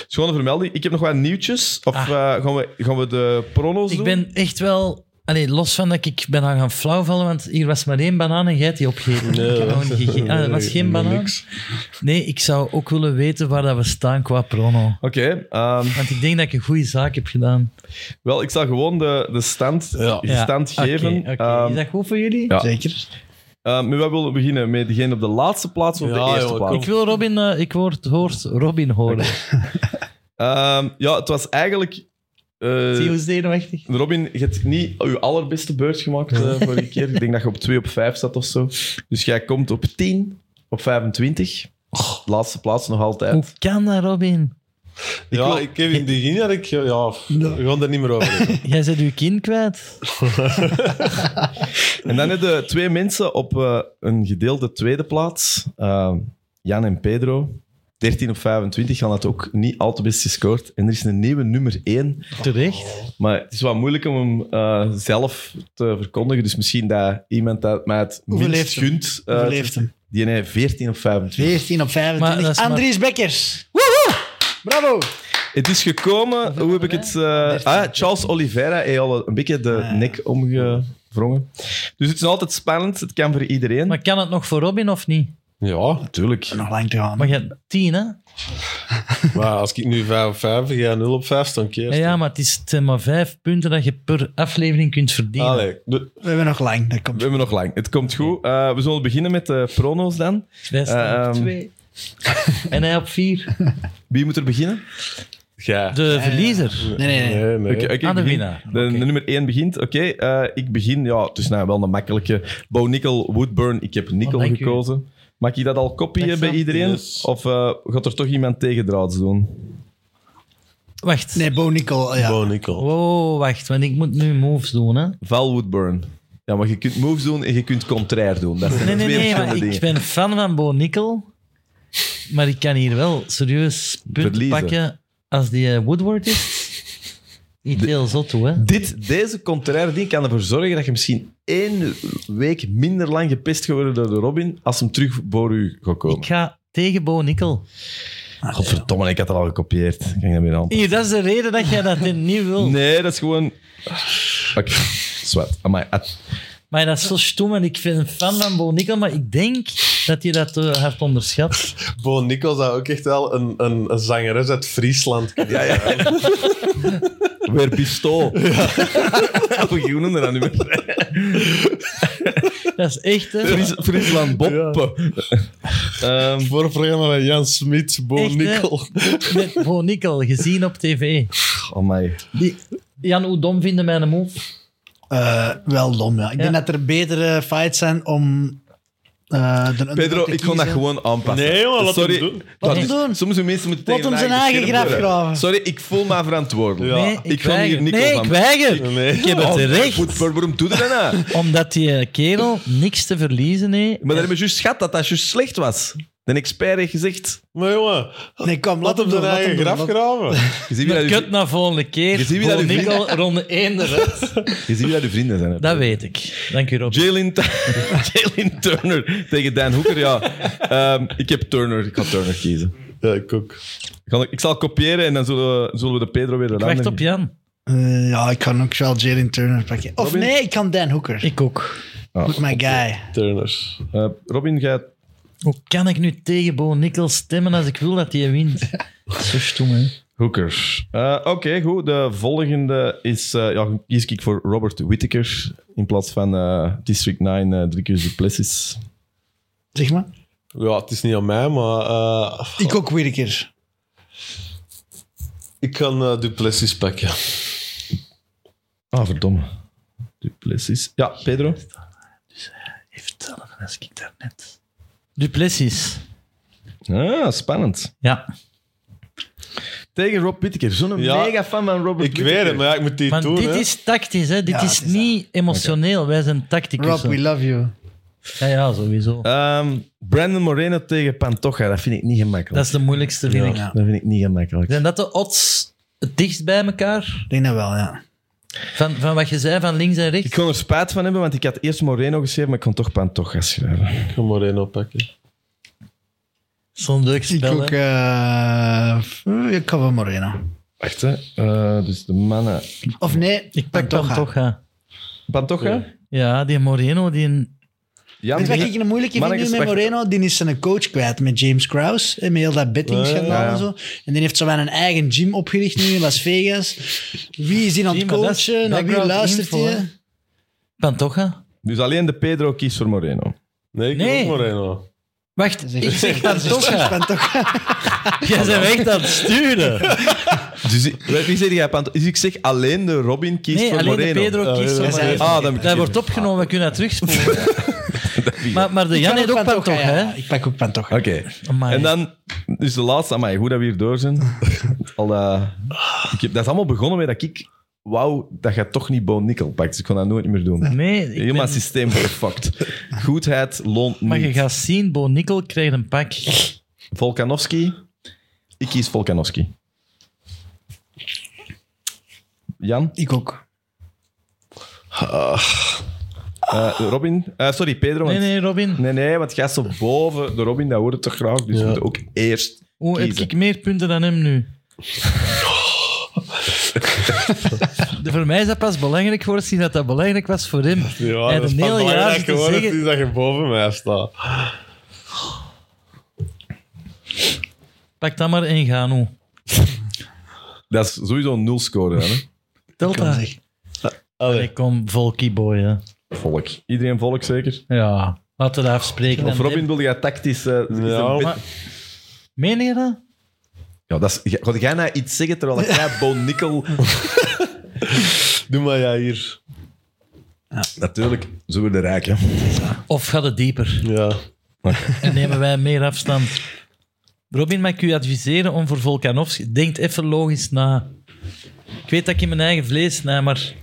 Speaker 1: schone vermelding. Ik heb nog wat nieuwtjes. Of
Speaker 2: Ah.
Speaker 1: eh, gaan, we, gaan we de prono's
Speaker 2: Ik
Speaker 1: doen?
Speaker 2: ben echt wel... Allee, los van dat ik ben aan gaan flauwvallen, want hier was maar één banaan en jij hebt die opgegeten. ik heb nog niet gegeten. Ah, dat was geen banaan? Nee, ik zou ook willen weten waar dat we staan qua prono.
Speaker 1: Oké. ehm,
Speaker 2: Want ik denk dat ik een goede zaak heb gedaan.
Speaker 1: wel, ik zal gewoon de, de stand,
Speaker 4: Ja.
Speaker 1: de stand
Speaker 2: oké,
Speaker 1: geven.
Speaker 2: oké.
Speaker 1: Ehm,
Speaker 2: is dat goed voor jullie?
Speaker 1: Ja.
Speaker 3: Zeker.
Speaker 1: Eh, maar we willen beginnen met degene op de laatste plaats of
Speaker 4: Ja,
Speaker 1: de eerste
Speaker 4: joh,
Speaker 1: plaats?
Speaker 4: kom.
Speaker 2: Ik wil Robin... eh, ik hoor, hoor Robin horen.
Speaker 1: Ehm, ja, het was eigenlijk... eh,
Speaker 2: Zie je hoe zenuwachtig?
Speaker 1: Robin, je hebt niet je allerbeste beurt gemaakt eh, vorige keer. Ik denk dat je op 2 op 5 zat of zo. Dus jij komt op 10, op 25.
Speaker 3: Oh.
Speaker 1: Laatste plaats nog altijd.
Speaker 2: Hoe kan dat, Robin?
Speaker 4: Ja, ik heb in het begin dat ik... Ja, f- we gaan er niet meer over hebben.
Speaker 2: Jij zet uw kind kwijt.
Speaker 1: En dan hebben we twee mensen op eh, een gedeelde tweede plaats. Ehm, Jan en Pedro. 13 op 25 gaan dat ook niet al te best gescoord. En er is een nieuwe nummer 1
Speaker 2: Terecht.
Speaker 1: Maar het is wel moeilijk om hem eh, zelf te verkondigen. Dus misschien dat iemand dat mij het
Speaker 3: Hoeveel
Speaker 1: minst
Speaker 3: heeft hem?
Speaker 1: gunt, eh,
Speaker 3: Overleeft hem.
Speaker 1: die heeft 14 of 25.
Speaker 3: 14 op
Speaker 2: Maar dat
Speaker 3: 25.
Speaker 2: is maar-
Speaker 3: Andries Bekkers. Woehoe! Bravo.
Speaker 1: Het is
Speaker 2: Ah,
Speaker 1: gekomen, hoe heb ik het... eh, ah, Charles Oliveira heeft al een beetje de nek omgevouwen. wrongen. Dus het is altijd spannend. Het kan voor iedereen.
Speaker 2: Maar kan het nog voor Robin of niet?
Speaker 4: Ja,
Speaker 1: natuurlijk.
Speaker 3: nog lang te gaan.
Speaker 2: Maar je hebt tien, hè?
Speaker 4: maar als ik nu 5 op 5 en jij 0 op 5, dan keer.
Speaker 2: Ja, ja, maar het is het zijn maar vijf punten dat je per aflevering kunt verdienen.
Speaker 4: Allee, de-
Speaker 3: We hebben nog lang. Dat komt.
Speaker 1: We hebben nog lang. Het komt goed. Eh, we zullen beginnen met de prono's dan.
Speaker 2: Wij staan op
Speaker 1: Ehm.
Speaker 2: twee. en hij op vier.
Speaker 1: Wie moet er beginnen?
Speaker 4: jij.
Speaker 1: Eh,
Speaker 2: De verliezer.
Speaker 3: Nee, nee, nee.
Speaker 4: Nee, nee.
Speaker 1: Oké, oké, ik
Speaker 2: Aan de
Speaker 1: begin.
Speaker 2: winnaar.
Speaker 1: Eh, De, de nummer 1 begint. Oké, eh, ik begin. Ja, het is nou wel een makkelijke. Bo Nickel, Woodburn. Ik heb Nickel
Speaker 2: Oh, dank u.
Speaker 1: gekozen. Mag ik dat al kopiëren
Speaker 2: Dank
Speaker 1: bij
Speaker 2: je.
Speaker 1: iedereen?
Speaker 4: Yes.
Speaker 1: Of eh, gaat er toch iemand tegendraads doen?
Speaker 2: Wacht.
Speaker 3: Nee, Bo Nickel. eh, Ja.
Speaker 4: Bo
Speaker 2: Oh.
Speaker 4: Nickel.
Speaker 2: Wow, wacht, want ik moet nu moves doen, hè?
Speaker 1: Val Woodburn. Ja, maar je kunt moves doen en je kunt contrair doen. Dat zijn
Speaker 2: Nee, nee,
Speaker 1: twee
Speaker 2: nee, maar
Speaker 1: verschillende
Speaker 2: ik
Speaker 1: dingen.
Speaker 2: ben fan van Bo Nickel. Maar ik kan hier wel serieus punten
Speaker 1: Verliezen.
Speaker 2: pakken als die eh, Woodward is. Niet heel zot, toe, hè?
Speaker 1: Dit, deze contraire ding kan ervoor zorgen dat je misschien één week minder lang gepest geworden door de Robin als hem terug voor u gaat komen.
Speaker 2: Ik ga tegen Bo Nickel.
Speaker 1: Godverdomme, ik had het al gekopieerd. Ik ging dat weer aan.
Speaker 2: Hier, dat is de reden dat jij dat niet wil.
Speaker 1: Nee, dat is gewoon... Oké, zwart. Amai, at-
Speaker 2: Maar dat is zo stom en ik ben een fan van Bo Nickel, maar ik denk dat je dat eh, hard onderschat.
Speaker 4: Bo Nickel zou ook echt wel een, een, een zangeres uit Friesland kunnen
Speaker 1: Ja, ja. Weer pistool. We groenen er dan niet meer.
Speaker 2: Dat is echt, hè?
Speaker 1: Fries, Friesland boppen. Ehm,
Speaker 4: Voor een programma van Jan Smit, Bo
Speaker 2: Echt, hè?
Speaker 4: Nickel.
Speaker 2: Met Bo Nickel, gezien op tv.
Speaker 1: amai.
Speaker 2: Die, Jan, hoe dom vinden mijn move?
Speaker 3: Eh, wel dom, ja. Ik denk dat er betere fights zijn om... eh, de underdog
Speaker 1: Pedro,
Speaker 3: te
Speaker 1: ik kon dat
Speaker 3: kiezen.
Speaker 1: gewoon aanpassen.
Speaker 4: Nee, jongen, laat
Speaker 1: Sorry.
Speaker 4: hem doen.
Speaker 1: Dat
Speaker 3: Laat hem
Speaker 1: is-
Speaker 3: doen.
Speaker 1: Soms doen mensen moeten
Speaker 3: Laat
Speaker 1: tegen
Speaker 3: hem
Speaker 1: hun
Speaker 3: zijn eigen
Speaker 1: bescherm
Speaker 3: graf
Speaker 1: worden.
Speaker 3: graven.
Speaker 1: Sorry, ik voel me verantwoordelijk.
Speaker 4: Ja.
Speaker 2: Nee,
Speaker 1: Ik
Speaker 2: ik,
Speaker 1: kon hier
Speaker 2: weiger.
Speaker 1: Nickel
Speaker 2: Nee,
Speaker 1: van-
Speaker 2: ik weiger.
Speaker 4: Nee.
Speaker 2: Ik heb het terecht.
Speaker 1: Goed, waar- waarom doe je dat nou?
Speaker 2: Omdat die eh, kerel niks te verliezen heeft.
Speaker 1: Maar dan hebben we juist schat dat dat juist slecht was. De expert heeft gezegd...
Speaker 4: Maar jongen,
Speaker 3: Nee, kom,
Speaker 4: laat hem
Speaker 3: doen,
Speaker 4: zijn
Speaker 3: laat
Speaker 4: eigen
Speaker 3: doen,
Speaker 4: graf
Speaker 3: laat-
Speaker 4: graven.
Speaker 1: Je ziet wie dat
Speaker 2: Kut
Speaker 1: uw
Speaker 2: Kut
Speaker 1: vri-
Speaker 2: naar volgende keer.
Speaker 1: Je ziet wie
Speaker 2: Bo
Speaker 1: dat u
Speaker 2: Nickel, ronde 1 eruit.
Speaker 1: je ziet wie dat uw vrienden zijn. hè.
Speaker 2: Dat weet ik. Dank u, Rob.
Speaker 1: Jalen, Jalen Turner tegen Dan Hoeker, ja. Ehm, ik heb Turner, ik ga Turner kiezen.
Speaker 4: Ja, ik ook.
Speaker 1: Ik ga- Ik zal kopiëren en dan zullen we, zullen we de Pedro weer eraan
Speaker 2: Wacht
Speaker 1: nemen.
Speaker 2: op Jan.
Speaker 3: Eh, ja, ik kan ook wel Jalen Turner pakken. Of
Speaker 1: Robin?
Speaker 3: nee, ik kan Dan Hooker.
Speaker 2: Ik ook.
Speaker 1: Ah,
Speaker 3: Goed, my guy.
Speaker 4: Turners.
Speaker 1: eh, Robin, jij...
Speaker 2: Hoe kan ik nu tegen Bo Nickel stemmen als ik wil dat hij wint? Zo stom, hè?
Speaker 1: Hoekers. Eh, Oké, goed. De volgende is... eh, ja, kies ik voor Robert Whittaker in plaats van eh, District 9, eh Dricus Duplessis.
Speaker 3: Zeg maar.
Speaker 4: Ja, het is niet aan mij, maar eh,
Speaker 3: Ik ook weer een keer.
Speaker 4: ik kan eh, Duplessis pakken.
Speaker 1: Ah, verdomme. Duplessis. Ja, Pedro.
Speaker 2: Even tellen van als ik daar net. Duplessis.
Speaker 1: Ah, spannend.
Speaker 2: Ja.
Speaker 1: Tegen Rob Whittaker. Zo'n
Speaker 4: Ja,
Speaker 1: mega fan van Robert
Speaker 4: Ik weet het, maar ja, ik moet die
Speaker 2: Want
Speaker 4: doen.
Speaker 2: dit
Speaker 4: hè.
Speaker 2: is tactisch, hè? Dit
Speaker 3: Ja,
Speaker 2: is
Speaker 3: het is
Speaker 2: niet emotioneel. Wij zijn
Speaker 3: Rob,
Speaker 2: tacticus.
Speaker 3: we love you.
Speaker 2: Ja, ja, sowieso.
Speaker 1: Ehm, Brandon Moreno tegen Pantoja, dat vind ik niet gemakkelijk.
Speaker 2: Dat is de moeilijkste, vind ik.
Speaker 3: Ja.
Speaker 1: Dat vind ik niet gemakkelijk.
Speaker 2: Zijn dat de odds het dichtst bij elkaar?
Speaker 3: Ik denk dat wel, ja.
Speaker 2: Van, van wat je zei, van links en
Speaker 1: Ik
Speaker 2: rechts?
Speaker 1: kon er spijt van hebben, want ik had eerst Moreno geschreven, maar ik kon toch Pantoja schrijven.
Speaker 4: Ik ga Moreno pakken.
Speaker 2: Zo'n leuk
Speaker 3: Ik
Speaker 2: spel,
Speaker 3: ook...
Speaker 2: hè?
Speaker 3: eh, ik kan wel Moreno.
Speaker 1: Wacht, hè. Eh, dus de mannen...
Speaker 3: Of nee,
Speaker 2: Ik pak
Speaker 3: Pantoja.
Speaker 2: hem toch aan.
Speaker 1: Pantoja?
Speaker 2: Ja, die Moreno, die...
Speaker 1: Jan,
Speaker 3: Weet je wat ik een moeilijke
Speaker 1: Mannen
Speaker 3: vind nu met
Speaker 1: gesprek-
Speaker 3: Moreno? Die is zijn coach kwijt met James Kraus. En met heel dat bettingschandaal
Speaker 1: Ja, ja.
Speaker 3: en zo. En die heeft zo wel een eigen gym opgericht nu in Las Vegas. Wie is die aan het
Speaker 2: Zie, maar dat is
Speaker 3: coachen? Naar wie
Speaker 2: background
Speaker 3: luistert
Speaker 2: info, hè.
Speaker 3: hij?
Speaker 2: Pantoja?
Speaker 1: Dus alleen de Pedro kiest voor Moreno.
Speaker 4: Nee, ik
Speaker 2: Nee.
Speaker 4: ook Moreno.
Speaker 2: Wacht, ik zeg Pantoja.
Speaker 3: Pantoja.
Speaker 2: Jij bent echt aan het sturen.
Speaker 1: Dus ik- wie zeg jij, Pantoja? Dus ik zeg alleen de Robin kiest
Speaker 2: Nee,
Speaker 1: voor
Speaker 2: alleen de
Speaker 1: Moreno.
Speaker 2: Pedro
Speaker 4: Ah,
Speaker 2: kiest
Speaker 4: ja,
Speaker 2: voor
Speaker 4: ja.
Speaker 2: Moreno.
Speaker 1: Ah, dan heb ik
Speaker 2: Dat
Speaker 1: het
Speaker 2: wordt opgenomen, we kunnen dat terugspoelen. Maar, maar de
Speaker 3: Ik
Speaker 2: Jan
Speaker 3: kan
Speaker 2: heeft
Speaker 3: ook
Speaker 2: ook Pantoja,
Speaker 3: Pantoja, ja.
Speaker 2: hè?
Speaker 3: Ik pak ook Pantoja.
Speaker 1: Oké.
Speaker 2: Amai.
Speaker 1: En dan, dus de laatste, amai, goed dat we hier door zijn. Al dat, ik heb, dat is allemaal begonnen met dat ik, wauw, dat gaat toch niet Bo Nickel pakt. Dus ik kon dat nooit meer doen.
Speaker 2: Nee, ik
Speaker 1: Helemaal
Speaker 2: ben-
Speaker 1: het systeem gefucked. Goedheid loont
Speaker 2: maar je
Speaker 1: niet.
Speaker 2: gaat zien, Bo Nickel krijgt een pak.
Speaker 1: Volkanovski. Ik kies Volkanovski. Jan?
Speaker 3: Ik ook.
Speaker 1: Eh, Robin? Eh, sorry, Pedro.
Speaker 2: Nee,
Speaker 1: want-
Speaker 2: nee, Robin.
Speaker 1: nee, nee, want jij staat boven de Robin, dat wordt het toch graag. Dus we moeten ook eerst
Speaker 2: Hoe Oh, heb
Speaker 1: kiezen.
Speaker 2: ik meer punten dan hem nu? De- voor mij is dat pas belangrijk geworden sinds dat dat belangrijk was voor hem.
Speaker 4: Ja,
Speaker 2: Hij
Speaker 4: dat
Speaker 2: had
Speaker 4: is
Speaker 2: een
Speaker 4: pas
Speaker 2: heel jaar
Speaker 4: belangrijk
Speaker 2: zitten
Speaker 4: geworden
Speaker 2: zeggen...
Speaker 4: sinds dat je boven mij staat.
Speaker 2: Pak dat maar en ga nu.
Speaker 1: Dat is sowieso een nul scoren, hè?
Speaker 2: Telt
Speaker 3: Kan
Speaker 2: dat.
Speaker 3: zeggen.
Speaker 4: Allee.
Speaker 2: Ik kom volkie boy, hè.
Speaker 1: Volk. Iedereen volk, zeker?
Speaker 2: Ja, laten we dat afspreken.
Speaker 1: Of
Speaker 2: En
Speaker 1: Robin,
Speaker 2: Deb-
Speaker 1: wil jij tactisch... eh, is
Speaker 4: Ja,
Speaker 1: een bit-
Speaker 2: maar- Meen je dat?
Speaker 1: ja, dat is... Ga jij nou iets zeggen terwijl jij Bo Nickel...
Speaker 4: Doe maar ja hier.
Speaker 1: Natuurlijk, zo worden rijk, hè?
Speaker 2: Of gaat het dieper?
Speaker 4: Ja.
Speaker 2: En nemen wij meer afstand? Robin, mag ik u adviseren om voor Volkanovski... Denk even logisch na. Ik weet dat ik in mijn eigen vlees snij, maar...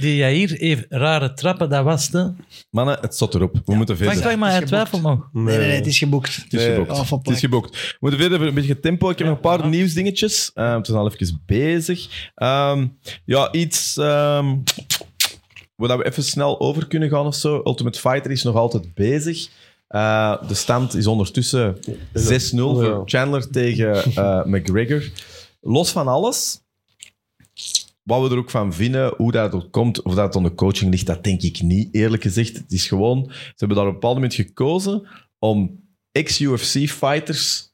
Speaker 2: Die Jair heeft rare trappen, dat was het. hè.
Speaker 1: Mannen, het zat erop. We moeten
Speaker 2: Wacht,
Speaker 1: verder.
Speaker 2: wacht, maar hij
Speaker 3: is geboekt.
Speaker 2: twijfelt nog.
Speaker 3: Nee, nee, nee, het is geboekt.
Speaker 1: Het is
Speaker 4: Nee.
Speaker 1: geboekt.
Speaker 3: Oh, van
Speaker 1: het is geboekt. We moeten verder een beetje tempo. Ik heb nog een paar nieuwsdingetjes. Eh, we zijn al even bezig. Ehm, ja, iets ehm waar we even snel over kunnen gaan of zo. Ultimate Fighter is nog altijd bezig. Eh, de stand is ondertussen 6-0 voor Chandler tegen eh, McGregor. Los van alles, wat we er ook van vinden, hoe dat ook komt, of dat aan de coaching ligt, dat denk ik niet, eerlijk gezegd. Het is gewoon, ze hebben daar op een bepaald moment gekozen om ex-UFC-fighters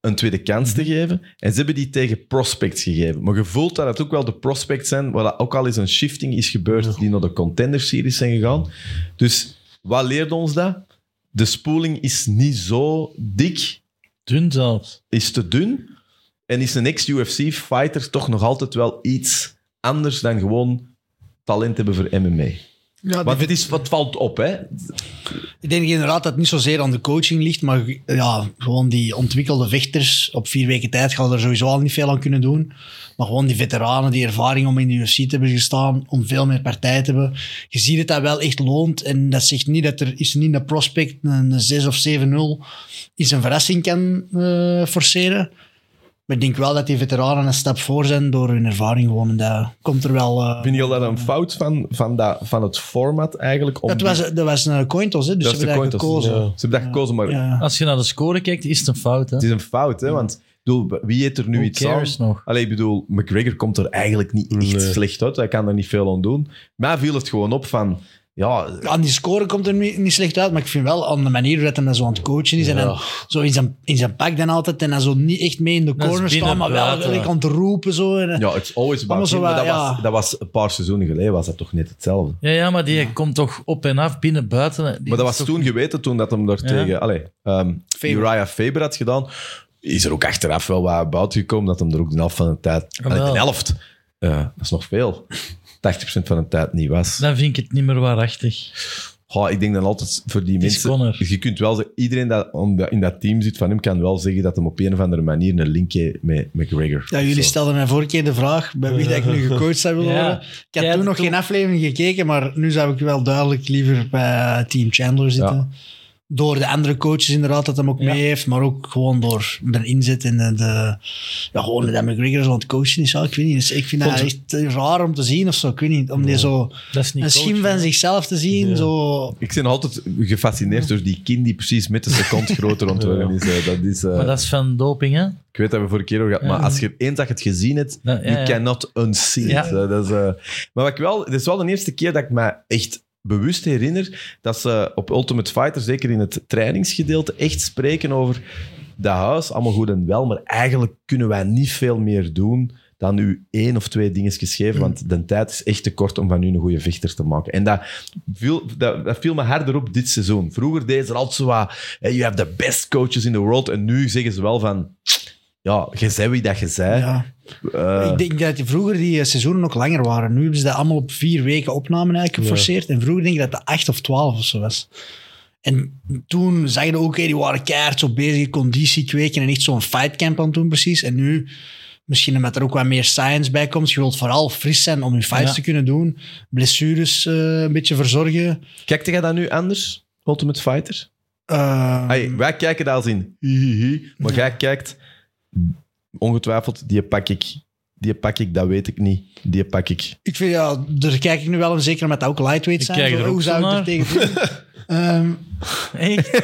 Speaker 1: een tweede kans te geven. En ze hebben die tegen prospects gegeven. Maar je voelt dat het ook wel de prospects zijn, waar dat ook al eens een shifting is gebeurd, die naar de contender-series zijn gegaan. Dus wat leert ons dat? De spoeling is niet zo dik,
Speaker 2: Dun zelfs.
Speaker 1: is te dun. En is een ex-UFC-fighter toch nog altijd wel iets anders dan gewoon talent hebben voor MMA.
Speaker 3: Ja,
Speaker 1: Want het, is, wat valt op, hè?
Speaker 3: Ik denk inderdaad dat het niet zozeer aan de coaching ligt, maar ja, gewoon die ontwikkelde vechters op vier weken tijd gaan er sowieso al niet veel aan kunnen doen. Maar gewoon die veteranen, die ervaring om in de UFC te hebben gestaan, om veel meer partij te hebben. Je ziet dat dat wel echt loont en dat zegt niet dat er is niet een prospect een 6 of 7-0 is een verrassing kan eh, forceren. Maar ik denk wel dat die veteranen een stap voor zijn door hun ervaring gewoon. En dat komt er wel... eh,
Speaker 1: Vind je al dat een fout van, van, dat, van het format eigenlijk? Om
Speaker 3: dat,
Speaker 1: die-
Speaker 3: was, dat was een cointos, hè? dus
Speaker 1: Dat
Speaker 3: ze
Speaker 1: is de
Speaker 3: hebben dat
Speaker 1: coin toss.
Speaker 3: gekozen.
Speaker 1: Ja. Ze hebben dat gekozen, maar
Speaker 3: Ja.
Speaker 2: Als je naar de score kijkt, is het een fout. Hè?
Speaker 1: het is een fout, hè? Want ik bedoel, wie eet er nu
Speaker 2: Who
Speaker 1: iets
Speaker 2: cares
Speaker 1: aan?
Speaker 2: nog?
Speaker 1: Allee, ik bedoel, McGregor komt er eigenlijk niet echt slecht uit. Hij kan er niet veel aan doen. Mij viel het gewoon op van, ja,
Speaker 3: Aan die score komt er niet niet slecht uit, maar ik vind wel aan de manier hoe dat hij dan zo aan het coachen is. En dan zo in zijn, in zijn pak dan altijd en dan zo niet echt mee in de
Speaker 2: Dat is
Speaker 3: corner staan, maar wel
Speaker 2: binnenbuiten.
Speaker 3: gelijk aan het roepen. Zo. En, eh.
Speaker 1: ja it's always about
Speaker 3: Allemaal zo
Speaker 1: him. Maar
Speaker 3: wat,
Speaker 1: dat,
Speaker 3: ja.
Speaker 1: was, dat was een paar seizoenen geleden, was dat toch net hetzelfde.
Speaker 2: Ja, ja, maar die komt toch op en af, binnen, buiten. Die
Speaker 1: Maar dat
Speaker 2: is
Speaker 1: was
Speaker 2: toch-
Speaker 1: toen geweten, toen dat hem daar
Speaker 2: Ja.
Speaker 1: tegen allee, ehm,
Speaker 3: Faber.
Speaker 1: Uriah Faber had gedaan. Is er ook achteraf wel wat buiten gekomen dat hem er ook de helft van de tijd...
Speaker 2: Jawel.
Speaker 1: allee, de helft, eh, dat is nog veel. 80% van de tijd niet was.
Speaker 2: Dan vind ik het niet meer waarachtig.
Speaker 1: Goh, ik denk dan altijd voor die
Speaker 2: is
Speaker 1: mensen...
Speaker 2: Conor.
Speaker 1: Je kunt wel zeggen, iedereen dat om de- in dat team zit van hem kan wel zeggen dat hem op een of andere manier een link heeft met McGregor.
Speaker 3: ja, jullie
Speaker 1: Zo.
Speaker 3: stelden mij vorige keer de vraag bij wie dat ik nu gecoacht zou willen
Speaker 2: Ja.
Speaker 3: worden. Ik
Speaker 2: Jij
Speaker 3: heb toen
Speaker 2: had
Speaker 3: nog
Speaker 2: toen-
Speaker 3: geen aflevering gekeken, maar nu zou ik wel duidelijk liever bij eh, Team Chandler zitten. Door de andere coaches inderdaad, dat hem ook mee heeft, maar ook gewoon door de inzet en de... de- ja, gewoon dat McGregor zo aan het coachen is. Ja, ik weet niet, dus ik vind dat echt raar om te zien of zo. Ik weet niet, om die zo...
Speaker 2: Dat is niet
Speaker 3: een
Speaker 2: coach,
Speaker 3: schim
Speaker 2: hè.
Speaker 3: van zichzelf te zien. Zo.
Speaker 1: Ik ben altijd gefascineerd door die kin die precies met de seconde groter ontworpen is. eh, Dat is eh,
Speaker 2: Maar dat is van doping, hè?
Speaker 1: Ik weet dat we vorige keer over gehad, maar als je eens dat je het gezien hebt,
Speaker 2: Ja, ja,
Speaker 1: you
Speaker 2: ja.
Speaker 1: cannot unsee it.
Speaker 2: Ja.
Speaker 1: Eh, Dat is, eh, maar wat ik wel, dit is wel de eerste keer dat ik me echt bewust herinner dat ze op Ultimate Fighter, zeker in het trainingsgedeelte, echt spreken over dat huis, allemaal goed en wel, maar eigenlijk kunnen wij niet veel meer doen dan u één of twee dingetjes geven, want de tijd is echt te kort om van u een goede vechter te maken. En dat viel, dat, dat viel me harder op dit seizoen. Vroeger deden ze er altijd zo wat, hey, you have the best coaches in the world, en nu zeggen ze wel van, ja, je zei wie dat je zei.
Speaker 3: Ja.
Speaker 1: Eh,
Speaker 3: ik denk dat die vroeger die eh, seizoenen ook langer waren. Nu hebben ze dat allemaal op vier weken opnamen eigenlijk geforceerd. En vroeger denk ik dat dat acht of twaalf of zo was. En toen zag je ook, hé, die waren keihard zo bezig, conditie kweken en echt zo'n fightcamp aan het doen precies. En nu, misschien omdat er ook wat meer science bij komt, je wilt vooral fris zijn om je fights
Speaker 2: Ja.
Speaker 3: te kunnen doen. Blessures eh, een beetje verzorgen.
Speaker 1: Kijkte jij dat nu anders, Ultimate Fighter?
Speaker 3: Eh,
Speaker 1: Hey, wij kijken daar als in. hi, hi, hi. Maar jij kijkt, ongetwijfeld, die pak ik. Die pak ik, dat weet ik niet. Die pak ik.
Speaker 3: Ik vind, ja, daar kijk ik nu wel om, zeker omdat dat ook lightweight
Speaker 2: Ik
Speaker 3: zijn.
Speaker 2: kijk
Speaker 3: Zo,
Speaker 2: er ook
Speaker 3: hoe
Speaker 2: zo
Speaker 3: zou ik
Speaker 2: naar.
Speaker 3: er tegen doen? Ehm,
Speaker 2: Echt?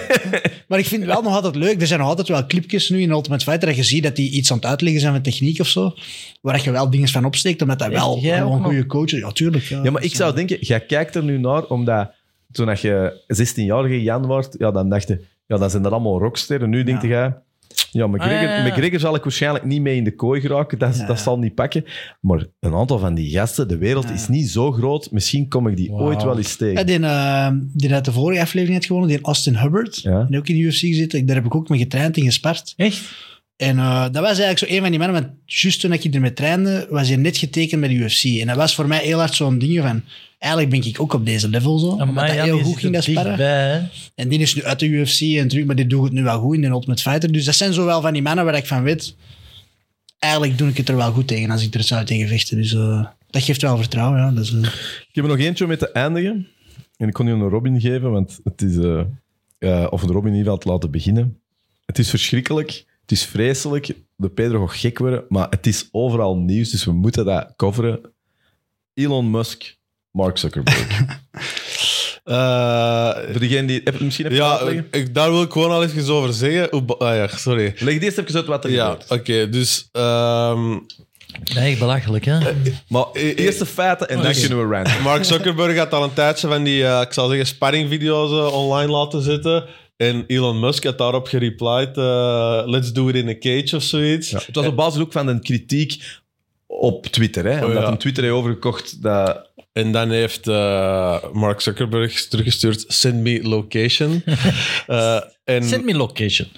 Speaker 3: Maar ik vind het wel nog altijd leuk. Er zijn nog altijd wel clipjes nu in Ultimate Fighter dat je ziet dat die iets aan het uitleggen zijn met techniek of zo. Waar dat je wel dingen van opsteekt, omdat dat wel
Speaker 2: jij ook
Speaker 3: gewoon
Speaker 2: nog?
Speaker 3: goede coaches... Ja, tuurlijk. Ja,
Speaker 1: Ja, maar ik zou denken, jij kijkt er nu naar omdat toen dat je 16-jarige Jan wordt, ja, dan dacht je, ja, dan zijn dat allemaal rocksterren. Nu denk
Speaker 3: Ja.
Speaker 1: je, ja, McGregor,
Speaker 2: Ah, ja, ja, ja.
Speaker 1: McGregor zal ik waarschijnlijk niet mee in de kooi geraken. Dat,
Speaker 3: Ja.
Speaker 1: dat zal niet pakken. Maar een aantal van die gasten, de wereld
Speaker 3: Ja.
Speaker 1: is niet zo groot. Misschien kom ik die
Speaker 4: Wauw.
Speaker 1: ooit wel eens
Speaker 3: Ja,
Speaker 1: tegen.
Speaker 3: die, eh, die uit de vorige aflevering heeft gewonnen, die Austin Hubbard,
Speaker 1: Ja.
Speaker 3: die ook in de UFC zit, ik- daar heb ik ook mee getraind en gespart.
Speaker 2: Echt?
Speaker 3: En eh, dat was eigenlijk zo een van die mannen, want juist toen ik ermee trainde, was hij net getekend bij de UFC. En dat was voor mij heel hard zo'n ding van, eigenlijk ben ik ook op deze level zo. omdat
Speaker 2: Amai,
Speaker 3: dat
Speaker 2: ja,
Speaker 3: heel
Speaker 2: die
Speaker 3: goed
Speaker 2: zit
Speaker 3: ging,
Speaker 2: er
Speaker 3: dat sparren.
Speaker 2: dichtbij, hè.
Speaker 3: En die is nu uit de UFC en terug, maar die doet het nu wel goed in de Ultimate Fighter. Dus dat zijn zo wel van die mannen waar ik van weet, eigenlijk doe ik het er wel goed tegen als ik er zou tegen vechten. Dus eh, dat geeft wel vertrouwen, ja. Dat is, eh,
Speaker 1: Ik heb er nog eentje om mee te eindigen. En ik kon die aan Robin geven, want het is... eh, eh, of een Robin in ieder geval te laten beginnen. Het is verschrikkelijk. Het is vreselijk. De Pedro gaat gek worden. Maar het is overal nieuws, dus we moeten dat coveren. Elon Musk, Mark Zuckerberg.
Speaker 4: Eh,
Speaker 1: Voor degene die... Heb, misschien even
Speaker 4: ja,
Speaker 1: uitleggen.
Speaker 4: ik, ik- daar wil ik gewoon al even over zeggen. Hoe ba- ah ja, sorry.
Speaker 1: Leg eerst even uit wat er
Speaker 4: Ja,
Speaker 1: gebeurt.
Speaker 4: oké. dus ehm,
Speaker 2: Dat is Echt belachelijk, hè?
Speaker 1: Maar
Speaker 4: eh, eh,
Speaker 1: eerst de feiten en dan
Speaker 2: Oké.
Speaker 1: kunnen we ranten.
Speaker 4: Mark Zuckerberg had al een tijdje van die, eh, ik zal zeggen, sparringvideo's eh, online laten zitten. En Elon Musk had daarop gereplied, eh, let's do it in a cage of zoiets.
Speaker 1: Het was op basis ook van een kritiek op Twitter. Hè? Omdat
Speaker 4: Oh, ja.
Speaker 1: hem Twitter heeft overgekocht dat...
Speaker 4: En dan heeft eh, Mark Zuckerberg teruggestuurd, send me location. Eh, en
Speaker 2: Send me location.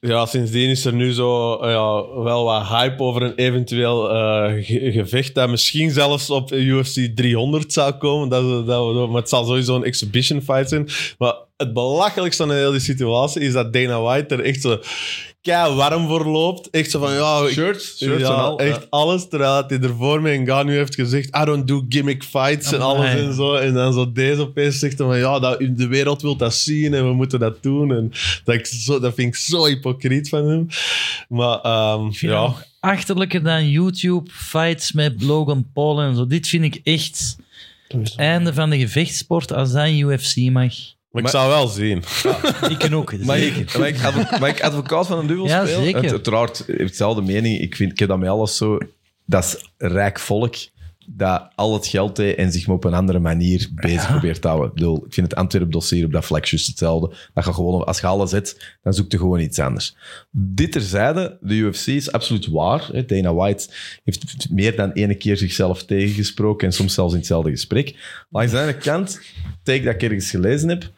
Speaker 4: ja, sindsdien is er nu zo eh, ja, wel wat hype over een eventueel eh, ge- gevecht dat misschien zelfs op UFC 300 zou komen. Dat, we- dat, we- maar het zal sowieso een exhibition fight zijn. Maar het belachelijkste aan de hele situatie is dat Dana White er echt zo kei warm voor loopt. Echt zo van, ja... ik-
Speaker 1: Shirts, shirts
Speaker 4: ja,
Speaker 1: en al,
Speaker 4: Echt
Speaker 1: ja.
Speaker 4: alles. Terwijl hij ervoor met Ngannou heeft gezegd, I don't do gimmick fights en alles
Speaker 2: Amai.
Speaker 4: en zo. En dan zo deze opeens zegt hij van, ja, dat, de wereld wil dat zien en we moeten dat doen. En dat, ik zo, dat vind ik zo hypocriet van hem. Maar ehm,
Speaker 2: vind
Speaker 4: ja,
Speaker 2: dat Achterlijker dan YouTube, fights met Logan Paul en zo. Dit vind ik echt
Speaker 3: dat is-
Speaker 2: einde van de gevechtsport als dat in UFC mag.
Speaker 4: maar ik
Speaker 1: Maar-
Speaker 4: zou wel zien.
Speaker 2: Ik kan ook.
Speaker 1: Mag
Speaker 2: zeker.
Speaker 1: ik, mag, ik advo- mag ik advocaat van een duivel
Speaker 2: Ja,
Speaker 1: spelen?
Speaker 2: zeker.
Speaker 1: Het- uiteraard heeft dezelfde mening. Ik, vind, ik heb dat met alles zo. Dat is rijk volk dat al het geld heeft en zich maar op een andere manier bezig probeert te houden. Ik, bedoel, ik vind het Antwerp-dossier op dat vlak juist hetzelfde. Dat je gewoon, als je alles zet, dan zoek je gewoon iets anders. Dit terzijde, de UFC is absoluut waar. hè. Dana White heeft meer dan ene keer zichzelf tegengesproken en soms zelfs in hetzelfde gesprek. Langs de andere kant, take dat ik ergens gelezen heb,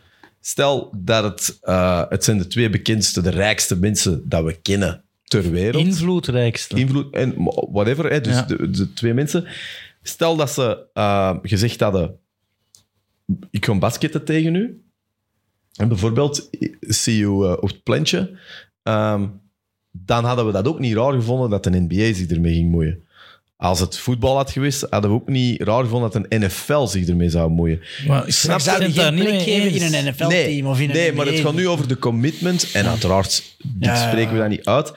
Speaker 1: Stel dat het, eh, het zijn de twee bekendste, de rijkste mensen dat we kennen ter wereld.
Speaker 2: Invloedrijkste.
Speaker 1: Invloed en whatever, hè, dus
Speaker 2: Ja.
Speaker 1: de, de twee mensen. Stel dat ze eh, gezegd hadden, ik ga basketten tegen u. En bijvoorbeeld, zie je eh, op het plantje. Ehm, dan hadden we dat ook niet raar gevonden dat een NBA zich ermee ging moeien. Als het voetbal had geweest, hadden we ook niet raar gevonden dat een NFL zich ermee zou moeien.
Speaker 2: Maar ik
Speaker 1: snap
Speaker 3: Ik zou
Speaker 2: het
Speaker 3: die
Speaker 2: daar
Speaker 3: geen
Speaker 2: niet
Speaker 3: plek
Speaker 2: mee
Speaker 3: geven
Speaker 2: eens.
Speaker 3: in een NFL-team of in een E
Speaker 1: nee, maar het
Speaker 3: NBA.
Speaker 1: gaat nu over de commitment. En uiteraard, dit
Speaker 3: Ja.
Speaker 1: spreken we dan niet uit.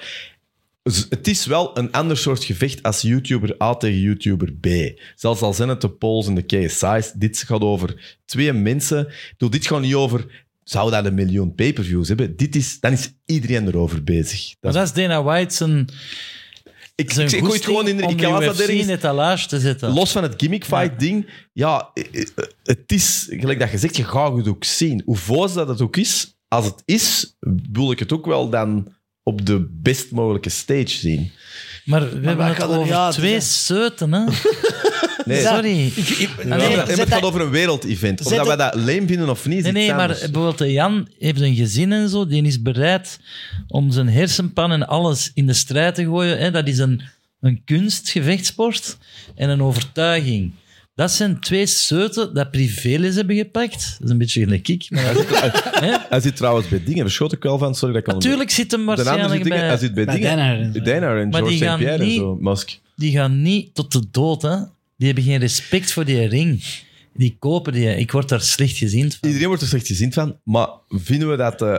Speaker 1: Dus Het is wel een ander soort gevecht als YouTuber A tegen YouTuber B. Zelfs al zijn het de polls en de KSI's. Dit gaat over twee mensen. Ik bedoel, dit gaat niet over... Zou dat een miljoen pay-per-views hebben? Dit is, dan is iedereen erover bezig. Dat
Speaker 2: Maar
Speaker 1: is-
Speaker 2: dat is Dana White zijn,
Speaker 1: ik,
Speaker 2: zijn
Speaker 1: ik, ik gooi het gewoon in de... Ik
Speaker 2: om de
Speaker 1: laat dat
Speaker 2: UFC
Speaker 1: ergens
Speaker 2: in etalage te zetten.
Speaker 1: Los van het gimmick fight ding, ja, eh, eh, het is, gelijk dat je zegt, je gaat het ook zien. Hoe voos dat het ook is, als het is, wil ik het ook wel dan op de best mogelijke stage zien.
Speaker 2: Maar we hebben
Speaker 3: wij
Speaker 2: het
Speaker 3: gaan er-
Speaker 2: over
Speaker 3: ja, het is
Speaker 2: twee
Speaker 3: een-
Speaker 2: zeuten, hè?
Speaker 1: Nee,
Speaker 2: Sorry.
Speaker 1: Nee,
Speaker 2: nee,
Speaker 1: maar
Speaker 3: zet
Speaker 1: het
Speaker 3: dat-
Speaker 1: gaat over een wereldevent. Of
Speaker 3: Zet
Speaker 1: dat wij
Speaker 3: het-
Speaker 1: dat leem vinden of niet, is
Speaker 2: Nee,
Speaker 1: iets
Speaker 2: nee, maar
Speaker 1: anders.
Speaker 2: bijvoorbeeld de Jan heeft een gezin en zo. Die is bereid om zijn hersenpan en alles in de strijd te gooien. Hè? Dat is een, een kunst, gevechtsport en een overtuiging. Dat zijn twee zeuten dat privéles hebben gepakt. Dat is een beetje gelijk ik. Maar dat- hè?
Speaker 1: Hij zit trouwens bij dingen, daar schoot ik wel van, sorry dat ik al-
Speaker 2: Natuurlijk zit hem
Speaker 1: De naam
Speaker 2: waarschijnlijk
Speaker 1: zit dingen, hij
Speaker 2: bij...
Speaker 1: zit bij
Speaker 3: Bij
Speaker 1: dingen.
Speaker 3: Dana en zo.
Speaker 1: Dana en
Speaker 2: Maar
Speaker 1: George
Speaker 2: die
Speaker 1: St.
Speaker 2: gaan
Speaker 1: Pierre en
Speaker 2: niet-
Speaker 1: zo, Musk.
Speaker 2: Die gaan niet tot de dood, hè. Die hebben geen respect voor die ring. Die kopen die. Ik word daar slecht gezien van.
Speaker 1: Iedereen wordt er slecht gezien van, maar vinden we, dat, eh,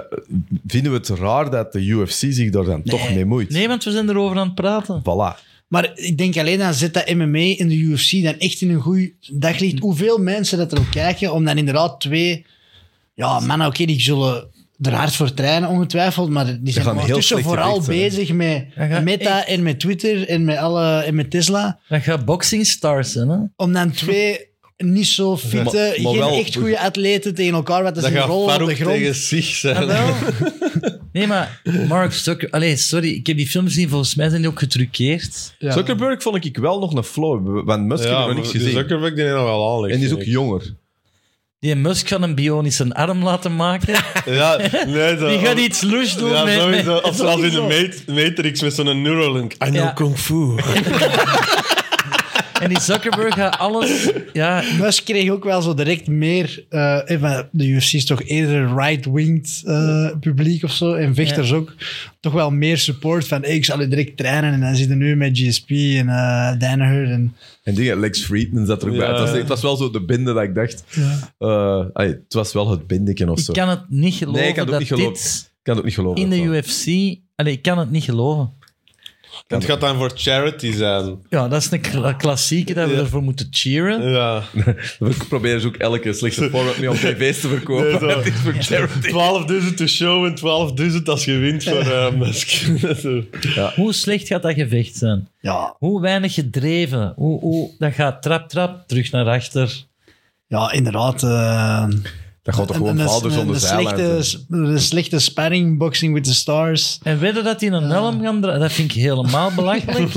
Speaker 1: vinden we het raar dat de UFC zich daar dan toch mee moeit?
Speaker 2: Nee, want we zijn erover aan het praten.
Speaker 1: Voilà.
Speaker 3: Maar ik denk alleen dan zit dat MMA in de UFC dan echt in een goed daglicht. Hoeveel mensen dat er ook kijken om dan inderdaad twee Ja, mannen, oké, die zullen er hard voor trainen, ongetwijfeld. Maar die zijn
Speaker 1: gaan heel
Speaker 3: ondertussen
Speaker 1: slecht
Speaker 3: vooral
Speaker 1: gewicht zijn, hè.
Speaker 3: bezig met
Speaker 2: Ja, ja,
Speaker 3: Meta en met Twitter en met, alle, en met Tesla.
Speaker 2: Dat gaat boxing stars zijn, hè?
Speaker 3: Om dan twee niet zo fitte,
Speaker 1: Maar- maar
Speaker 3: geen
Speaker 1: wel-
Speaker 3: echt goede atleten tegen elkaar. Wat is
Speaker 4: Dat
Speaker 3: een
Speaker 4: gaat
Speaker 3: rol op
Speaker 4: Farouk
Speaker 3: de grond?
Speaker 4: tegen zich
Speaker 2: Ah,
Speaker 4: zijn.
Speaker 2: wel. Nee, maar Mark Zucker... Allee, sorry, ik heb die films gezien. Volgens mij zijn die ook getruckeerd.
Speaker 3: Ja.
Speaker 1: Zuckerberg vond ik wel nog een flow, want Musk heb ik nog niks
Speaker 4: die
Speaker 1: gezien.
Speaker 4: Zuckerberg die heeft nog wel aan.
Speaker 1: En die is ook jonger.
Speaker 2: Die Musk kan een bionische arm laten maken.
Speaker 4: Ja, nee, zo,
Speaker 2: Die gaat iets lush doen
Speaker 4: Ja,
Speaker 2: met... met-
Speaker 4: sowieso. Of zoals in de
Speaker 2: sowieso.
Speaker 4: Ma- Matrix met zo'n Neuralink. Ah, I know
Speaker 2: Ja.
Speaker 4: kung fu.
Speaker 2: En die Zuckerberg gaat alles... Ja,
Speaker 3: Musk kreeg ook wel zo direct meer. eh, eh, maar de UFC is toch eerder right-winged eh, publiek of zo. En vechters ook. Toch wel meer support van hey, ik zal u direct trainen. En dan zitten nu met GSP en eh Danaher. En,
Speaker 1: En dingen, Lex Friedman zat er ook bij.
Speaker 4: Ja.
Speaker 1: Het was, het was wel zo de binde dat ik dacht. eh, ai, het was wel het bindeken of
Speaker 2: ik
Speaker 1: zo.
Speaker 2: kan het niet geloven
Speaker 1: Nee, ik kan het ook
Speaker 2: dat
Speaker 1: niet geloven.
Speaker 2: dit
Speaker 1: Ik kan het ook niet geloven.
Speaker 2: in de
Speaker 1: dat wel.
Speaker 2: UFC... Allee, ik kan het niet geloven.
Speaker 4: Het gaat dan voor charity zijn.
Speaker 2: Ja, dat is een kla- klassieke dat we
Speaker 4: Ja.
Speaker 2: ervoor moeten cheeren.
Speaker 4: Ja.
Speaker 1: We proberen ze dus ook elke slechte format mee om tv's te verkopen.
Speaker 4: Nee, zo.
Speaker 1: het is voor charity.
Speaker 4: 12.000 te show en 12.000 als je wint voor eh, Musk. Zo.
Speaker 2: Hoe slecht gaat dat gevecht zijn?
Speaker 3: ja,
Speaker 2: Hoe weinig gedreven? Hoe, hoe, dat gaat trap, trap, terug naar achter.
Speaker 3: ja, inderdaad. eh,
Speaker 1: Dat gaat toch
Speaker 3: een-
Speaker 1: gewoon
Speaker 3: een-
Speaker 1: vaders
Speaker 3: een-
Speaker 1: zonder
Speaker 3: een
Speaker 1: zeilen.
Speaker 3: slechte, een slechte sparring, Boxing with the Stars.
Speaker 2: En wedden dat hij een helm kan draaien, dat vind ik helemaal belachelijk.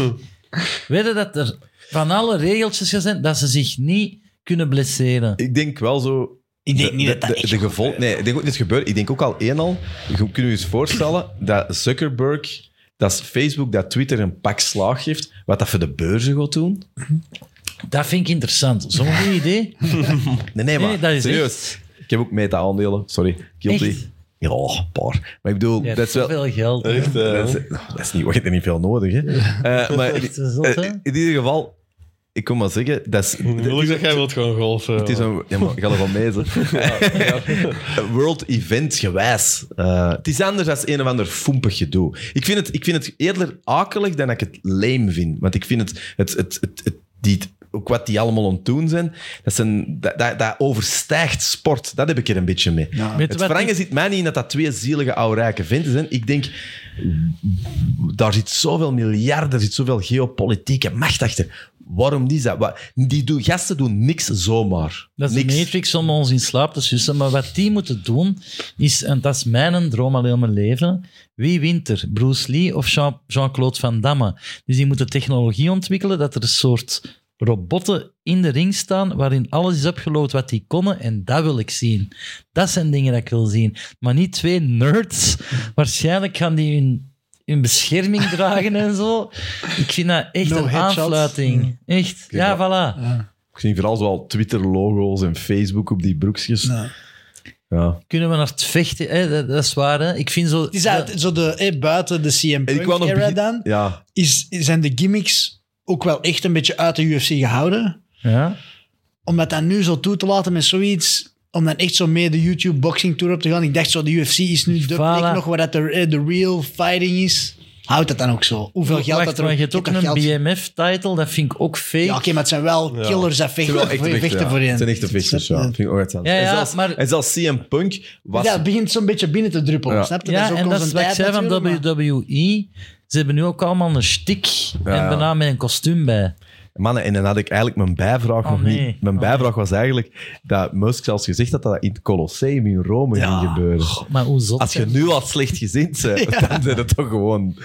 Speaker 2: wedden dat er van alle regeltjes gaan zijn dat ze zich niet kunnen blesseren.
Speaker 1: Ik denk wel zo
Speaker 3: Ik denk
Speaker 1: De-
Speaker 3: niet
Speaker 1: de,
Speaker 3: dat dat
Speaker 1: de,
Speaker 3: echt
Speaker 1: de
Speaker 3: gaat
Speaker 1: gevol- Nee, ik denk ook niet gebeurt. Ik denk ook al één al. Je- Kunnen we eens voorstellen dat Zuckerberg, dat is Facebook, dat Twitter een pak slaag geeft, wat dat voor de beurzen gaat doen?
Speaker 2: Dat vind ik interessant. Zo'n goed idee.
Speaker 1: Nee, nee, maar
Speaker 2: Nee, dat is
Speaker 1: serieus. Ik heb ook meta-aandelen, sorry. Guilty.
Speaker 2: Echt?
Speaker 1: Ja, een paar. Maar ik bedoel,
Speaker 2: Ja,
Speaker 1: dat is wel...
Speaker 2: Veel geld. hè.
Speaker 4: Echt, eh,
Speaker 1: Dat is, dat is niet, je hebt er niet veel nodig, hè. Eh, maar in,
Speaker 2: Echt, eh, zot, hè?
Speaker 1: eh, in ieder geval, ik kom maar zeggen, dat is...
Speaker 4: wil ik dat jij wilt gewoon golfen.
Speaker 1: Het is een... Ja, maar ga er wel mee, zeg. World event gewijs. Eh, het is anders dan een of ander foempig gedoe. Ik vind, het, ik vind het eerder akelig dan dat ik het lame vind. Want ik vind het... het, het, het, het- die, ook wat die allemaal aan het doen zijn, dat, zijn dat, dat, dat overstijgt sport. Dat heb ik er een beetje mee.
Speaker 2: Weet je
Speaker 1: Het
Speaker 2: wat
Speaker 1: verrangen
Speaker 2: ik-
Speaker 1: zit mij niet in dat dat twee zielige oude rijke venten zijn. Ik denk, daar zit zoveel miljard, daar zit zoveel geopolitieke macht achter. Waarom die dat? Wa- Die doen- gasten doen niks zomaar.
Speaker 2: Dat is
Speaker 1: niks.
Speaker 2: de Matrix om ons in slaap te sussen. Maar wat die moeten doen, is, en dat is mijn droom al heel mijn leven, wie wint er? Bruce Lee of Jean- Jean-Claude Van Damme? Dus die moeten technologie ontwikkelen dat er een soort robotten in de ring staan waarin alles is opgeload wat die konden en dat wil ik zien. Dat zijn dingen dat ik wil zien. Maar niet twee nerds. Waarschijnlijk gaan die hun, hun bescherming dragen en zo. Ik vind dat echt
Speaker 3: No
Speaker 2: een
Speaker 3: headshots. Mm.
Speaker 2: aanfluiting. Echt. Ja, voilà.
Speaker 1: Ik zie vooral zoal Twitter-logo's en Facebook op die broekjes.
Speaker 3: Nee.
Speaker 1: Ja.
Speaker 2: kunnen we naar het vechten. Hè? Dat, dat is waar. Hè? Ik vind zo.
Speaker 3: Het is uit, zo de, eh, buiten de CM
Speaker 1: En
Speaker 3: Punk era
Speaker 1: begin-
Speaker 3: dan,
Speaker 1: Ja.
Speaker 3: is, zijn de gimmicks ook wel echt een beetje uit de UFC gehouden.
Speaker 2: Ja.
Speaker 3: om dat dan nu zo toe te laten met zoiets, om dan echt zo mee de YouTube Boxing Tour op te gaan. Ik dacht zo, de UFC is nu de
Speaker 2: Voilà.
Speaker 3: plek nog waar dat de, eh, de real fighting is. Houd dat dan ook zo. Hoeveel
Speaker 2: Wacht,
Speaker 3: geld dat er
Speaker 2: maar je hebt ook
Speaker 3: toch
Speaker 2: een
Speaker 3: geld- Ja,
Speaker 2: BMF-titel. Dat vind ik ook fake.
Speaker 3: oké,
Speaker 2: Ja,
Speaker 3: maar het zijn wel
Speaker 4: Ja.
Speaker 3: killers dat
Speaker 1: Het
Speaker 3: vechten,
Speaker 1: zijn wel echte
Speaker 3: vechten,
Speaker 1: vechters, ja.
Speaker 3: voor je.
Speaker 1: Het zijn echte vechters, ja. Vind ik ook echt
Speaker 2: Ja, ja,
Speaker 1: en, zelfs,
Speaker 2: maar-
Speaker 1: en zelfs CM Punk was...
Speaker 3: Ja, het begint zo'n beetje binnen te druppelen,
Speaker 1: Ja.
Speaker 3: snap je? dat is ook
Speaker 2: en dat is wat ik zei van
Speaker 3: natuurlijk, maar-
Speaker 2: WWE. Ze hebben nu ook allemaal een stik en
Speaker 1: ja.
Speaker 2: daarna met een kostuum bij.
Speaker 1: Mannen, en dan had ik eigenlijk mijn bijvraag
Speaker 2: Oh,
Speaker 1: nog
Speaker 2: nee.
Speaker 1: niet. Mijn
Speaker 2: Oh,
Speaker 1: bijvraag was eigenlijk dat Musk zelfs gezegd had dat dat in het Colosseum in Rome
Speaker 3: Ja.
Speaker 1: ging gebeuren.
Speaker 2: Maar hoe zot.
Speaker 1: Als je
Speaker 2: hè?
Speaker 1: nu al slecht gezind bent, dan zijn het toch gewoon...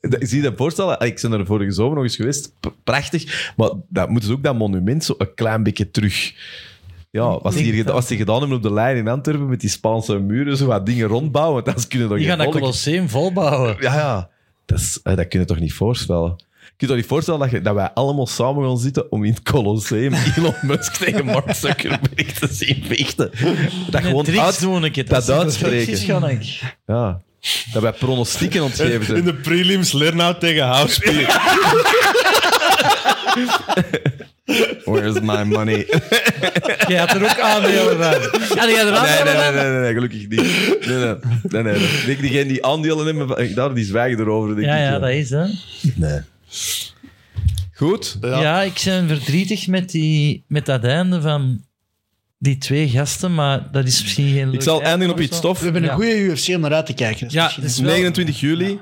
Speaker 1: Dat- Zie je dat voorstellen? Ah, Ik ben er vorige zomer nog eens geweest. P- Prachtig. Maar dat moeten ze ook dat monument zo een klein beetje terug... Ja, wat ze, hier, geda- wat ze gedaan hebben op de lijn in Antwerpen met die Spaanse muren, zo wat dingen rondbouwen, dat kunnen toch
Speaker 2: Die gaan
Speaker 1: geen
Speaker 2: dat
Speaker 1: volk-
Speaker 2: Colosseum volbouwen.
Speaker 1: Ja, ja. Dat, is, eh, dat kun je toch niet voorstellen? Je kunt toch niet voorstellen dat, je, dat wij allemaal samen gaan zitten om in het Colosseum Elon Musk tegen Mark Zuckerberg te zien vechten. Dat
Speaker 2: Met
Speaker 1: gewoon
Speaker 2: tricks
Speaker 1: uit,
Speaker 2: doen ik het.
Speaker 1: dat
Speaker 2: is-
Speaker 1: uitspreken.
Speaker 2: tricks ga ik.
Speaker 1: ja, dat wij pronostieken ontgeven
Speaker 4: In
Speaker 1: zijn.
Speaker 4: de prelims, Lernout tegen Housepeer.
Speaker 1: Where's my money?
Speaker 2: Jij had er ook aandelen van. Ja, die had er
Speaker 1: Ah, Nee, nee, nee,
Speaker 2: aandelen van.
Speaker 1: nee, nee, nee, gelukkig niet. Nee, nee, nee, nee. Ik denk diegenen die aandelen hebben, van- daar, die zwijgen erover. Denk
Speaker 2: Ja,
Speaker 1: ik,
Speaker 2: ja, dat is hè.
Speaker 1: Nee. Goed.
Speaker 2: Ja, ik ben verdrietig met, die, met dat einde van die twee gasten, maar dat is misschien geen
Speaker 1: Ik
Speaker 2: leuk
Speaker 1: zal
Speaker 2: item
Speaker 1: eindigen op
Speaker 2: of
Speaker 1: iets
Speaker 2: zo.
Speaker 1: tof.
Speaker 3: We hebben een
Speaker 2: Ja.
Speaker 3: goede UFC om naar uit te kijken. Dus
Speaker 2: Ja,
Speaker 3: misschien-
Speaker 2: het is wel-
Speaker 1: 29 juli,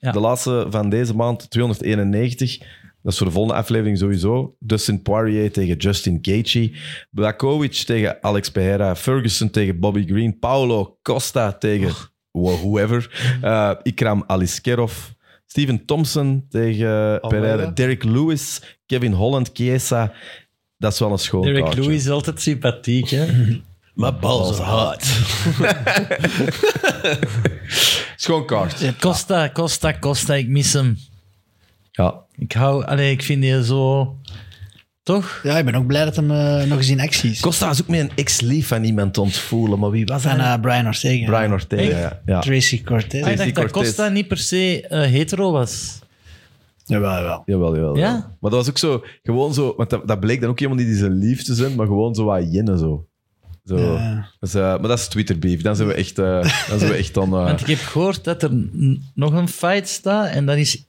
Speaker 2: Ja.
Speaker 1: de laatste van deze maand, 291. Dat is voor de volgende aflevering sowieso. Dustin Poirier tegen Justin Gaethje. Blakovic tegen Alex Pereira. Ferguson tegen Bobby Green. Paulo Costa tegen wh- whoever. Eh, Ikram Aliskerov. Steven Thompson tegen Pereira. Derek Lewis. Kevin Holland. Chiesa. Dat is wel een schoon
Speaker 2: Derek
Speaker 1: kaartje.
Speaker 2: Lewis is altijd sympathiek, hè?
Speaker 4: Maar balls are hot.
Speaker 1: Schoon kaart.
Speaker 2: Costa, Costa, Costa, ik mis hem.
Speaker 1: Ja.
Speaker 2: Ik hou, allee, ik vind die zo. Toch?
Speaker 3: Ja, ik ben ook blij dat hem eh, nog eens in actie is.
Speaker 1: Costa is ook met een ex-lief van iemand ontvoelen. Maar wie was dat?
Speaker 3: Van eh, Brian Ortega.
Speaker 1: Brian Ortega.
Speaker 2: Echt?
Speaker 1: ja. Ja.
Speaker 3: Tracy Cortez.
Speaker 2: Ah, ik dacht dat
Speaker 1: Cortez.
Speaker 2: Costa niet per se eh, hetero was.
Speaker 3: Jawel, jawel.
Speaker 1: Jawel, jawel.
Speaker 2: Ja?
Speaker 1: jawel. Maar dat was ook zo, gewoon zo, want dat, dat bleek dan ook iemand die zijn lief te zijn, maar gewoon zo wat jennen zo. zo.
Speaker 3: Ja.
Speaker 1: Dus, eh, maar dat is Twitter beef, dan zijn we echt, eh, dan zijn we echt dan... eh,
Speaker 2: Want ik heb gehoord dat er n- nog een fight staat en dat is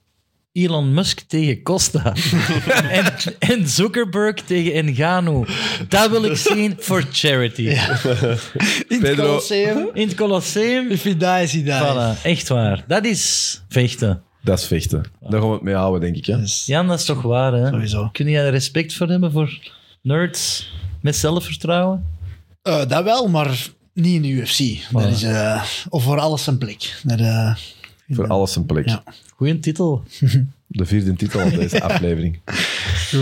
Speaker 2: Elon Musk tegen Costa. en, en Zuckerberg tegen Engano. Dat wil ik zien voor charity.
Speaker 3: In het
Speaker 1: Pedro-
Speaker 3: Colosseum.
Speaker 2: In het Colosseum.
Speaker 3: If he dies, he dies.
Speaker 2: Voilà, echt waar. Dat is vechten.
Speaker 1: dat is vechten. Daar gaan we het mee houden, denk ik. Hè?
Speaker 3: Dus-
Speaker 2: Jan, dat is toch waar, hè?
Speaker 3: Sowieso.
Speaker 2: Kun je daar respect voor hebben, voor nerds met zelfvertrouwen?
Speaker 3: Eh, dat wel, maar niet in de UFC. Dat is, eh, of voor alles een plek. Dat, eh,
Speaker 1: Voor alles een plek.
Speaker 3: Ja.
Speaker 2: Goeie titel.
Speaker 1: De vierde titel van deze aflevering.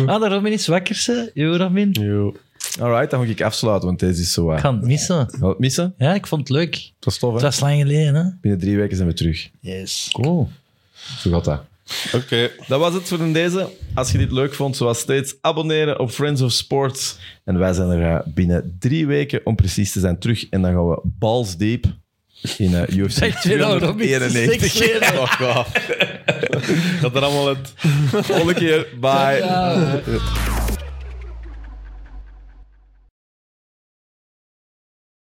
Speaker 2: Ah, de Robin is wakker, hè? Jo, Robin. Ik
Speaker 4: Yo.
Speaker 1: Alright, dan ga ik afsluiten, want deze is zo... eh,
Speaker 2: ga het missen.
Speaker 1: Gaan we het missen?
Speaker 2: Ja, ik vond het leuk.
Speaker 1: Het was tof,
Speaker 2: Het
Speaker 1: hè?
Speaker 2: was lang geleden, hè?
Speaker 1: Binnen drie weken zijn we terug.
Speaker 3: yes.
Speaker 2: Cool.
Speaker 1: Zo gaat dat.
Speaker 4: Oké.
Speaker 1: Dat was het voor in deze. Als je dit leuk vond, zoals steeds, abonneren op Friends of Sports. En wij zijn er eh, binnen drie weken, om precies te zijn, terug. En dan gaan we balls deep in eh, UFC
Speaker 2: Zeg je nou, Robin, het is
Speaker 1: 291.
Speaker 2: niks meer.
Speaker 1: Fuck off.
Speaker 4: Gaat er allemaal uit.
Speaker 1: Volgende keer. Bye.
Speaker 2: Ja.